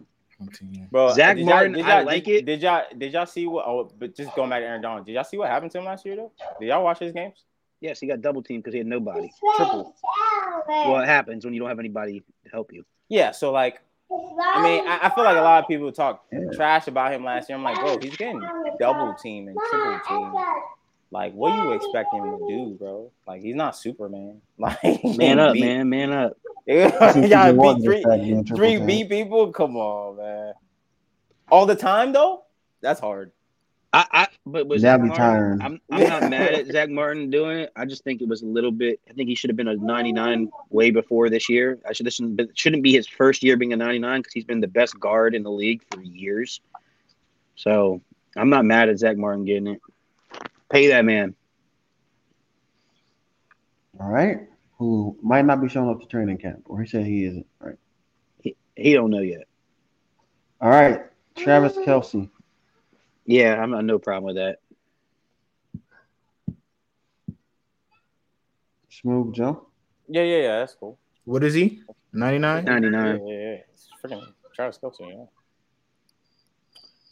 Speaker 1: Bro,
Speaker 3: Zach
Speaker 1: did y'all-
Speaker 3: Martin,
Speaker 1: did
Speaker 3: I
Speaker 1: y'all-
Speaker 3: like
Speaker 1: did,
Speaker 3: it.
Speaker 1: Did y'all did y'all see what? Oh, but just going back to Aaron Donald, did y'all see what happened to him last year though? Did y'all watch his games?
Speaker 3: Yes, he got double teamed because he had nobody.
Speaker 1: Triple.
Speaker 3: Well, it happens when you don't have anybody to help you.
Speaker 1: Yeah, so like I mean, I, I feel like a lot of people talk trash about him last year. I'm like, bro, he's getting double team and triple team. Like, what you expect him to do, bro? Like, he's not Superman. Like,
Speaker 3: Man
Speaker 1: he
Speaker 3: up,
Speaker 1: beat-
Speaker 3: man. Man up.
Speaker 1: Y'all
Speaker 2: Season one,
Speaker 1: beat
Speaker 2: in
Speaker 1: three,
Speaker 2: fact, being triple
Speaker 1: three
Speaker 2: team.
Speaker 1: B people. Come on, man. All the time though, that's hard.
Speaker 3: I, I but was
Speaker 2: That'd
Speaker 3: Zach
Speaker 2: be
Speaker 3: Martin,
Speaker 2: tiring.
Speaker 3: I'm, I'm not mad at Zach Martin doing it. I just think it was a little bit. I think he should have been a 99 way before this year. I should this shouldn't be- shouldn't be his first year being a 99 because he's been the best guard in the league for years. So I'm not mad at Zach Martin getting it. Pay that man.
Speaker 2: All right. Who might not be showing up to training camp, or he said he isn't. All right.
Speaker 3: He don't know yet.
Speaker 2: All right. Travis Kelsey.
Speaker 3: Yeah, I'm not no problem with that.
Speaker 2: Smooth jump.
Speaker 1: Yeah, yeah, yeah. That's cool.
Speaker 4: What is he? 99?
Speaker 3: 99.
Speaker 1: Yeah, yeah, yeah. It's freaking Travis Kelsey. Yeah.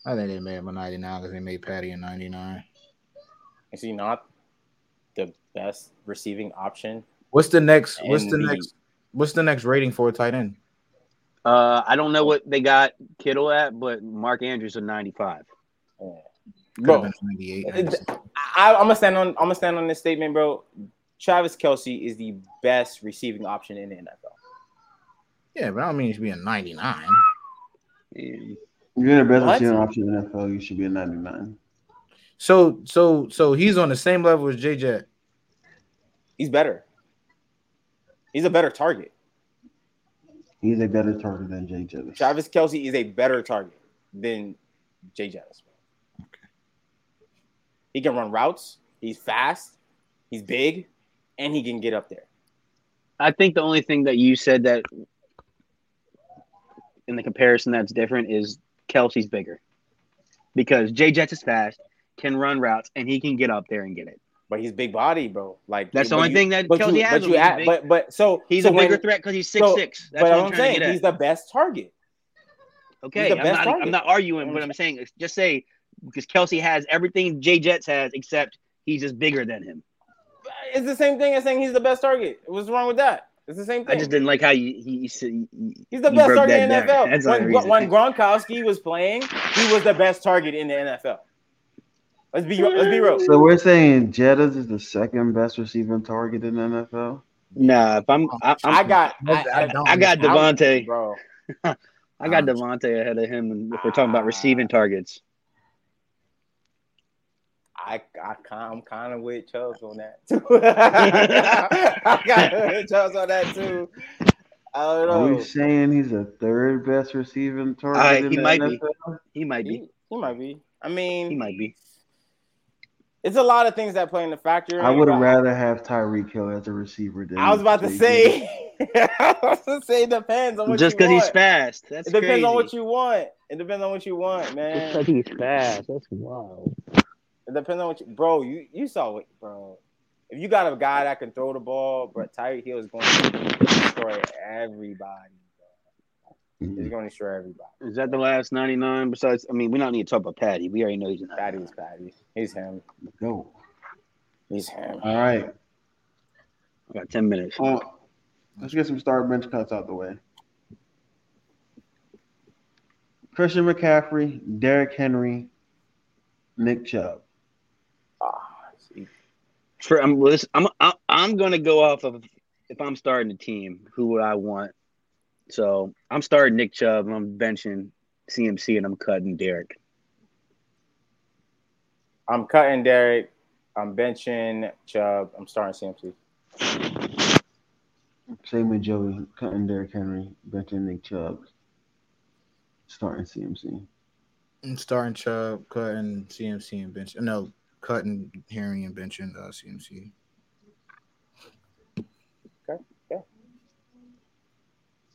Speaker 4: I think they made him a 99 because they made Patty a 99.
Speaker 1: Is he not the best receiving option?
Speaker 4: What's the next? What's the
Speaker 1: And the-
Speaker 4: next? What's the next rating for a tight end?
Speaker 3: Uh, I don't know what they got Kittle at, but Mark Andrews is 95.
Speaker 4: Could've
Speaker 1: Bro,
Speaker 4: been 98.
Speaker 1: I, I'm gonna stand on. I'm gonna stand on this statement, bro. Travis Kelsey is the best receiving option in the NFL.
Speaker 4: Yeah, but I don't mean he should be a 99.
Speaker 3: Yeah.
Speaker 2: If You're the best
Speaker 1: What?
Speaker 2: receiving option in the NFL. You should be a 99.
Speaker 4: So, so, so he's on the same level as JJ.
Speaker 1: He's better. He's a better target.
Speaker 2: He's a better target than Jay Jettis.
Speaker 1: Travis Kelsey is a better target than Jay Jettis. He can run routes. He's fast. He's big, and he can get up there.
Speaker 3: I think the only thing that you said that in the comparison that's different is Kelsey's bigger because Jay Jets is fast, can run routes, and he can get up there and get it.
Speaker 1: But he's big body, bro. Like
Speaker 3: That's the
Speaker 1: but
Speaker 3: only
Speaker 1: you-
Speaker 3: thing that
Speaker 1: But
Speaker 3: Kelsey
Speaker 1: you,
Speaker 3: has.
Speaker 1: but
Speaker 3: is
Speaker 1: you
Speaker 3: he's
Speaker 1: add,
Speaker 3: big-
Speaker 1: but but so
Speaker 3: he's
Speaker 1: so
Speaker 3: a bigger
Speaker 1: when-
Speaker 3: threat because he's six
Speaker 1: so-
Speaker 3: six. That's
Speaker 1: But
Speaker 3: what
Speaker 1: I'm,
Speaker 3: I'm trying to
Speaker 1: saying
Speaker 3: get
Speaker 1: he's
Speaker 3: at.
Speaker 1: the best target.
Speaker 3: okay,
Speaker 1: the
Speaker 3: I'm
Speaker 1: best
Speaker 3: not.
Speaker 1: target.
Speaker 3: I'm not arguing what I'm saying. is Just say because Kelsey has everything Jay Jets has except he's just bigger than him.
Speaker 1: It's the same thing as saying he's the best target. What's wrong with that? It's the same
Speaker 3: I
Speaker 1: thing.
Speaker 3: just didn't like how you. He, you said- you-
Speaker 1: he's the
Speaker 3: you
Speaker 1: best
Speaker 3: broke
Speaker 1: target
Speaker 3: that
Speaker 1: in
Speaker 3: down.
Speaker 1: NFL.
Speaker 3: That's the
Speaker 1: when,
Speaker 3: only reason.
Speaker 1: when Gronkowski was playing, he was the best target in the NFL. Let's be let's be real.
Speaker 2: So we're saying Jettis is the second best receiving target in the NFL.
Speaker 3: Nah, if I'm, I, I'm
Speaker 1: I got I,
Speaker 4: I
Speaker 1: I,
Speaker 4: don't-
Speaker 3: I got
Speaker 1: I'm-
Speaker 3: Devontae.
Speaker 1: bro.
Speaker 3: I got
Speaker 4: Um,
Speaker 3: Devontae ahead of him if we're talking
Speaker 1: uh,
Speaker 3: about receiving targets.
Speaker 1: I, I kin- I'm kind of with Chubbs on that too. I got with Chubbs on that too. I don't
Speaker 2: Are
Speaker 1: know.
Speaker 2: we saying he's the third best receiving target
Speaker 3: Alright,
Speaker 2: in
Speaker 3: he
Speaker 2: the
Speaker 3: might be.
Speaker 2: NFL?
Speaker 3: He might be.
Speaker 1: He, he might be. I mean,
Speaker 3: He might be.
Speaker 1: it's a lot of things that play in the factor.
Speaker 2: I would have
Speaker 1: but-
Speaker 2: rather have Tyreek Hill as a receiver than
Speaker 1: I was about to
Speaker 2: JJ.
Speaker 1: say. I was about to say it depends on what
Speaker 3: Just
Speaker 1: you
Speaker 3: because
Speaker 1: want.
Speaker 3: he's fast. That's
Speaker 1: It depends
Speaker 3: crazy.
Speaker 1: on what you want. It depends on what you want,
Speaker 3: Just
Speaker 1: man.
Speaker 3: because he's fast. That's wild.
Speaker 1: It depends on what you, bro. You you saw it, bro. If you got a guy that can throw the ball, but Tyreek Hill is going to destroy everybody. He's
Speaker 2: Mhm.
Speaker 1: going to destroy everybody.
Speaker 3: Is that the last 99? Besides, I mean, we don't need to talk about Patty. We already know he's not.
Speaker 1: Patty's Patty. He's him.
Speaker 2: Go.
Speaker 1: He's him.
Speaker 2: All right.
Speaker 3: I got 10 minutes.
Speaker 2: Uh, let's get some star bench cuts out the way. Christian McCaffrey, Derrick Henry, Nick Chubb.
Speaker 1: Ah, see.
Speaker 3: For, I'm, well, this, I'm, I'm, I'm going to go off of if I'm starting a team, who would I want? So I'm starting Nick Chubb. and I'm benching CMC and I'm cutting Derek.
Speaker 1: I'm cutting Derek. I'm benching Chubb. I'm starting CMC.
Speaker 2: Same with Joey, cutting Derrick Henry, benching Nick Chubb, starting CMC.
Speaker 4: I'm starting Chubb, cutting CMC and bench. uh, No, cutting Harry and benching uh, CMC.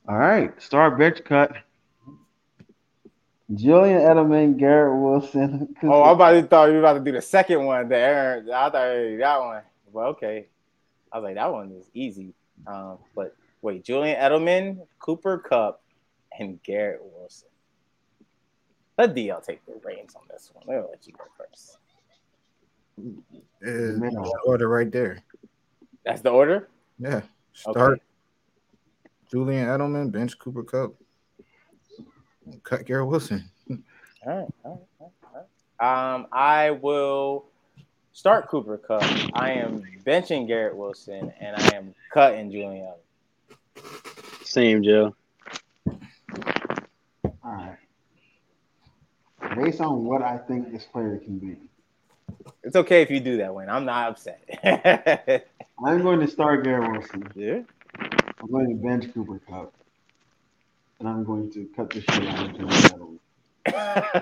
Speaker 2: All right, star bench cut. Julian Edelman, Garrett Wilson.
Speaker 1: Oh, I about to thought you were about to do the second one, the Aaron. I thought hey, that one. Well, okay. I was like, that one is easy. Um, but wait, Julian Edelman, Cooper Cup, and Garrett Wilson. Let DL take the reins on this one. They'll let you go first.
Speaker 4: Uh,
Speaker 2: Man.
Speaker 4: order right there.
Speaker 1: That's the order.
Speaker 4: Yeah.
Speaker 1: Okay.
Speaker 4: Start Julian Edelman, bench Cooper Cup, cut Garrett Wilson.
Speaker 1: All right, all right, all right. Um, I will start Cooper Cup. I am benching Garrett Wilson, and I am cutting Julian. Edelman.
Speaker 3: Same, Joe.
Speaker 2: All right. Based on what I think this player can be,
Speaker 1: It's okay if you do that, Wayne. I'm not upset.
Speaker 2: I'm going to start Garrett Wilson.
Speaker 1: yeah.
Speaker 2: I'm going to bench Cooper Cup. And I'm going to cut the shit out of Julian Edelman.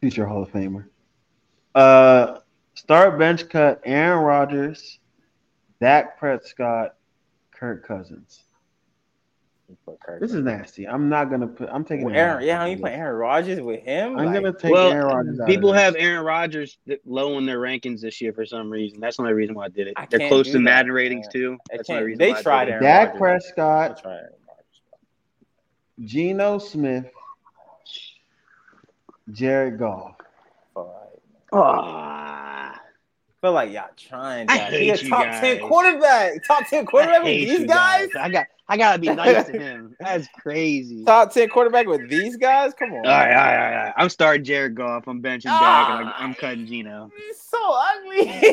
Speaker 2: Future Hall of Famer. Uh, start bench cut Aaron Rodgers, Dak Prescott, Kirk Cousins. This is nasty. I'm not gonna put. I'm taking
Speaker 1: Well, Aaron, yeah, how
Speaker 2: Rodgers
Speaker 1: you
Speaker 2: out
Speaker 1: put Aaron Rodgers with him?
Speaker 2: of this. I'm
Speaker 1: Like,
Speaker 2: gonna take
Speaker 3: Well,
Speaker 2: Aaron Rodgers. out
Speaker 3: People
Speaker 2: of this.
Speaker 3: have Aaron Rodgers th- low in their rankings this year for some reason. That's the only reason why I did it.
Speaker 1: I
Speaker 3: They're
Speaker 1: can't
Speaker 3: close
Speaker 1: do
Speaker 3: to
Speaker 1: that,
Speaker 3: Madden
Speaker 1: man.
Speaker 3: ratings too.
Speaker 1: I
Speaker 3: That's the only
Speaker 1: can't-
Speaker 3: reason
Speaker 1: they
Speaker 3: why I
Speaker 1: tried
Speaker 3: did
Speaker 1: Aaron
Speaker 2: Dak
Speaker 1: Rodgers. I'll
Speaker 2: Prescott,
Speaker 1: try Aaron Rodgers.
Speaker 2: Geno Smith, Jared Goff.
Speaker 1: All right.
Speaker 3: Ah,
Speaker 1: I feel like y'all trying.
Speaker 3: I
Speaker 1: guys.
Speaker 3: hate
Speaker 1: He a
Speaker 3: you
Speaker 1: top
Speaker 3: guys.
Speaker 1: ten quarterback. Top ten quarterback
Speaker 3: I
Speaker 1: with
Speaker 3: hate
Speaker 1: these
Speaker 3: you
Speaker 1: guys?
Speaker 3: I got I gotta be nice to him. That's crazy. All
Speaker 1: Top ten quarterback with these guys? Come on.
Speaker 3: right, all right, all right, all right. I'm starting Jared Goff. I'm benching Dak, and I'm,
Speaker 1: Ah.
Speaker 3: I'm cutting Gino.
Speaker 1: This is so ugly.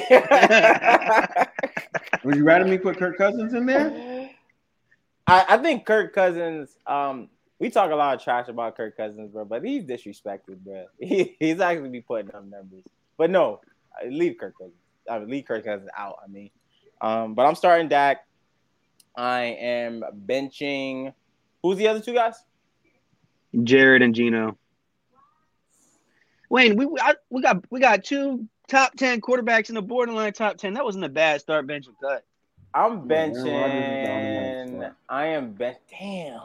Speaker 2: Would you rather me put Kirk Cousins in there?
Speaker 1: I, I think Kirk Cousins. Um, we talk a lot of trash about Kirk Cousins, bro, but he's disrespected, bro. He, he's actually be putting up numbers. But no, I leave Kirk Cousins. I mean, leave Kirk Cousins out. I mean, um, but I'm starting Dak. I am benching. Who's the other two guys?
Speaker 3: Jared and Gino. Wayne, we we- I, we got we got two top ten quarterbacks in the borderline top ten. That wasn't a bad start bench and cut.
Speaker 1: I'm
Speaker 2: Yeah, Aaron Rodgers is the only one
Speaker 1: benching.
Speaker 2: that's
Speaker 1: I am bench. Damn.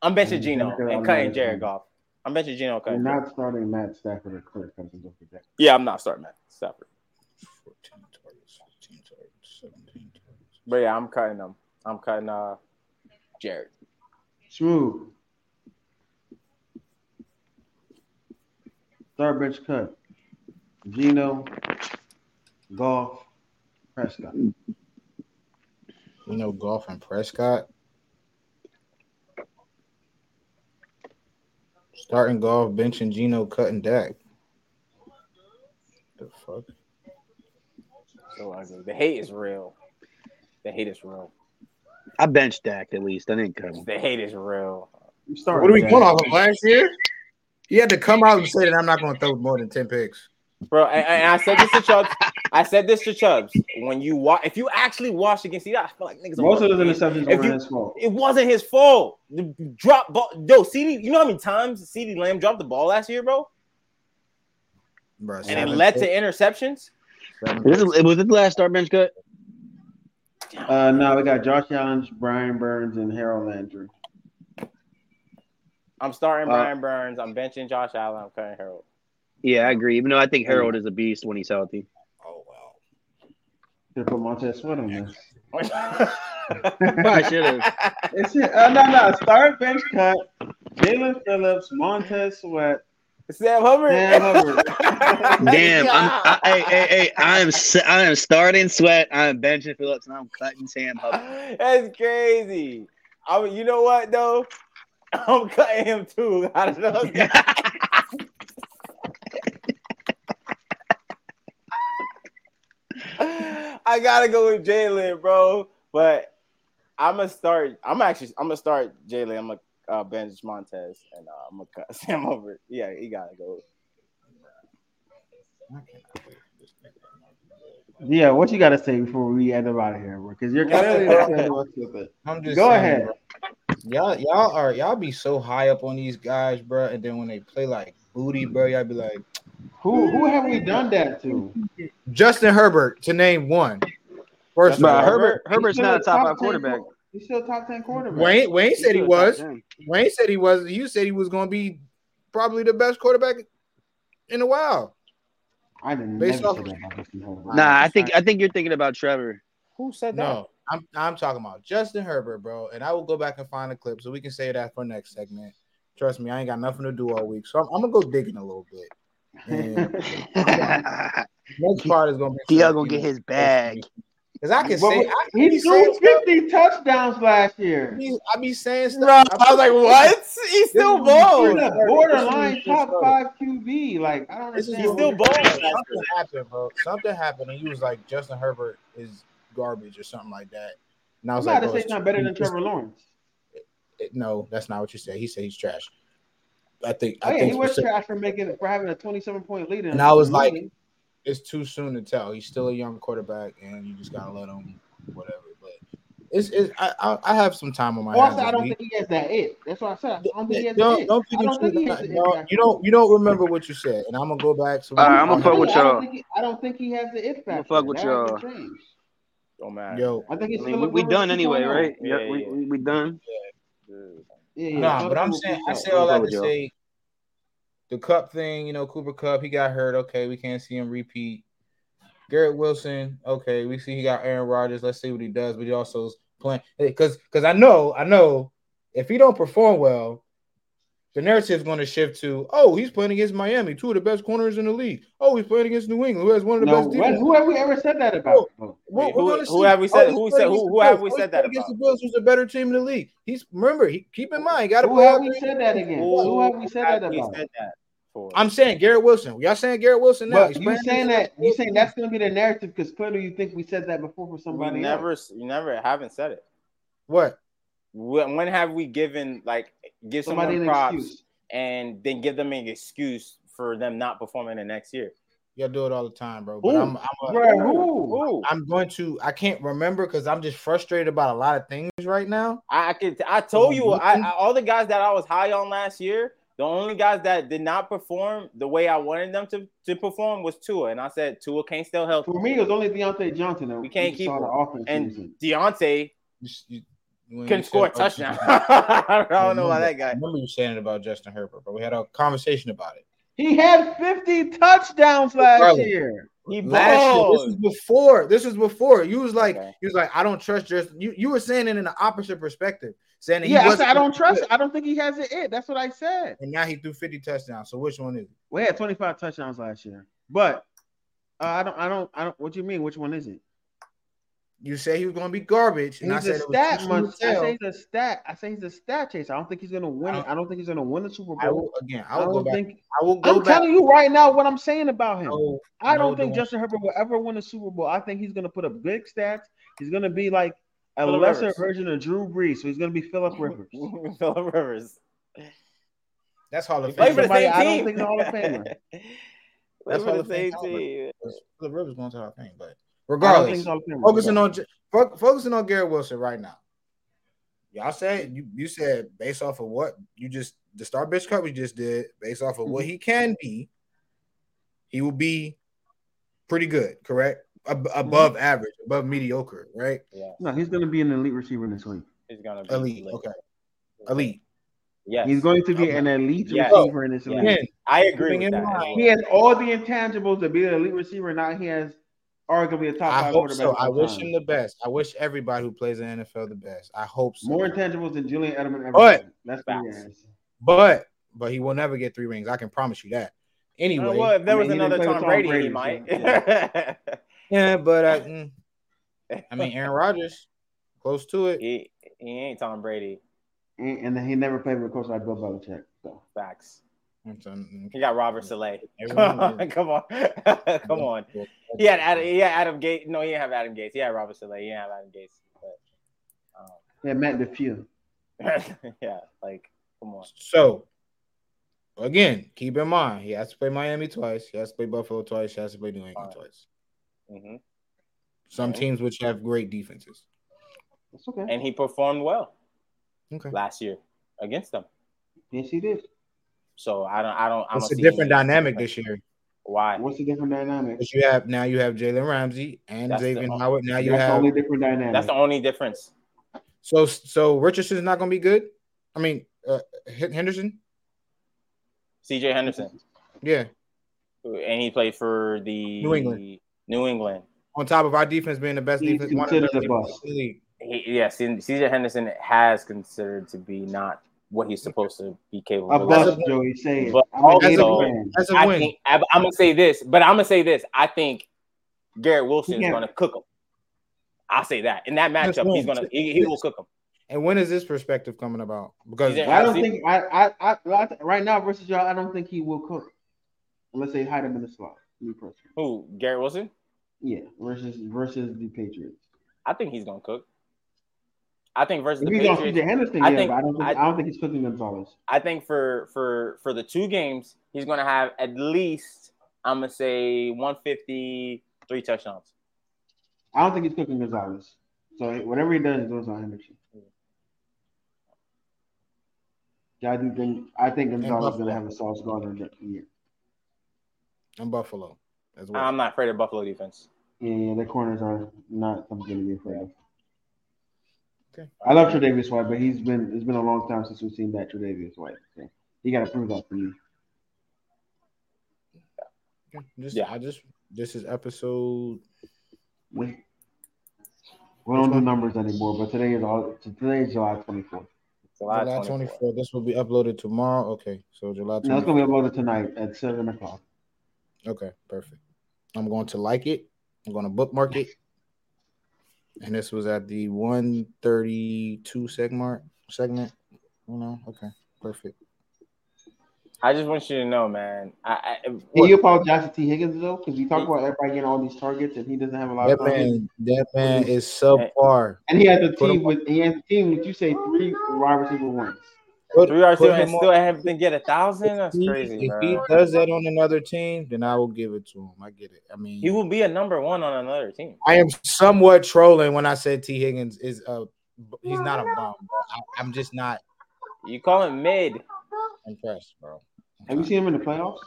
Speaker 1: I'm
Speaker 2: Yeah,
Speaker 1: benching
Speaker 2: he's
Speaker 1: Gino
Speaker 2: not gonna
Speaker 1: and
Speaker 2: automatically.
Speaker 1: cutting Jared Goff. I'm benching Gino. and Cutting.
Speaker 2: You're not starting Matt Stafford or Kirk Cousins over Dak.
Speaker 1: Yeah, I'm not starting that. Stafford.
Speaker 4: 14 targets, 15 targets, 17 targets.
Speaker 1: But yeah, I'm cutting them. I'm cutting uh Jared.
Speaker 2: Smooth. Third bench cut. Gino, Golf, Prescott.
Speaker 4: You know, golf and Prescott. Starting golf, benching Gino, cutting Dak. The fuck?
Speaker 1: So ugly. The hate is real. The hate is real.
Speaker 3: I benched Dak at least. I didn't cut him.
Speaker 1: The hate is real.
Speaker 2: You starting
Speaker 4: What are we
Speaker 2: Dak.
Speaker 4: going off of last year? He had to come out and say that I'm not going to throw more than 10 picks.
Speaker 1: Bro, and, and I said this to Chubbs. I said this to Chubbs. When you watch if you actually watch against see I feel like niggas are
Speaker 2: Most of those
Speaker 1: watching.
Speaker 2: interceptions
Speaker 1: If
Speaker 2: were
Speaker 1: you-
Speaker 2: his fault.
Speaker 1: it wasn't his fault. The drop ball yo, CD, you know how many times CD Lamb dropped the ball last year, bro?
Speaker 4: Bro,
Speaker 1: And it led to interceptions.
Speaker 3: This is, was it the last start bench cut?
Speaker 2: Uh, no, we got Josh Allen, Brian Burns, and Harold Landry.
Speaker 1: I'm starting
Speaker 2: Uh,
Speaker 1: Brian Burns. I'm benching Josh Allen. I'm cutting Harold.
Speaker 3: Yeah, I agree. Even though I think Harold is a beast when he's healthy.
Speaker 4: Oh, wow.
Speaker 2: Should put Montez Sweat on this.
Speaker 3: Probably should have.
Speaker 2: It's it. Uh, no, no. Start bench cut. Jalen Phillips, Montez Sweat,
Speaker 1: Sam Hubbard.
Speaker 2: Dan Hubbard.
Speaker 3: Damn, I'm, I, hey, hey, hey, I am, s- I am starting Sweat. I am benching Phillips, and I'm cutting Sam Hubbard.
Speaker 1: That's crazy. I mean, you know what though? I'm cutting him too. I don't know. I gotta go with Jalen, bro. But I'm gonna start. I'm actually. I'm gonna start Jalen. I'm gonna uh, bench Montez, and uh, I'm gonna cut Sam over. Yeah, he gotta go.
Speaker 2: Yeah, what you got to say before we end up out of here? Because you're clearly not saying what's with it.
Speaker 4: I'm just
Speaker 2: Go
Speaker 4: saying,
Speaker 2: ahead.
Speaker 4: bro. Y'all, y'all are y'all be so high up on these guys, bro. And then when they play like booty, bro, y'all be like
Speaker 2: Who who have we done that to?
Speaker 4: Justin Herbert to name one. First of
Speaker 1: Bro,
Speaker 4: all,
Speaker 1: Herbert-
Speaker 3: Herbert's
Speaker 2: He's still
Speaker 3: not a top
Speaker 2: 10
Speaker 3: five quarterback.
Speaker 2: qu- He's still a top ten quarterback.
Speaker 4: Wayne Wayne said he
Speaker 3: He's a top
Speaker 4: was.
Speaker 3: 10.
Speaker 4: Wayne said he was. You said he was going to be probably the best quarterback in a while.
Speaker 2: I didn't
Speaker 4: Based
Speaker 2: never
Speaker 4: off-
Speaker 2: say that about Justin Herbert.
Speaker 3: Nah, I think I think you're thinking about Trevor.
Speaker 1: Who said that?
Speaker 4: No, I'm I'm talking about Justin Herbert, bro. And I will go back and find the clip so we can say that for next segment. Trust me, I ain't got nothing to do all week, so I'm, I'm gonna go digging a little bit. And
Speaker 3: Dion
Speaker 4: next part is gonna be
Speaker 3: gonna get his bag.
Speaker 4: Because I can say I,
Speaker 2: He
Speaker 4: be
Speaker 2: threw
Speaker 4: saying stuff.
Speaker 2: 50 touchdowns last year.
Speaker 4: be- I be saying
Speaker 1: Bro, I
Speaker 4: stuff.
Speaker 1: was like, what? He's still
Speaker 4: This is-
Speaker 1: bold.
Speaker 2: He's a borderline top five QB. Like I don't
Speaker 4: This is
Speaker 2: understand.
Speaker 1: He's still
Speaker 2: what-
Speaker 1: bold.
Speaker 4: Something happened, bro. Something happened, and you was like, Justin Herbert is garbage or something like that. And I
Speaker 2: I'm
Speaker 4: was
Speaker 2: not
Speaker 4: like,
Speaker 2: to
Speaker 4: "Oh, bro,
Speaker 2: say he's not better than Trevor Lawrence.
Speaker 4: no, that's not what you said. He said he's trash. I think
Speaker 2: Oh
Speaker 4: I
Speaker 2: yeah,
Speaker 4: think
Speaker 2: he
Speaker 4: you
Speaker 2: was
Speaker 4: said-
Speaker 2: trash for making for having a 27 point lead. in
Speaker 4: And
Speaker 2: a
Speaker 4: I was
Speaker 2: losing
Speaker 4: like-
Speaker 2: game.
Speaker 4: it's too soon to tell. He's still a young quarterback, and you just gotta let him whatever. But it's, it's I, I I have some time on my
Speaker 2: Well, I
Speaker 4: hands.
Speaker 2: said Oh, I don't
Speaker 4: this week.
Speaker 2: think he has that it. That's what I said. I don't think he has
Speaker 4: Don't-
Speaker 2: that it.
Speaker 4: don't
Speaker 2: I
Speaker 4: think
Speaker 2: don't think he
Speaker 4: you
Speaker 2: has the it.
Speaker 4: no,
Speaker 2: factor.
Speaker 4: you don't you don't remember what you said, and I'm gonna go back. So
Speaker 8: All right, I'ma
Speaker 2: I'm
Speaker 8: fuck with
Speaker 2: telling
Speaker 8: y'all.
Speaker 2: you, I don't think he- I don't think he has the it
Speaker 8: I'ma
Speaker 2: factor.
Speaker 8: fuck with
Speaker 2: That hasn't
Speaker 8: y'all.
Speaker 2: changed.
Speaker 1: Don't matter.
Speaker 4: yo.
Speaker 2: I think
Speaker 3: I
Speaker 2: it's
Speaker 3: mean,
Speaker 2: still
Speaker 3: we,
Speaker 2: a
Speaker 3: we
Speaker 2: good
Speaker 3: done
Speaker 2: receiving
Speaker 3: anyway,
Speaker 2: lineup.
Speaker 3: right?
Speaker 1: Yeah,
Speaker 3: Yeah, we,
Speaker 1: yeah.
Speaker 3: we, we done.
Speaker 1: Dude.
Speaker 2: Yeah, yeah.
Speaker 4: No,
Speaker 2: It's
Speaker 4: but
Speaker 2: not
Speaker 4: I'm
Speaker 2: gonna
Speaker 4: saying
Speaker 2: be
Speaker 4: I
Speaker 2: tough.
Speaker 4: say all that
Speaker 3: Go
Speaker 4: to
Speaker 3: with y'all.
Speaker 4: say the cup thing, you know, Cooper Cup, he got hurt. Okay, we can't see him repeat. Garrett Wilson, okay, we see he got Aaron Rodgers. Let's see what he does, but he also is playing because because I know I know if he don't perform well, the narrative's going to shift to oh he's playing against Miami, two of the best corners in the league. Oh, he's playing against New England, who has one of the
Speaker 2: No,
Speaker 4: best
Speaker 2: when-
Speaker 4: defenses.
Speaker 2: who have we ever said that about?
Speaker 4: We're-
Speaker 1: Wait,
Speaker 4: we're
Speaker 1: who-
Speaker 4: gonna
Speaker 1: who
Speaker 4: see.
Speaker 1: have we said-
Speaker 4: oh, he's
Speaker 1: who
Speaker 4: playing
Speaker 1: said-
Speaker 4: against
Speaker 1: who-
Speaker 4: the
Speaker 1: who have
Speaker 4: Bills.
Speaker 1: we
Speaker 4: he's
Speaker 1: said
Speaker 4: playing
Speaker 1: that
Speaker 4: against
Speaker 1: about?
Speaker 4: the Bills, who's a better team in the league. He's remember, he, keep in mind, got to
Speaker 2: Who
Speaker 4: play.
Speaker 2: have
Speaker 4: out
Speaker 2: we
Speaker 4: there.
Speaker 2: said that against?
Speaker 1: Who
Speaker 2: Who have we said
Speaker 1: have
Speaker 2: that
Speaker 1: we
Speaker 2: about?
Speaker 1: said that for?
Speaker 4: I'm saying Garrett Wilson. Y'all saying Garrett Wilson now?
Speaker 2: But
Speaker 4: He's
Speaker 2: you
Speaker 4: playing
Speaker 2: saying
Speaker 4: against
Speaker 2: that
Speaker 4: the
Speaker 2: you
Speaker 4: Bills.
Speaker 2: saying that's gonna be the narrative because clearly you think we said that before for
Speaker 1: we
Speaker 2: somebody.
Speaker 1: never,
Speaker 2: else.
Speaker 1: you never haven't said it.
Speaker 4: what?
Speaker 1: When, when have we given like give
Speaker 2: somebody
Speaker 1: someone
Speaker 2: an
Speaker 1: props
Speaker 2: excuse.
Speaker 1: and then give them an excuse for them not performing the next year?
Speaker 4: Y'all do it all the time, bro. But
Speaker 1: Who?
Speaker 4: I'm I'm, a,
Speaker 2: Bro, who?
Speaker 1: Ooh,
Speaker 4: I'm going to I can't remember because I'm just frustrated about a lot of things right now.
Speaker 1: I, I could. I told you, I, I all the guys that I was high on last year, the only guys that did not perform the way I wanted them to to perform was Tua, and I said Tua can't still help.
Speaker 2: For me, it was only Deontay Johnson. That
Speaker 1: We can't keep
Speaker 2: saw the
Speaker 1: him.
Speaker 2: offense
Speaker 1: And-
Speaker 2: using.
Speaker 1: Deontay
Speaker 4: You s- you- when you
Speaker 1: couldn't
Speaker 4: said
Speaker 1: score a
Speaker 4: about
Speaker 1: touchdown.
Speaker 4: Justin Herbert,
Speaker 1: I don't know about
Speaker 4: remember-
Speaker 1: that
Speaker 4: I
Speaker 1: guy.
Speaker 4: remember you saying it about Justin Herbert, but we had a conversation about it.
Speaker 2: He had 50 touchdowns last
Speaker 4: Bro.
Speaker 2: year.
Speaker 1: He
Speaker 4: Last year, this
Speaker 1: balled.
Speaker 4: is before. This is before. You was like,
Speaker 1: Okay.
Speaker 4: you was like, I don't trust Justin. You you were saying it in the opposite perspective, saying that he
Speaker 2: Yeah, I
Speaker 4: wasn't
Speaker 2: said I don't trust.
Speaker 4: good,
Speaker 2: I don't think he has it. It. That's what I said.
Speaker 4: And now he threw fifty touchdowns. So which one is it?
Speaker 2: We had 25 touchdowns last year, but uh, I don't. I don't. I don't. What do you mean? Which one is it?
Speaker 4: You say he was going to be garbage, and
Speaker 2: He's
Speaker 4: I
Speaker 2: a
Speaker 4: said it was too
Speaker 2: stat
Speaker 4: soon to
Speaker 2: monster. I
Speaker 4: tell.
Speaker 2: say he's a stat. I say he's a stat chaser. I don't think he's gonna win. it. I don't think he's gonna win the Super Bowl.
Speaker 4: I will again. I
Speaker 2: I
Speaker 4: will
Speaker 2: don't
Speaker 4: go back.
Speaker 2: think.
Speaker 4: I will go
Speaker 2: I'm
Speaker 4: back.
Speaker 2: telling you right now what I'm saying about him.
Speaker 4: No,
Speaker 2: I don't
Speaker 4: no,
Speaker 2: think
Speaker 4: Dwayne.
Speaker 2: Justin Herbert will ever win a Super Bowl. I think he's going to put up big stats. He's going to be like a
Speaker 1: Phillip
Speaker 2: lesser
Speaker 1: Rivers.
Speaker 2: version of Drew Brees. So he's going to be Philip Rivers.
Speaker 1: Phillip Rivers.
Speaker 4: That's Hall of
Speaker 1: Play
Speaker 4: Fame.
Speaker 1: for the
Speaker 2: Somebody
Speaker 1: same
Speaker 2: I don't
Speaker 1: team.
Speaker 2: think is a Hall of Famer.
Speaker 1: Play
Speaker 4: That's
Speaker 1: for
Speaker 4: Hall
Speaker 1: the
Speaker 4: of Fame
Speaker 1: same
Speaker 4: caliber.
Speaker 1: team.
Speaker 4: Philip Rivers going to Hall of Fame, but
Speaker 2: I don't think
Speaker 4: regardless,
Speaker 2: he's Hall of Famer.
Speaker 4: focusing on J- fo- focusing on Garrett Wilson right now. Y'all said you, you said based off of what you just the star bitch cut we just did based off of what
Speaker 2: Mm-hmm.
Speaker 4: he can be, he will be pretty good, correct? Ab- above
Speaker 2: Mm-hmm.
Speaker 4: average, above mediocre, right?
Speaker 1: Yeah,
Speaker 2: No, he's going to be an elite receiver this week.
Speaker 1: he's gonna be
Speaker 4: Elite,
Speaker 1: lit.
Speaker 4: okay, elite.
Speaker 1: Yes,
Speaker 2: He's going to be an elite
Speaker 1: Yes.
Speaker 2: receiver in this
Speaker 1: Yeah.
Speaker 2: league.
Speaker 4: Again,
Speaker 1: I agree
Speaker 4: keeping
Speaker 1: with
Speaker 4: in
Speaker 1: that. as
Speaker 4: mind-
Speaker 2: He
Speaker 1: well.
Speaker 2: has all the intangibles to be an elite receiver. Now he has arguably a top
Speaker 4: I
Speaker 2: five
Speaker 4: hope
Speaker 2: quarterback.
Speaker 4: so.
Speaker 2: of all
Speaker 4: I wish
Speaker 2: time.
Speaker 4: him the best. I wish everybody who plays in the NFL the best. I hope so.
Speaker 2: more intangibles than Julian Edelman ever.
Speaker 4: But-
Speaker 2: had. that's what he has.
Speaker 4: But but he will never get three rings. I can promise you
Speaker 1: Uh,
Speaker 4: that. Anyway,
Speaker 1: well, if there
Speaker 2: I mean,
Speaker 1: was
Speaker 2: he didn't
Speaker 1: another
Speaker 2: play with
Speaker 1: Tom
Speaker 2: Tom
Speaker 1: Brady,
Speaker 2: Brady,
Speaker 1: he
Speaker 2: so,
Speaker 1: might.
Speaker 4: yeah, but I, mm, I mean Aaron Rodgers, close to it.
Speaker 1: he, he ain't Tom Brady.
Speaker 2: And, and he never played with a coach like Bill Belichick. So.
Speaker 1: Facts.
Speaker 4: I'm telling
Speaker 1: He
Speaker 4: you.
Speaker 1: got Robert Saleh. Come
Speaker 4: Everyone
Speaker 1: on, come on, come on. He had Adam, he had Adam Gates. No, he didn't have Adam Gates. He had Robert Saleh. He didn't have Adam Gates. But,
Speaker 2: Yeah, Matt DeFew.
Speaker 1: um, yeah, like come on.
Speaker 4: So again, keep in mind he has to play Miami twice. He has to play Buffalo twice. He has to play New England twice.
Speaker 1: hmm
Speaker 4: Some
Speaker 1: Okay.
Speaker 4: teams which have great defenses.
Speaker 2: That's okay.
Speaker 1: And he performed well
Speaker 4: Okay,
Speaker 1: last year against them.
Speaker 2: Yes, he did.
Speaker 1: So I don't, I don't, I don't
Speaker 4: it's a
Speaker 1: see
Speaker 4: different
Speaker 1: any-
Speaker 4: dynamic this year.
Speaker 1: Why?
Speaker 2: What's the different dynamic?
Speaker 4: But you have now you have Jalen Ramsey and
Speaker 1: That's the
Speaker 4: Xavier
Speaker 1: only-
Speaker 4: Howard. Now
Speaker 2: That's
Speaker 4: you
Speaker 2: the
Speaker 4: have
Speaker 2: only different dynamic.
Speaker 1: That's the only difference.
Speaker 4: so so Richardson's not going to be good. I mean uh, Hen- Henderson.
Speaker 1: C.J. Henderson,
Speaker 4: Yeah,
Speaker 1: and he played for the
Speaker 4: New England.
Speaker 1: New England.
Speaker 4: on top of our defense being the best
Speaker 2: He's
Speaker 4: defense, one of the
Speaker 2: considered a
Speaker 4: best defenses
Speaker 2: bust.
Speaker 4: in the league.
Speaker 1: He, yeah, C.J. Henderson has considered to be not what he's supposed to be capable
Speaker 2: a
Speaker 1: of.
Speaker 2: bust,
Speaker 4: That's a-
Speaker 2: Joey. Say it.
Speaker 1: But
Speaker 2: I'm a Gator
Speaker 1: also-
Speaker 2: fan.
Speaker 4: That's a
Speaker 1: I
Speaker 4: win.
Speaker 1: think I, I'm gonna say this, but I'm gonna say this. I think Garrett Wilson
Speaker 2: He
Speaker 1: is
Speaker 2: can't-
Speaker 1: gonna cook him. I'll say that in that matchup, he's gonna he, he will cook him.
Speaker 4: And when is this perspective coming about? Because
Speaker 1: He's in-
Speaker 2: I don't
Speaker 1: see-
Speaker 2: think I, I, I, well, I th- right now versus y'all. I don't think he will cook unless they hide him in the slot. Me personally,
Speaker 1: Who Garrett Wilson?
Speaker 2: yeah. Versus versus the Patriots.
Speaker 1: I think he's gonna cook. I think versus
Speaker 2: If
Speaker 1: the
Speaker 2: he's on CJ
Speaker 1: Patriots.
Speaker 2: Henderson,
Speaker 1: I
Speaker 2: yeah,
Speaker 1: think-
Speaker 2: but I don't think I,
Speaker 1: I-
Speaker 2: don't think he's cooking Gonzalez.
Speaker 1: I think for for for the two games, he's gonna have at least I'm gonna say 150, three touchdowns.
Speaker 2: I don't think he's cooking Gonzalez. So whatever he does, it's on Henderson. Yeah, I do think I think Gonzalez is gonna have a Sauce Gardner year.
Speaker 4: in Buffalo as well.
Speaker 1: I'm not afraid of Buffalo defense.
Speaker 2: Yeah, yeah, the corners are not something to be afraid of.
Speaker 4: Okay.
Speaker 2: I love Tre'Davious White, but he's been it's been a long time since we've seen that Tre'Davious White. So he got to prove that for you.
Speaker 4: Okay, just,
Speaker 1: Yeah.
Speaker 4: I just this is episode.
Speaker 2: We, we don't do numbers anymore, but today is all today is July twenty fourth.
Speaker 1: July,
Speaker 4: July
Speaker 1: 24.
Speaker 4: twenty fourth. This will be uploaded tomorrow. Okay, so July
Speaker 2: No,
Speaker 4: twenty
Speaker 2: it's
Speaker 4: fourth.
Speaker 2: gonna be uploaded tonight at seven o'clock.
Speaker 4: Okay, perfect. I'm going to like it. I'm going to bookmark it. And this was at the 132 segment segment. You know, okay, perfect.
Speaker 1: I just want you to know, man. I, I
Speaker 2: Can
Speaker 1: look,
Speaker 2: you apologize to T Higgins though? Because you talk about everybody getting all these targets and he doesn't have a lot
Speaker 4: That
Speaker 2: of targets.
Speaker 4: man, that man is subpar.
Speaker 2: And he has a
Speaker 4: Put him
Speaker 2: team with he has a team with you say three wide receiver ones.
Speaker 4: Put,
Speaker 1: three yards
Speaker 4: put
Speaker 1: and
Speaker 4: him on-
Speaker 1: still haven't get a thousand. That's
Speaker 4: if he-
Speaker 1: crazy,
Speaker 4: If he
Speaker 1: bro.
Speaker 4: does that on another team, then I will give it to him. I get it. I mean,
Speaker 1: He will be a number one on another team.
Speaker 4: I am somewhat trolling when I said T. Higgins is a. He's not a bomb. Bro. I, I'm just not
Speaker 1: You call him mid.
Speaker 4: impressed, bro.
Speaker 2: Have you seen him in the playoffs?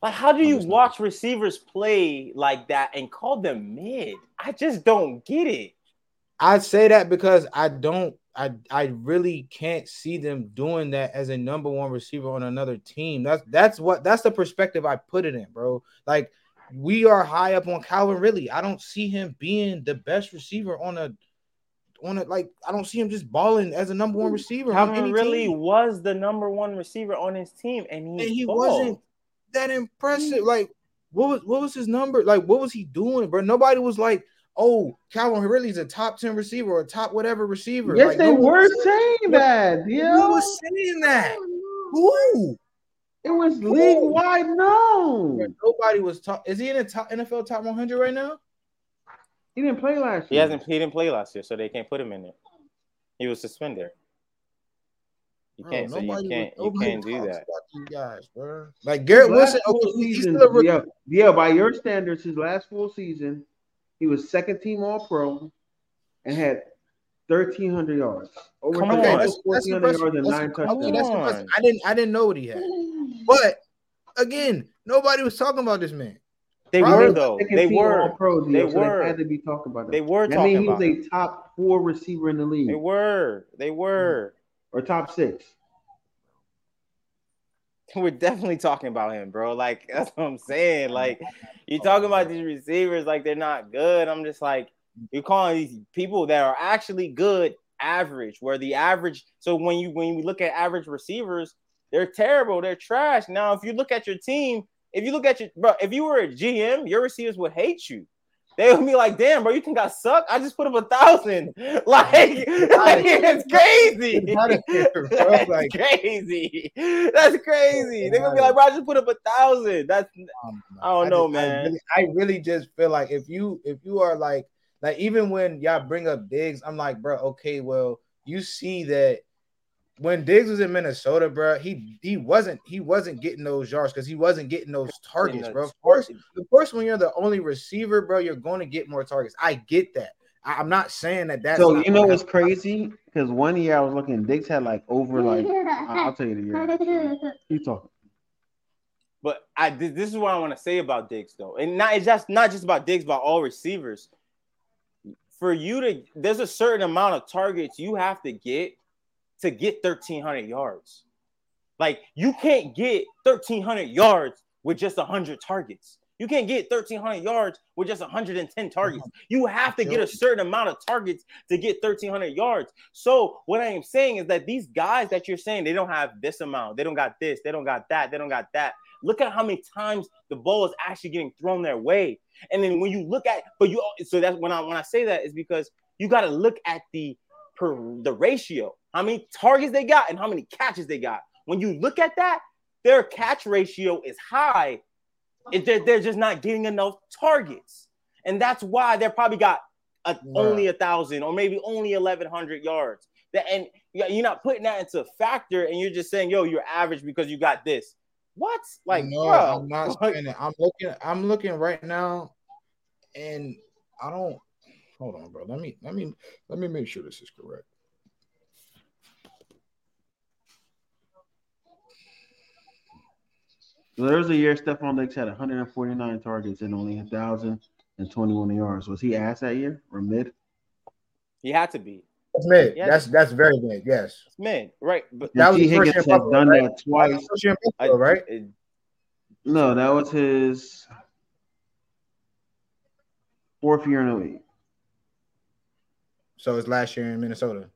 Speaker 1: Like, how do you
Speaker 4: Understand.
Speaker 1: watch receivers play like that and call them mid? I just don't get it.
Speaker 4: I say that because I don't I I really can't see them doing that as a number one receiver on another team. That's that's what that's the perspective I put it in, bro. Like we are high up on Calvin Ridley. I don't see him being the best receiver on a on a like I don't see him just balling as a number one receiver. on
Speaker 1: Calvin
Speaker 4: any
Speaker 1: really
Speaker 4: team.
Speaker 1: was the number one receiver on his team, and he,
Speaker 4: and he
Speaker 1: balled.
Speaker 4: wasn't that impressive. Like, what was what was his number? Like, what was he doing, bro? Nobody was like, "Oh, Calvin Ridley's a top ten receiver or a top whatever receiver."
Speaker 2: Yes,
Speaker 4: like,
Speaker 2: they
Speaker 4: no one
Speaker 2: were
Speaker 4: said-
Speaker 2: saying that.
Speaker 4: Who
Speaker 2: Yeah,
Speaker 4: was saying that? Who?
Speaker 2: it was league wide
Speaker 4: Bro,
Speaker 2: known.
Speaker 4: Nobody was top. Is he in the top NFL top one hundred right now?
Speaker 2: He didn't play last
Speaker 1: He
Speaker 2: year.
Speaker 1: hasn't. He didn't play last year, so they can't put him in there. He was suspended. You
Speaker 4: Bro,
Speaker 1: can't. so
Speaker 4: Oh, nobody
Speaker 1: you
Speaker 4: was-
Speaker 1: can't. You
Speaker 4: nobody
Speaker 1: can't do
Speaker 4: talks
Speaker 1: that.
Speaker 4: about these guys, bro. Like Garrett
Speaker 2: Last
Speaker 4: Wilson, okay,
Speaker 2: full
Speaker 4: he- he's
Speaker 2: season,
Speaker 4: still a rookie.
Speaker 2: yeah, yeah, by your standards, his last full season, he was second team All Pro, and had thirteen hundred yards. Over
Speaker 1: Come on,
Speaker 4: Okay,
Speaker 1: that's-
Speaker 4: that's, that's
Speaker 2: 1,400
Speaker 4: impressive.
Speaker 2: yards and
Speaker 4: That's-
Speaker 2: nine
Speaker 4: okay,
Speaker 2: touchdowns.
Speaker 4: that's
Speaker 1: Come
Speaker 4: impressive.
Speaker 1: on.
Speaker 4: I didn't I didn't know what he had. But again, nobody was talking about this man.
Speaker 1: They
Speaker 4: Robert
Speaker 1: were
Speaker 4: was
Speaker 1: though.
Speaker 2: Second
Speaker 1: They
Speaker 2: team
Speaker 1: were.
Speaker 2: All-Pro deal,
Speaker 1: They
Speaker 2: so
Speaker 1: were.
Speaker 2: They had to be talking about that.
Speaker 1: They were
Speaker 2: That
Speaker 1: talking
Speaker 2: mean, he was
Speaker 1: about
Speaker 2: a top four receiver in the league,
Speaker 1: They were. They were.
Speaker 2: or top six.
Speaker 1: We're definitely talking about him, bro. Like that's what I'm saying. Like you're talking about these receivers, like they're not good. I'm just like you're calling these people that are actually good average, where the average. So when you when you look at average receivers, they're terrible. They're trash. Now if you look at your team, if you look at your bro, if you were a GM, your receivers would hate you. They would be like, "Damn, bro, you think I suck? I just put up a thousand. Like, like it's crazy.
Speaker 4: Get outta here, bro.
Speaker 1: That's
Speaker 4: Like-
Speaker 1: crazy. That's crazy. They're gonna be like, bro, I just put up a thousand. That's
Speaker 4: Oh
Speaker 1: I don't know,
Speaker 4: just-
Speaker 1: man.
Speaker 4: really- I really, just feel like if you if you are like like even when y'all bring up Diggs, I'm like, bro, okay, well, you see that when Diggs was in Minnesota, bro, he he wasn't he wasn't getting those yards because he wasn't getting those targets, bro. Of course, of course, when you're the only receiver, bro, you're going to get more targets. I get that. I, I'm not saying that that's
Speaker 2: so
Speaker 4: not
Speaker 2: you know
Speaker 4: gonna
Speaker 2: what's crazy? Because one year I was looking, Diggs had like over like I- I'll tell you the year. You talking?
Speaker 1: But I thi- this is what I want to say about Diggs though, and not it's just not just about Diggs, but all receivers. For you to, there's a certain amount of targets you have to get to get 1,300 yards. Like you can't get 1,300 yards with just 100 targets. You can't get 1,300 yards with just 110 targets. You have to get a certain amount of targets to get 1,300 yards. So what I am saying is that these guys that you're saying they don't have this amount, they don't got this, they don't got that, they don't got that. Look at how many times the ball is actually getting thrown their way. And then when you look at, but you so that's when I when I say that is because you got to look at the per the ratio, how many targets they got and how many catches they got. When you look at that, their catch ratio is high. If they're, they're just not getting enough targets, and that's why they're probably got a,
Speaker 4: Right.
Speaker 1: only a thousand or maybe only eleven hundred yards. That and you- you're not putting that into factor, and you're just saying, "Yo, you're average because you got this." What? Like,
Speaker 4: no,
Speaker 1: bro,
Speaker 4: I'm not
Speaker 1: like,
Speaker 4: saying it. I'm looking. I'm looking right now, and I don't. Hold on, bro. Let me let me let me make sure this is correct.
Speaker 2: So there was a year Stephon Diggs had 149 targets and only 1,021 yards. Was he ass that year or mid?
Speaker 1: he had to be.
Speaker 4: That's mid.
Speaker 1: Yeah.
Speaker 4: That's that's very mid. Yes.
Speaker 1: It's mid, right? But
Speaker 4: That was
Speaker 2: T.
Speaker 4: the first
Speaker 2: Higgins
Speaker 4: year
Speaker 2: had
Speaker 4: Buffalo,
Speaker 2: done
Speaker 4: right?
Speaker 2: that twice.
Speaker 4: First year in
Speaker 1: I-
Speaker 4: Buffalo, right?
Speaker 1: it-
Speaker 2: No, that was his fourth year in the league.
Speaker 4: So it's last year in Minnesota.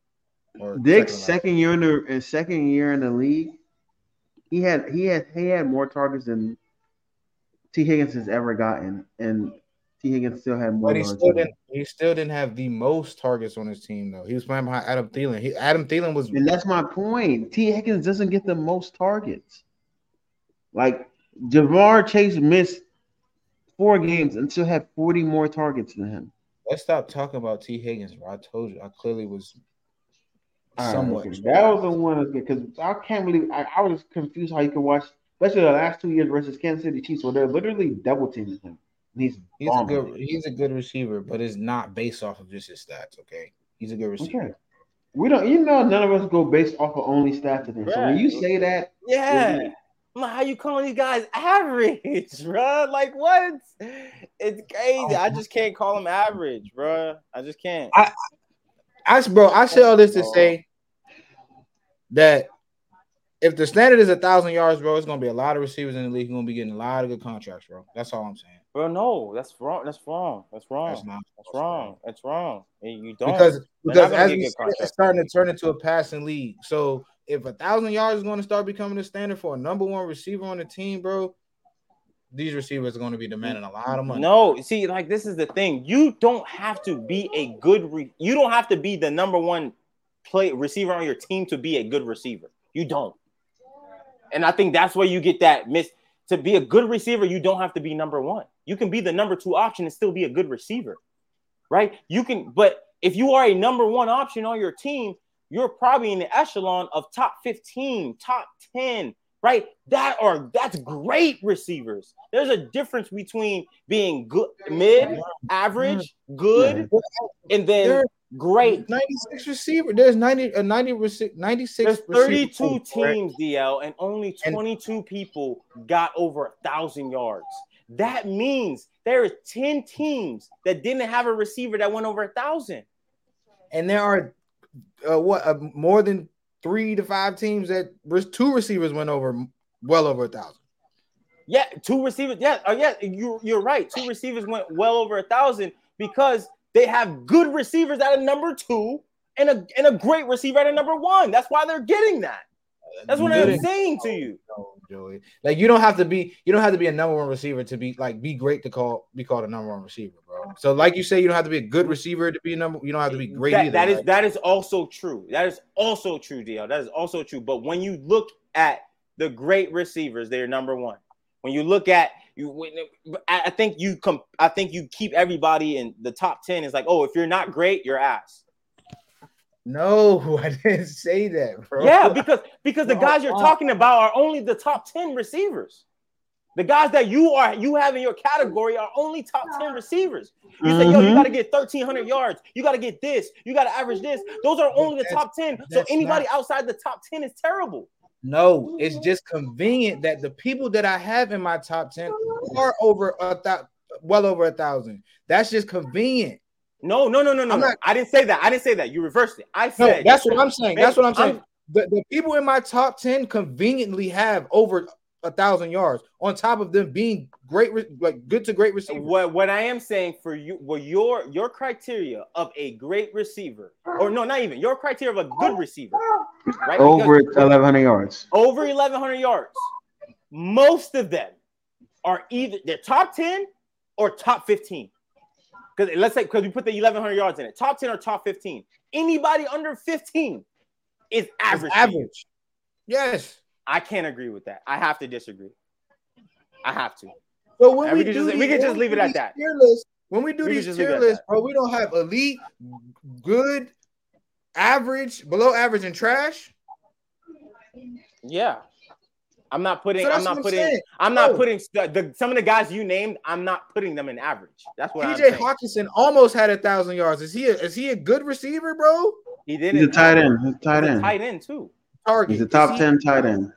Speaker 4: Or
Speaker 2: Diggs
Speaker 4: last.
Speaker 2: second year in the his second year in the league, he had he had he had more targets than T. Higgins has ever gotten, and T. Higgins still had more
Speaker 4: But he
Speaker 2: yards.
Speaker 4: still
Speaker 2: than him.
Speaker 4: didn't. He still didn't have the most targets on his team, though. He was playing behind Adam Thielen. He, Adam Thielen was
Speaker 2: And that's my point. T. Higgins doesn't get the most targets. Like Jamar Chase missed four games and still had 40 more targets than him.
Speaker 4: Let's stop talking about T. Higgins, bro. I told you, I clearly was
Speaker 2: All right,
Speaker 4: somewhat.
Speaker 2: okay. That was the one that's good because I can't believe I, I was confused how you could watch, especially the last two years versus Kansas City Chiefs, where they're literally double teaming him. And he's
Speaker 4: he's a
Speaker 2: bombing.
Speaker 4: good. He's a good receiver, but it's not based off of just his stats. Okay, he's a good receiver.
Speaker 2: Okay. We don't, you know, none of us go based off of only stats in here. So when you
Speaker 1: Right.
Speaker 2: say that,
Speaker 1: yeah.
Speaker 2: Mhm.
Speaker 1: I'm like, how you calling these guys average, bro? Like, what? It's crazy. I just can't call them average, bro. I just can't.
Speaker 4: I, s- bro, I say all this to say that if the standard is a thousand yards, bro, it's gonna be a lot of receivers in the league. who gonna be getting a lot of good contracts, bro. That's all I'm saying.
Speaker 1: Bro, no, that's wrong. That's wrong. That's wrong.
Speaker 4: That's
Speaker 1: That's,
Speaker 4: not
Speaker 1: wrong. That's wrong. And you don't.
Speaker 4: because
Speaker 1: They're
Speaker 4: because
Speaker 1: not gonna
Speaker 4: as
Speaker 1: get good
Speaker 4: we said, it's
Speaker 1: contracts.
Speaker 4: starting to turn into a passing league. So if a thousand yards is going to start becoming the standard for a number one receiver on the team, bro, these receivers are going to be demanding a lot of money.
Speaker 1: No, see, like this is the thing. You don't have to be a good. Re- you don't have to be the number one play receiver on your team to be a good receiver. You don't. And I think that's where you get that miss. To be a good receiver, you don't have to be number one. You can be the number two option and still be a good receiver, right? You can, but if you are a number one option on your team, you're probably in the echelon of top 15, top 10, right? That are that's great receivers. There's a difference between being good, mid, average, good, and then great.
Speaker 4: ninety-six receiver. There's ninety a ninety rece- ninety-six.
Speaker 1: There's 32
Speaker 4: receiver, bro.
Speaker 1: teams, DL, and only
Speaker 4: And-
Speaker 1: 22 people got over a thousand yards. That means there is 10 teams that didn't have a receiver that went over a thousand.
Speaker 4: and there are uh, what uh, more than three to five teams that re- two receivers went over well over a thousand.
Speaker 1: Yeah, two receivers. Yeah, oh yeah, you you're right. Two receivers went well over a thousand because they have good receivers at a number two and a and a great receiver at a number one. That's why they're getting that. That's what I'm
Speaker 4: Literally.
Speaker 1: saying to you.
Speaker 4: No, Joey. Like you don't have to be you don't have to be a number one receiver to be like be great to call be called a number one receiver, bro. So like you say, you don't have to be a good receiver to be a number. You don't have to be great
Speaker 1: That-
Speaker 4: either.
Speaker 1: that is
Speaker 4: like,
Speaker 1: that is also true. That is also true, DL. That is also true. But when you look at the great receivers, they're number one. When you look at you, when, I I think you com- I think you keep everybody in the top ten. It's like, oh, if you're not great, you're ass.
Speaker 4: no, I didn't say that, bro.
Speaker 1: Yeah, because because the
Speaker 4: Bro,
Speaker 1: guys you're
Speaker 4: uh,
Speaker 1: talking about are only the top ten receivers. The guys that you are you have in your category are only top ten receivers. You say, yo,
Speaker 4: Mm-hmm.
Speaker 1: you
Speaker 2: Mhm.
Speaker 1: got to get 1,300 yards. You got to get this. You got to average this. Those are only the
Speaker 4: that's-
Speaker 1: top 10. So
Speaker 4: that's
Speaker 1: anybody outside the top 10 is terrible.
Speaker 4: no, it's just convenient that the people that I have in my top ten are over a thousand, well over a thousand. That's just convenient.
Speaker 1: No, no, no, no, no.
Speaker 4: I'm
Speaker 1: no.
Speaker 4: not-
Speaker 1: I didn't say that. I didn't say that. You reversed it. I
Speaker 4: No,
Speaker 1: said
Speaker 4: that's what I'm saying. That's what I'm saying.
Speaker 1: I'm-
Speaker 4: the, the people in my top 10 conveniently have over a thousand yards on top of them being great, re- like good to great receivers.
Speaker 1: What what I am saying for you, well, your your criteria of a great receiver, or no, not even your criteria of a good receiver, right?
Speaker 2: Over
Speaker 1: Because
Speaker 2: 1,100 yards.
Speaker 1: over 1100 yards. Most of them are either they're top 10 or top 15. Because let's say because we put the 1100 yards in it, top 10 or top 15. Anybody under 15 is
Speaker 4: It's
Speaker 1: average. to you.
Speaker 4: average. Yes.
Speaker 1: I can't agree with that. I have to disagree. I have to.
Speaker 4: So when
Speaker 1: And
Speaker 4: we,
Speaker 1: we could
Speaker 4: do
Speaker 1: just- we
Speaker 4: these-
Speaker 1: could just
Speaker 4: when
Speaker 1: leave it
Speaker 4: do
Speaker 1: at
Speaker 4: these
Speaker 1: that.
Speaker 4: Tier lists, when we do
Speaker 1: We could
Speaker 4: these
Speaker 1: just leave it
Speaker 4: tier
Speaker 1: at
Speaker 4: lists,
Speaker 1: that.
Speaker 4: bro, we don't have elite, good, average, below average, and trash.
Speaker 1: Yeah. I'm not putting.
Speaker 4: So that's
Speaker 1: I'm not
Speaker 4: what I'm
Speaker 1: putting.
Speaker 4: saying. Oh.
Speaker 1: I'm not
Speaker 4: Bro.
Speaker 1: putting the, the some of the guys you named. I'm not putting them in average. That's what I'm
Speaker 4: TJ
Speaker 1: saying.
Speaker 4: Hawkinson almost had a thousand yards. Is he a, is he a good receiver, bro?
Speaker 1: he didn't.
Speaker 2: He's a tight end. He's a tight
Speaker 1: He's a
Speaker 2: end.
Speaker 1: tight end too.
Speaker 4: Target.
Speaker 2: He's a
Speaker 4: Is
Speaker 2: top
Speaker 4: he-
Speaker 2: 10 tight end.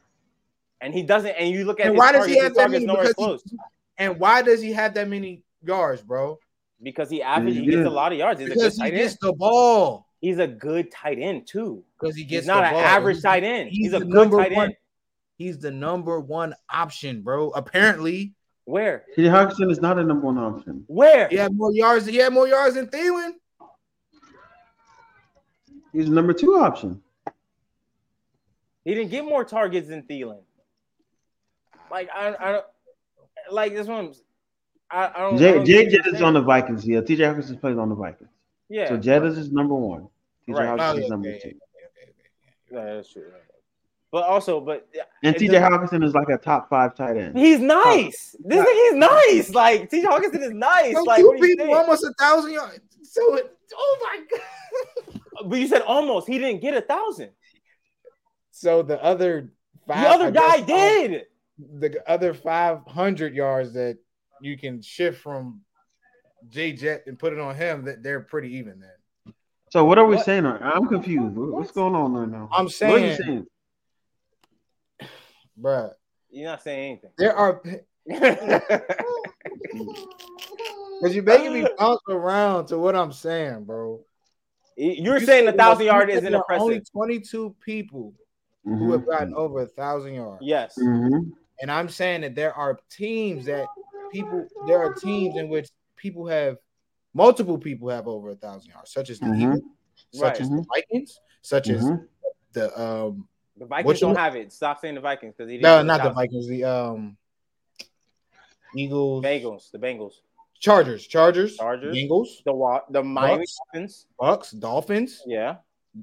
Speaker 1: And he doesn't. And you look at
Speaker 4: And
Speaker 1: his
Speaker 4: why does
Speaker 1: targets.
Speaker 4: he
Speaker 1: his
Speaker 4: have that
Speaker 1: targets
Speaker 4: many?
Speaker 1: nowhere
Speaker 4: Because he-
Speaker 1: close
Speaker 4: And why does he have that many yards, bro?
Speaker 1: because he averages.
Speaker 2: he
Speaker 1: He gets a
Speaker 2: did.
Speaker 1: lot of yards. He's a good
Speaker 4: Because he
Speaker 1: tight
Speaker 4: gets
Speaker 1: end.
Speaker 4: the ball.
Speaker 1: He's a good tight end too.
Speaker 4: Because he gets
Speaker 1: He's not
Speaker 4: the
Speaker 1: an
Speaker 4: ball.
Speaker 1: average
Speaker 4: He's-
Speaker 1: tight end. He's,
Speaker 4: he's
Speaker 1: a
Speaker 4: the
Speaker 1: good
Speaker 4: number
Speaker 1: tight
Speaker 4: one.
Speaker 1: end.
Speaker 4: He's the number one option, bro. Apparently,
Speaker 1: Where?
Speaker 2: TJ Hawkinson is not a number one option.
Speaker 1: Where?
Speaker 4: he had more yards. He had more yards than Thielen.
Speaker 2: He's a number two option.
Speaker 1: He didn't get more targets than Thielen. Like I, I don't like this one. I, I don't. I
Speaker 2: Jay,
Speaker 1: don't get
Speaker 2: Jay
Speaker 1: what
Speaker 2: Jettis
Speaker 1: you're
Speaker 2: is
Speaker 1: saying.
Speaker 2: on the Vikings. Yeah, TJ Hawkinson plays on the Vikings.
Speaker 1: Yeah.
Speaker 2: So Jettis is number one. TJ
Speaker 1: Right.
Speaker 2: Hawkinson is
Speaker 4: Oh,
Speaker 2: number
Speaker 4: yeah,
Speaker 2: two.
Speaker 1: Yeah, that's true. right. But also, but
Speaker 2: And
Speaker 1: It
Speaker 2: TJ
Speaker 1: doesn't-
Speaker 2: Hawkinson is like a top five tight end.
Speaker 1: he's nice. This nigga, he's nice. Like T.J. Hawkinson is nice.
Speaker 4: Bro,
Speaker 1: Like
Speaker 4: two
Speaker 1: what do you
Speaker 4: people
Speaker 1: think?
Speaker 4: almost a thousand yards. So, it, oh my god.
Speaker 1: But you said almost. He didn't get a thousand.
Speaker 4: So the other
Speaker 1: The
Speaker 4: five, I
Speaker 1: other guy
Speaker 4: guess, um,
Speaker 1: did.
Speaker 4: the other five hundred yards that you can shift from J Jet and put it on him. That they're pretty even. Then
Speaker 2: So what are we
Speaker 1: What?
Speaker 2: saying? right- I'm confused. What- What's going on right now?
Speaker 4: I'm
Speaker 2: What are you
Speaker 4: saying,
Speaker 2: saying?
Speaker 4: bruh,
Speaker 1: You're not saying
Speaker 4: there are.
Speaker 1: anything.
Speaker 4: Cause you're making me bounce around to what I'm saying, bro.
Speaker 1: You're
Speaker 4: You
Speaker 1: saying a
Speaker 4: said
Speaker 1: thousand
Speaker 4: there-
Speaker 1: yard
Speaker 4: you said
Speaker 1: isn't
Speaker 4: there are Only
Speaker 1: impressive.
Speaker 4: 22 people who have gotten
Speaker 2: Mhm.
Speaker 4: over a thousand yards.
Speaker 1: Yes.
Speaker 2: Mhm.
Speaker 4: And I'm saying that there are teams that people there are teams in which people have multiple people have over a thousand yards, such as the
Speaker 2: Mhm.
Speaker 4: Eagles, such
Speaker 1: Mm-hmm. Right. Mm-hmm.
Speaker 4: as the Vikings, such as
Speaker 2: Mhm.
Speaker 4: the um
Speaker 1: The
Speaker 4: What
Speaker 1: Vikings
Speaker 4: you-
Speaker 1: don't have it. Stop saying the Vikings because he didn't.
Speaker 4: no,
Speaker 1: get a
Speaker 4: not the
Speaker 1: thousand.
Speaker 4: Vikings, the um Eagles,
Speaker 1: Bengals. The Bengals.
Speaker 4: Chargers, Chargers,
Speaker 1: Chargers.
Speaker 4: Bengals,
Speaker 1: The Wa- the Miami
Speaker 4: Bucks.
Speaker 1: Dolphins.
Speaker 4: Bucks, Dolphins.
Speaker 1: Yeah.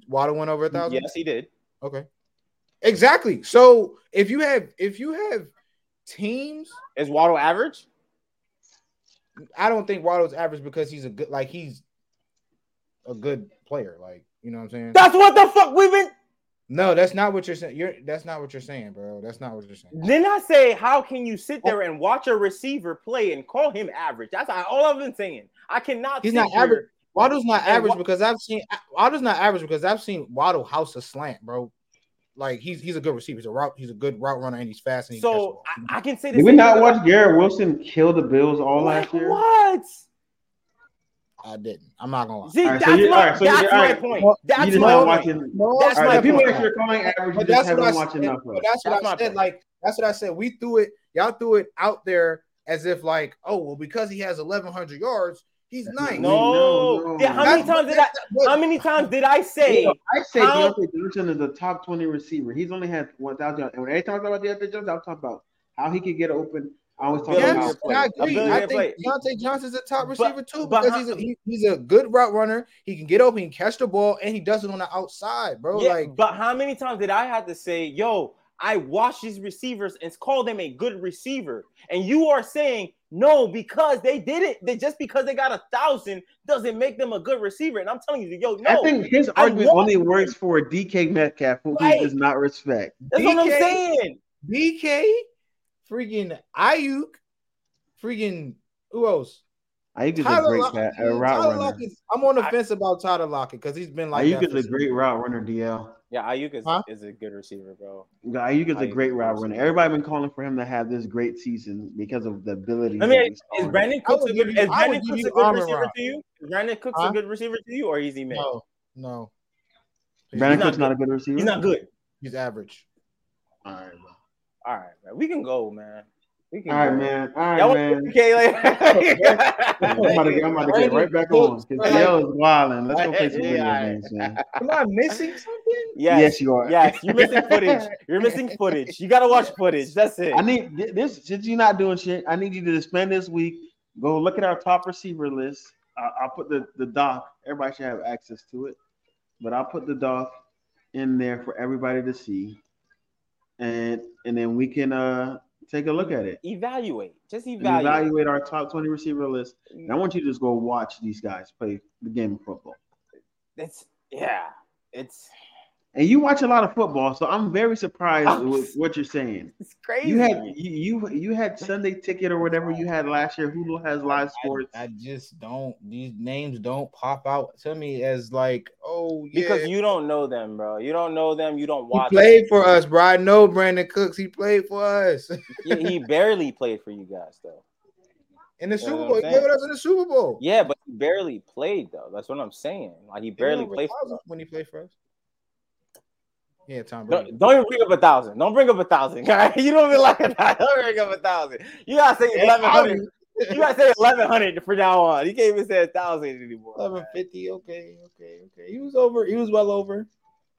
Speaker 4: Waddle went over a thousand.
Speaker 1: Yes, he did.
Speaker 4: Okay. Exactly. So if you have if you have teams,
Speaker 1: Is Waddle average?
Speaker 4: I don't think Waddle's average because he's a good like he's a good player. Like you know what I'm saying?
Speaker 1: That's what the fuck we've been.
Speaker 4: no, that's not what you're saying. You're that's not what you're saying, bro. That's not what you're saying.
Speaker 1: Then I say, how can you sit there and watch a receiver play and call him average? That's all I've been saying. I cannot.
Speaker 4: He's
Speaker 1: sit
Speaker 4: not
Speaker 1: here-
Speaker 4: average. Waddle's not
Speaker 1: And
Speaker 4: average
Speaker 1: Wa-
Speaker 4: because I've seen Waddle's not average because I've seen Waddle house a slant, bro. Like he's he's a good receiver. He's a route. He's a good route runner, and he's fast. And he catches the
Speaker 1: So
Speaker 4: ball.
Speaker 1: I, I can say this.
Speaker 2: Did we not watch Garrett Wilson kill the Bills all
Speaker 1: Like,
Speaker 2: last year?
Speaker 1: What?
Speaker 4: I didn't. I'm not gonna lie.
Speaker 1: See,
Speaker 2: All right, so
Speaker 1: that's
Speaker 2: you- all
Speaker 1: my,
Speaker 2: right, so you-
Speaker 1: that's
Speaker 2: all
Speaker 1: my
Speaker 2: right.
Speaker 1: point.
Speaker 4: Well,
Speaker 1: that's
Speaker 2: you did
Speaker 1: my
Speaker 2: not
Speaker 1: point.
Speaker 2: watch it.
Speaker 4: No,
Speaker 1: That's
Speaker 2: All
Speaker 1: my
Speaker 2: right, the people
Speaker 1: point.
Speaker 2: that you're calling average, you
Speaker 4: But
Speaker 2: just
Speaker 4: that's what I
Speaker 2: haven't
Speaker 4: said.
Speaker 2: watched enough of.
Speaker 4: But that's what
Speaker 1: That's
Speaker 4: I
Speaker 1: my
Speaker 4: said.
Speaker 1: point.
Speaker 4: Like that's what I said. We threw it. Y'all threw it out there as if like, oh well, because he has 1100 yards, he's nice.
Speaker 1: No.
Speaker 2: No, no.
Speaker 1: Yeah, how many
Speaker 4: That's-
Speaker 1: times did I?
Speaker 4: what-
Speaker 1: How many times did I say?
Speaker 2: Yeah, I say
Speaker 1: how-
Speaker 2: Deontay Johnson is a top 20 receiver. He's only had 1,000. yards. And when every time I talk about Deontay Johnson, I'll talk about how he could get open. I always talk
Speaker 1: Billion
Speaker 4: Yes,
Speaker 2: about
Speaker 4: and I
Speaker 1: player.
Speaker 4: agree.
Speaker 1: A
Speaker 4: I
Speaker 1: billionaire
Speaker 4: think
Speaker 1: player.
Speaker 4: Deontay Johnson's a top
Speaker 1: But-
Speaker 4: receiver too
Speaker 1: but
Speaker 4: because
Speaker 1: how-
Speaker 4: he's a he- he's a good route runner. He can get open, he can catch the ball, and he does it on the outside, bro.
Speaker 1: yeah,
Speaker 4: Like
Speaker 1: but how many times did I have to say, "Yo, I watch these receivers and call them a good receiver," and you are saying no because they did it. That just because they got a thousand doesn't make them a good receiver. And I'm telling you, yo, no.
Speaker 2: I think his
Speaker 1: I
Speaker 2: argument
Speaker 1: want-
Speaker 2: only works for DK Metcalf, who
Speaker 1: Right.
Speaker 2: he does not respect.
Speaker 1: That's what I'm
Speaker 4: DK
Speaker 1: saying.
Speaker 4: BK, freaking Ayuk, freaking who else?
Speaker 2: Ayuk is a
Speaker 4: Tyler
Speaker 2: great
Speaker 4: Lockett.
Speaker 2: cat, a route
Speaker 4: Tyler
Speaker 2: runner.
Speaker 4: Lockett- I'm on the fence about Tyler Lockett because he's been like
Speaker 2: Ayuk
Speaker 4: that
Speaker 2: is
Speaker 4: for
Speaker 2: a great route runner, DL.
Speaker 1: Yeah, Ayuk is,
Speaker 4: Huh?
Speaker 1: is a good receiver, bro.
Speaker 2: Ayuk is a
Speaker 1: Ayuk is
Speaker 2: great
Speaker 1: a great
Speaker 2: route runner.
Speaker 1: receiver.
Speaker 2: Everybody been calling for him to have this great season because of the ability.
Speaker 1: I
Speaker 2: that
Speaker 1: mean,
Speaker 2: we saw.
Speaker 1: is Brandon
Speaker 4: I would
Speaker 1: Cooks a
Speaker 4: give
Speaker 1: good,
Speaker 4: you-
Speaker 1: is
Speaker 4: I
Speaker 1: Brandon
Speaker 4: would give
Speaker 1: Cooks
Speaker 4: you
Speaker 1: a good
Speaker 4: Amon
Speaker 1: receiver
Speaker 4: Ra.
Speaker 1: to you? Is Brandon Cooks
Speaker 4: Huh?
Speaker 1: a good receiver to you, or is he mid?
Speaker 4: No, no.
Speaker 2: Brandon
Speaker 1: not
Speaker 2: Cook's not a good receiver.
Speaker 1: He's not good.
Speaker 4: He's average.
Speaker 2: All right, bro.
Speaker 1: All right, man. We can go, man. We can
Speaker 2: All right,
Speaker 1: go.
Speaker 2: man. All
Speaker 1: Y'all
Speaker 2: right,
Speaker 1: want
Speaker 2: man.
Speaker 1: PK
Speaker 2: I'm about, to
Speaker 1: later?
Speaker 2: get, I'm about to get right back on. Because yo is wilding. Let's go play some
Speaker 1: Yeah,
Speaker 2: video
Speaker 1: all right.
Speaker 2: games, man.
Speaker 5: Am I missing something?
Speaker 1: yes,
Speaker 2: Yes, you are.
Speaker 1: yes. You're missing footage. You're missing footage. You gotta watch footage. That's it.
Speaker 2: I need th- this since you're not doing shit. I need you to spend this week. Go look at our top receiver list. I, I'll put the the doc. Everybody should have access to it, but I'll put the doc in there for everybody to see, and and then we can uh take a look at it
Speaker 1: Evaluate. Just
Speaker 2: and
Speaker 1: evaluate.
Speaker 2: evaluate our top twenty receiver list. And I want you to just go watch these guys play the game of football.
Speaker 1: It's yeah. It's
Speaker 2: And you watch a lot of football, so I'm very surprised with what you're saying.
Speaker 1: Oh, it's crazy.
Speaker 2: You had you you, you had Sunday ticket or whatever you had last year. Hulu has live
Speaker 4: I,
Speaker 2: sports.
Speaker 4: I just don't. These names don't pop out to me as like, oh yeah.
Speaker 1: because you don't know them, bro. You don't know them. You don't
Speaker 4: he
Speaker 1: watch.
Speaker 4: played for us, bro. I know Brandon Cooks. He played for us
Speaker 1: them. He, he barely played for you guys though.
Speaker 4: in the
Speaker 1: You know
Speaker 4: Super
Speaker 1: what
Speaker 4: Bowl.
Speaker 1: I'm
Speaker 4: He played
Speaker 1: saying?
Speaker 4: with us in the Super Bowl.
Speaker 1: Yeah, but he barely played though. That's what I'm saying. Like he
Speaker 4: He went
Speaker 1: barely
Speaker 4: over
Speaker 1: played. For
Speaker 4: 1,000 when he played for us. Yeah, Tom Brady.
Speaker 1: Don't, don't even bring up a thousand. Don't bring up a thousand. all right? You don't even like a thousand. Don't bring up a thousand. You gotta say eleven hundred. You gotta say eleven hundred from now on. You can't even say a thousand anymore.
Speaker 4: Eleven fifty. Okay, okay, okay. He was over. He was well over.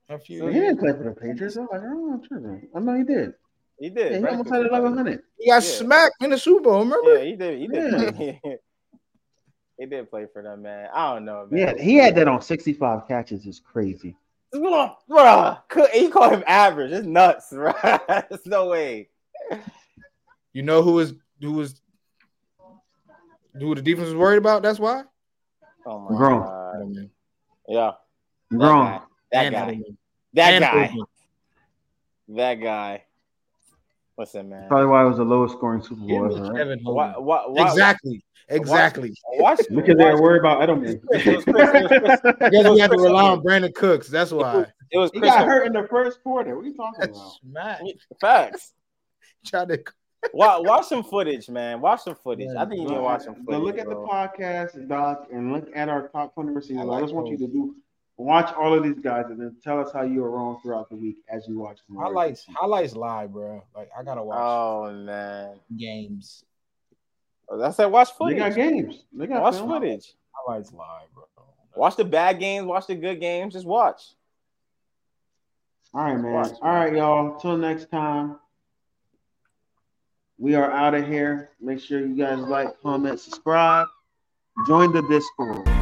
Speaker 4: A few.
Speaker 2: He
Speaker 4: years.
Speaker 2: didn't play for the Patriots. I'm like, oh, I'm tripping. I know he did.
Speaker 1: He
Speaker 2: Yeah,
Speaker 1: did.
Speaker 2: he
Speaker 1: right?
Speaker 2: almost had 1100.
Speaker 4: He got
Speaker 1: Yeah.
Speaker 4: smacked in the Super Bowl. Remember?
Speaker 1: Yeah, he did. He did. he did play for them, man. I don't know, man.
Speaker 2: Yeah, he had that on 65 catches. Is crazy.
Speaker 1: Bruh, could- you call him average? It's nuts, bro. There's no way.
Speaker 4: You know who was who was who the defense was worried about? That's why.
Speaker 1: Oh my
Speaker 2: Grown.
Speaker 1: god.
Speaker 4: Oh, man.
Speaker 1: Yeah,
Speaker 2: Wrong.
Speaker 1: that
Speaker 4: And
Speaker 1: guy.
Speaker 4: Edelman.
Speaker 1: That
Speaker 4: And
Speaker 1: guy.
Speaker 4: Edelman.
Speaker 1: That guy. Listen, man.
Speaker 2: Probably why it was the lowest scoring Super
Speaker 4: Give
Speaker 2: Bowl
Speaker 4: me
Speaker 2: ever. Right?
Speaker 4: Kevin Hogan.
Speaker 1: Why, why, why,
Speaker 4: Exactly. Exactly.
Speaker 1: Watch, watch,
Speaker 2: Because they were worried about
Speaker 1: It
Speaker 2: Edelman.
Speaker 1: was Chris. It was Chris. It was Chris.
Speaker 4: Because we had to
Speaker 1: Chris
Speaker 4: rely on
Speaker 1: Hogan.
Speaker 4: Brandon Cooks. That's why.
Speaker 1: It was
Speaker 2: he
Speaker 1: Chris
Speaker 2: got
Speaker 1: Hogan.
Speaker 2: hurt in the first quarter. What are you talking about?
Speaker 4: Smack.
Speaker 1: Facts.
Speaker 4: Try to
Speaker 1: Watch, watch some footage, man. Watch some footage. I think you need to watch some footage.
Speaker 2: But look at the
Speaker 1: bro.
Speaker 2: podcast doc and look at our top 20 receivers.
Speaker 4: I
Speaker 2: I,
Speaker 4: like
Speaker 2: just want you to
Speaker 4: those.
Speaker 2: do watch all of these guys and then tell us how you were wrong throughout the week as you watch them.
Speaker 4: highlights. Highlights live, bro. Like I gotta watch
Speaker 1: Oh man,
Speaker 4: games.
Speaker 1: I said watch
Speaker 2: They
Speaker 1: footage.
Speaker 2: got
Speaker 1: Oh,
Speaker 2: games. They got
Speaker 1: Watch
Speaker 2: film.
Speaker 1: footage.
Speaker 4: Highlights live, bro.
Speaker 1: Watch the bad games. Watch the good games. Just watch.
Speaker 2: All right, man.
Speaker 1: Watch.
Speaker 2: All right, y'all. Till next time. We are out of here. Make sure you guys like, comment, subscribe, join the Discord.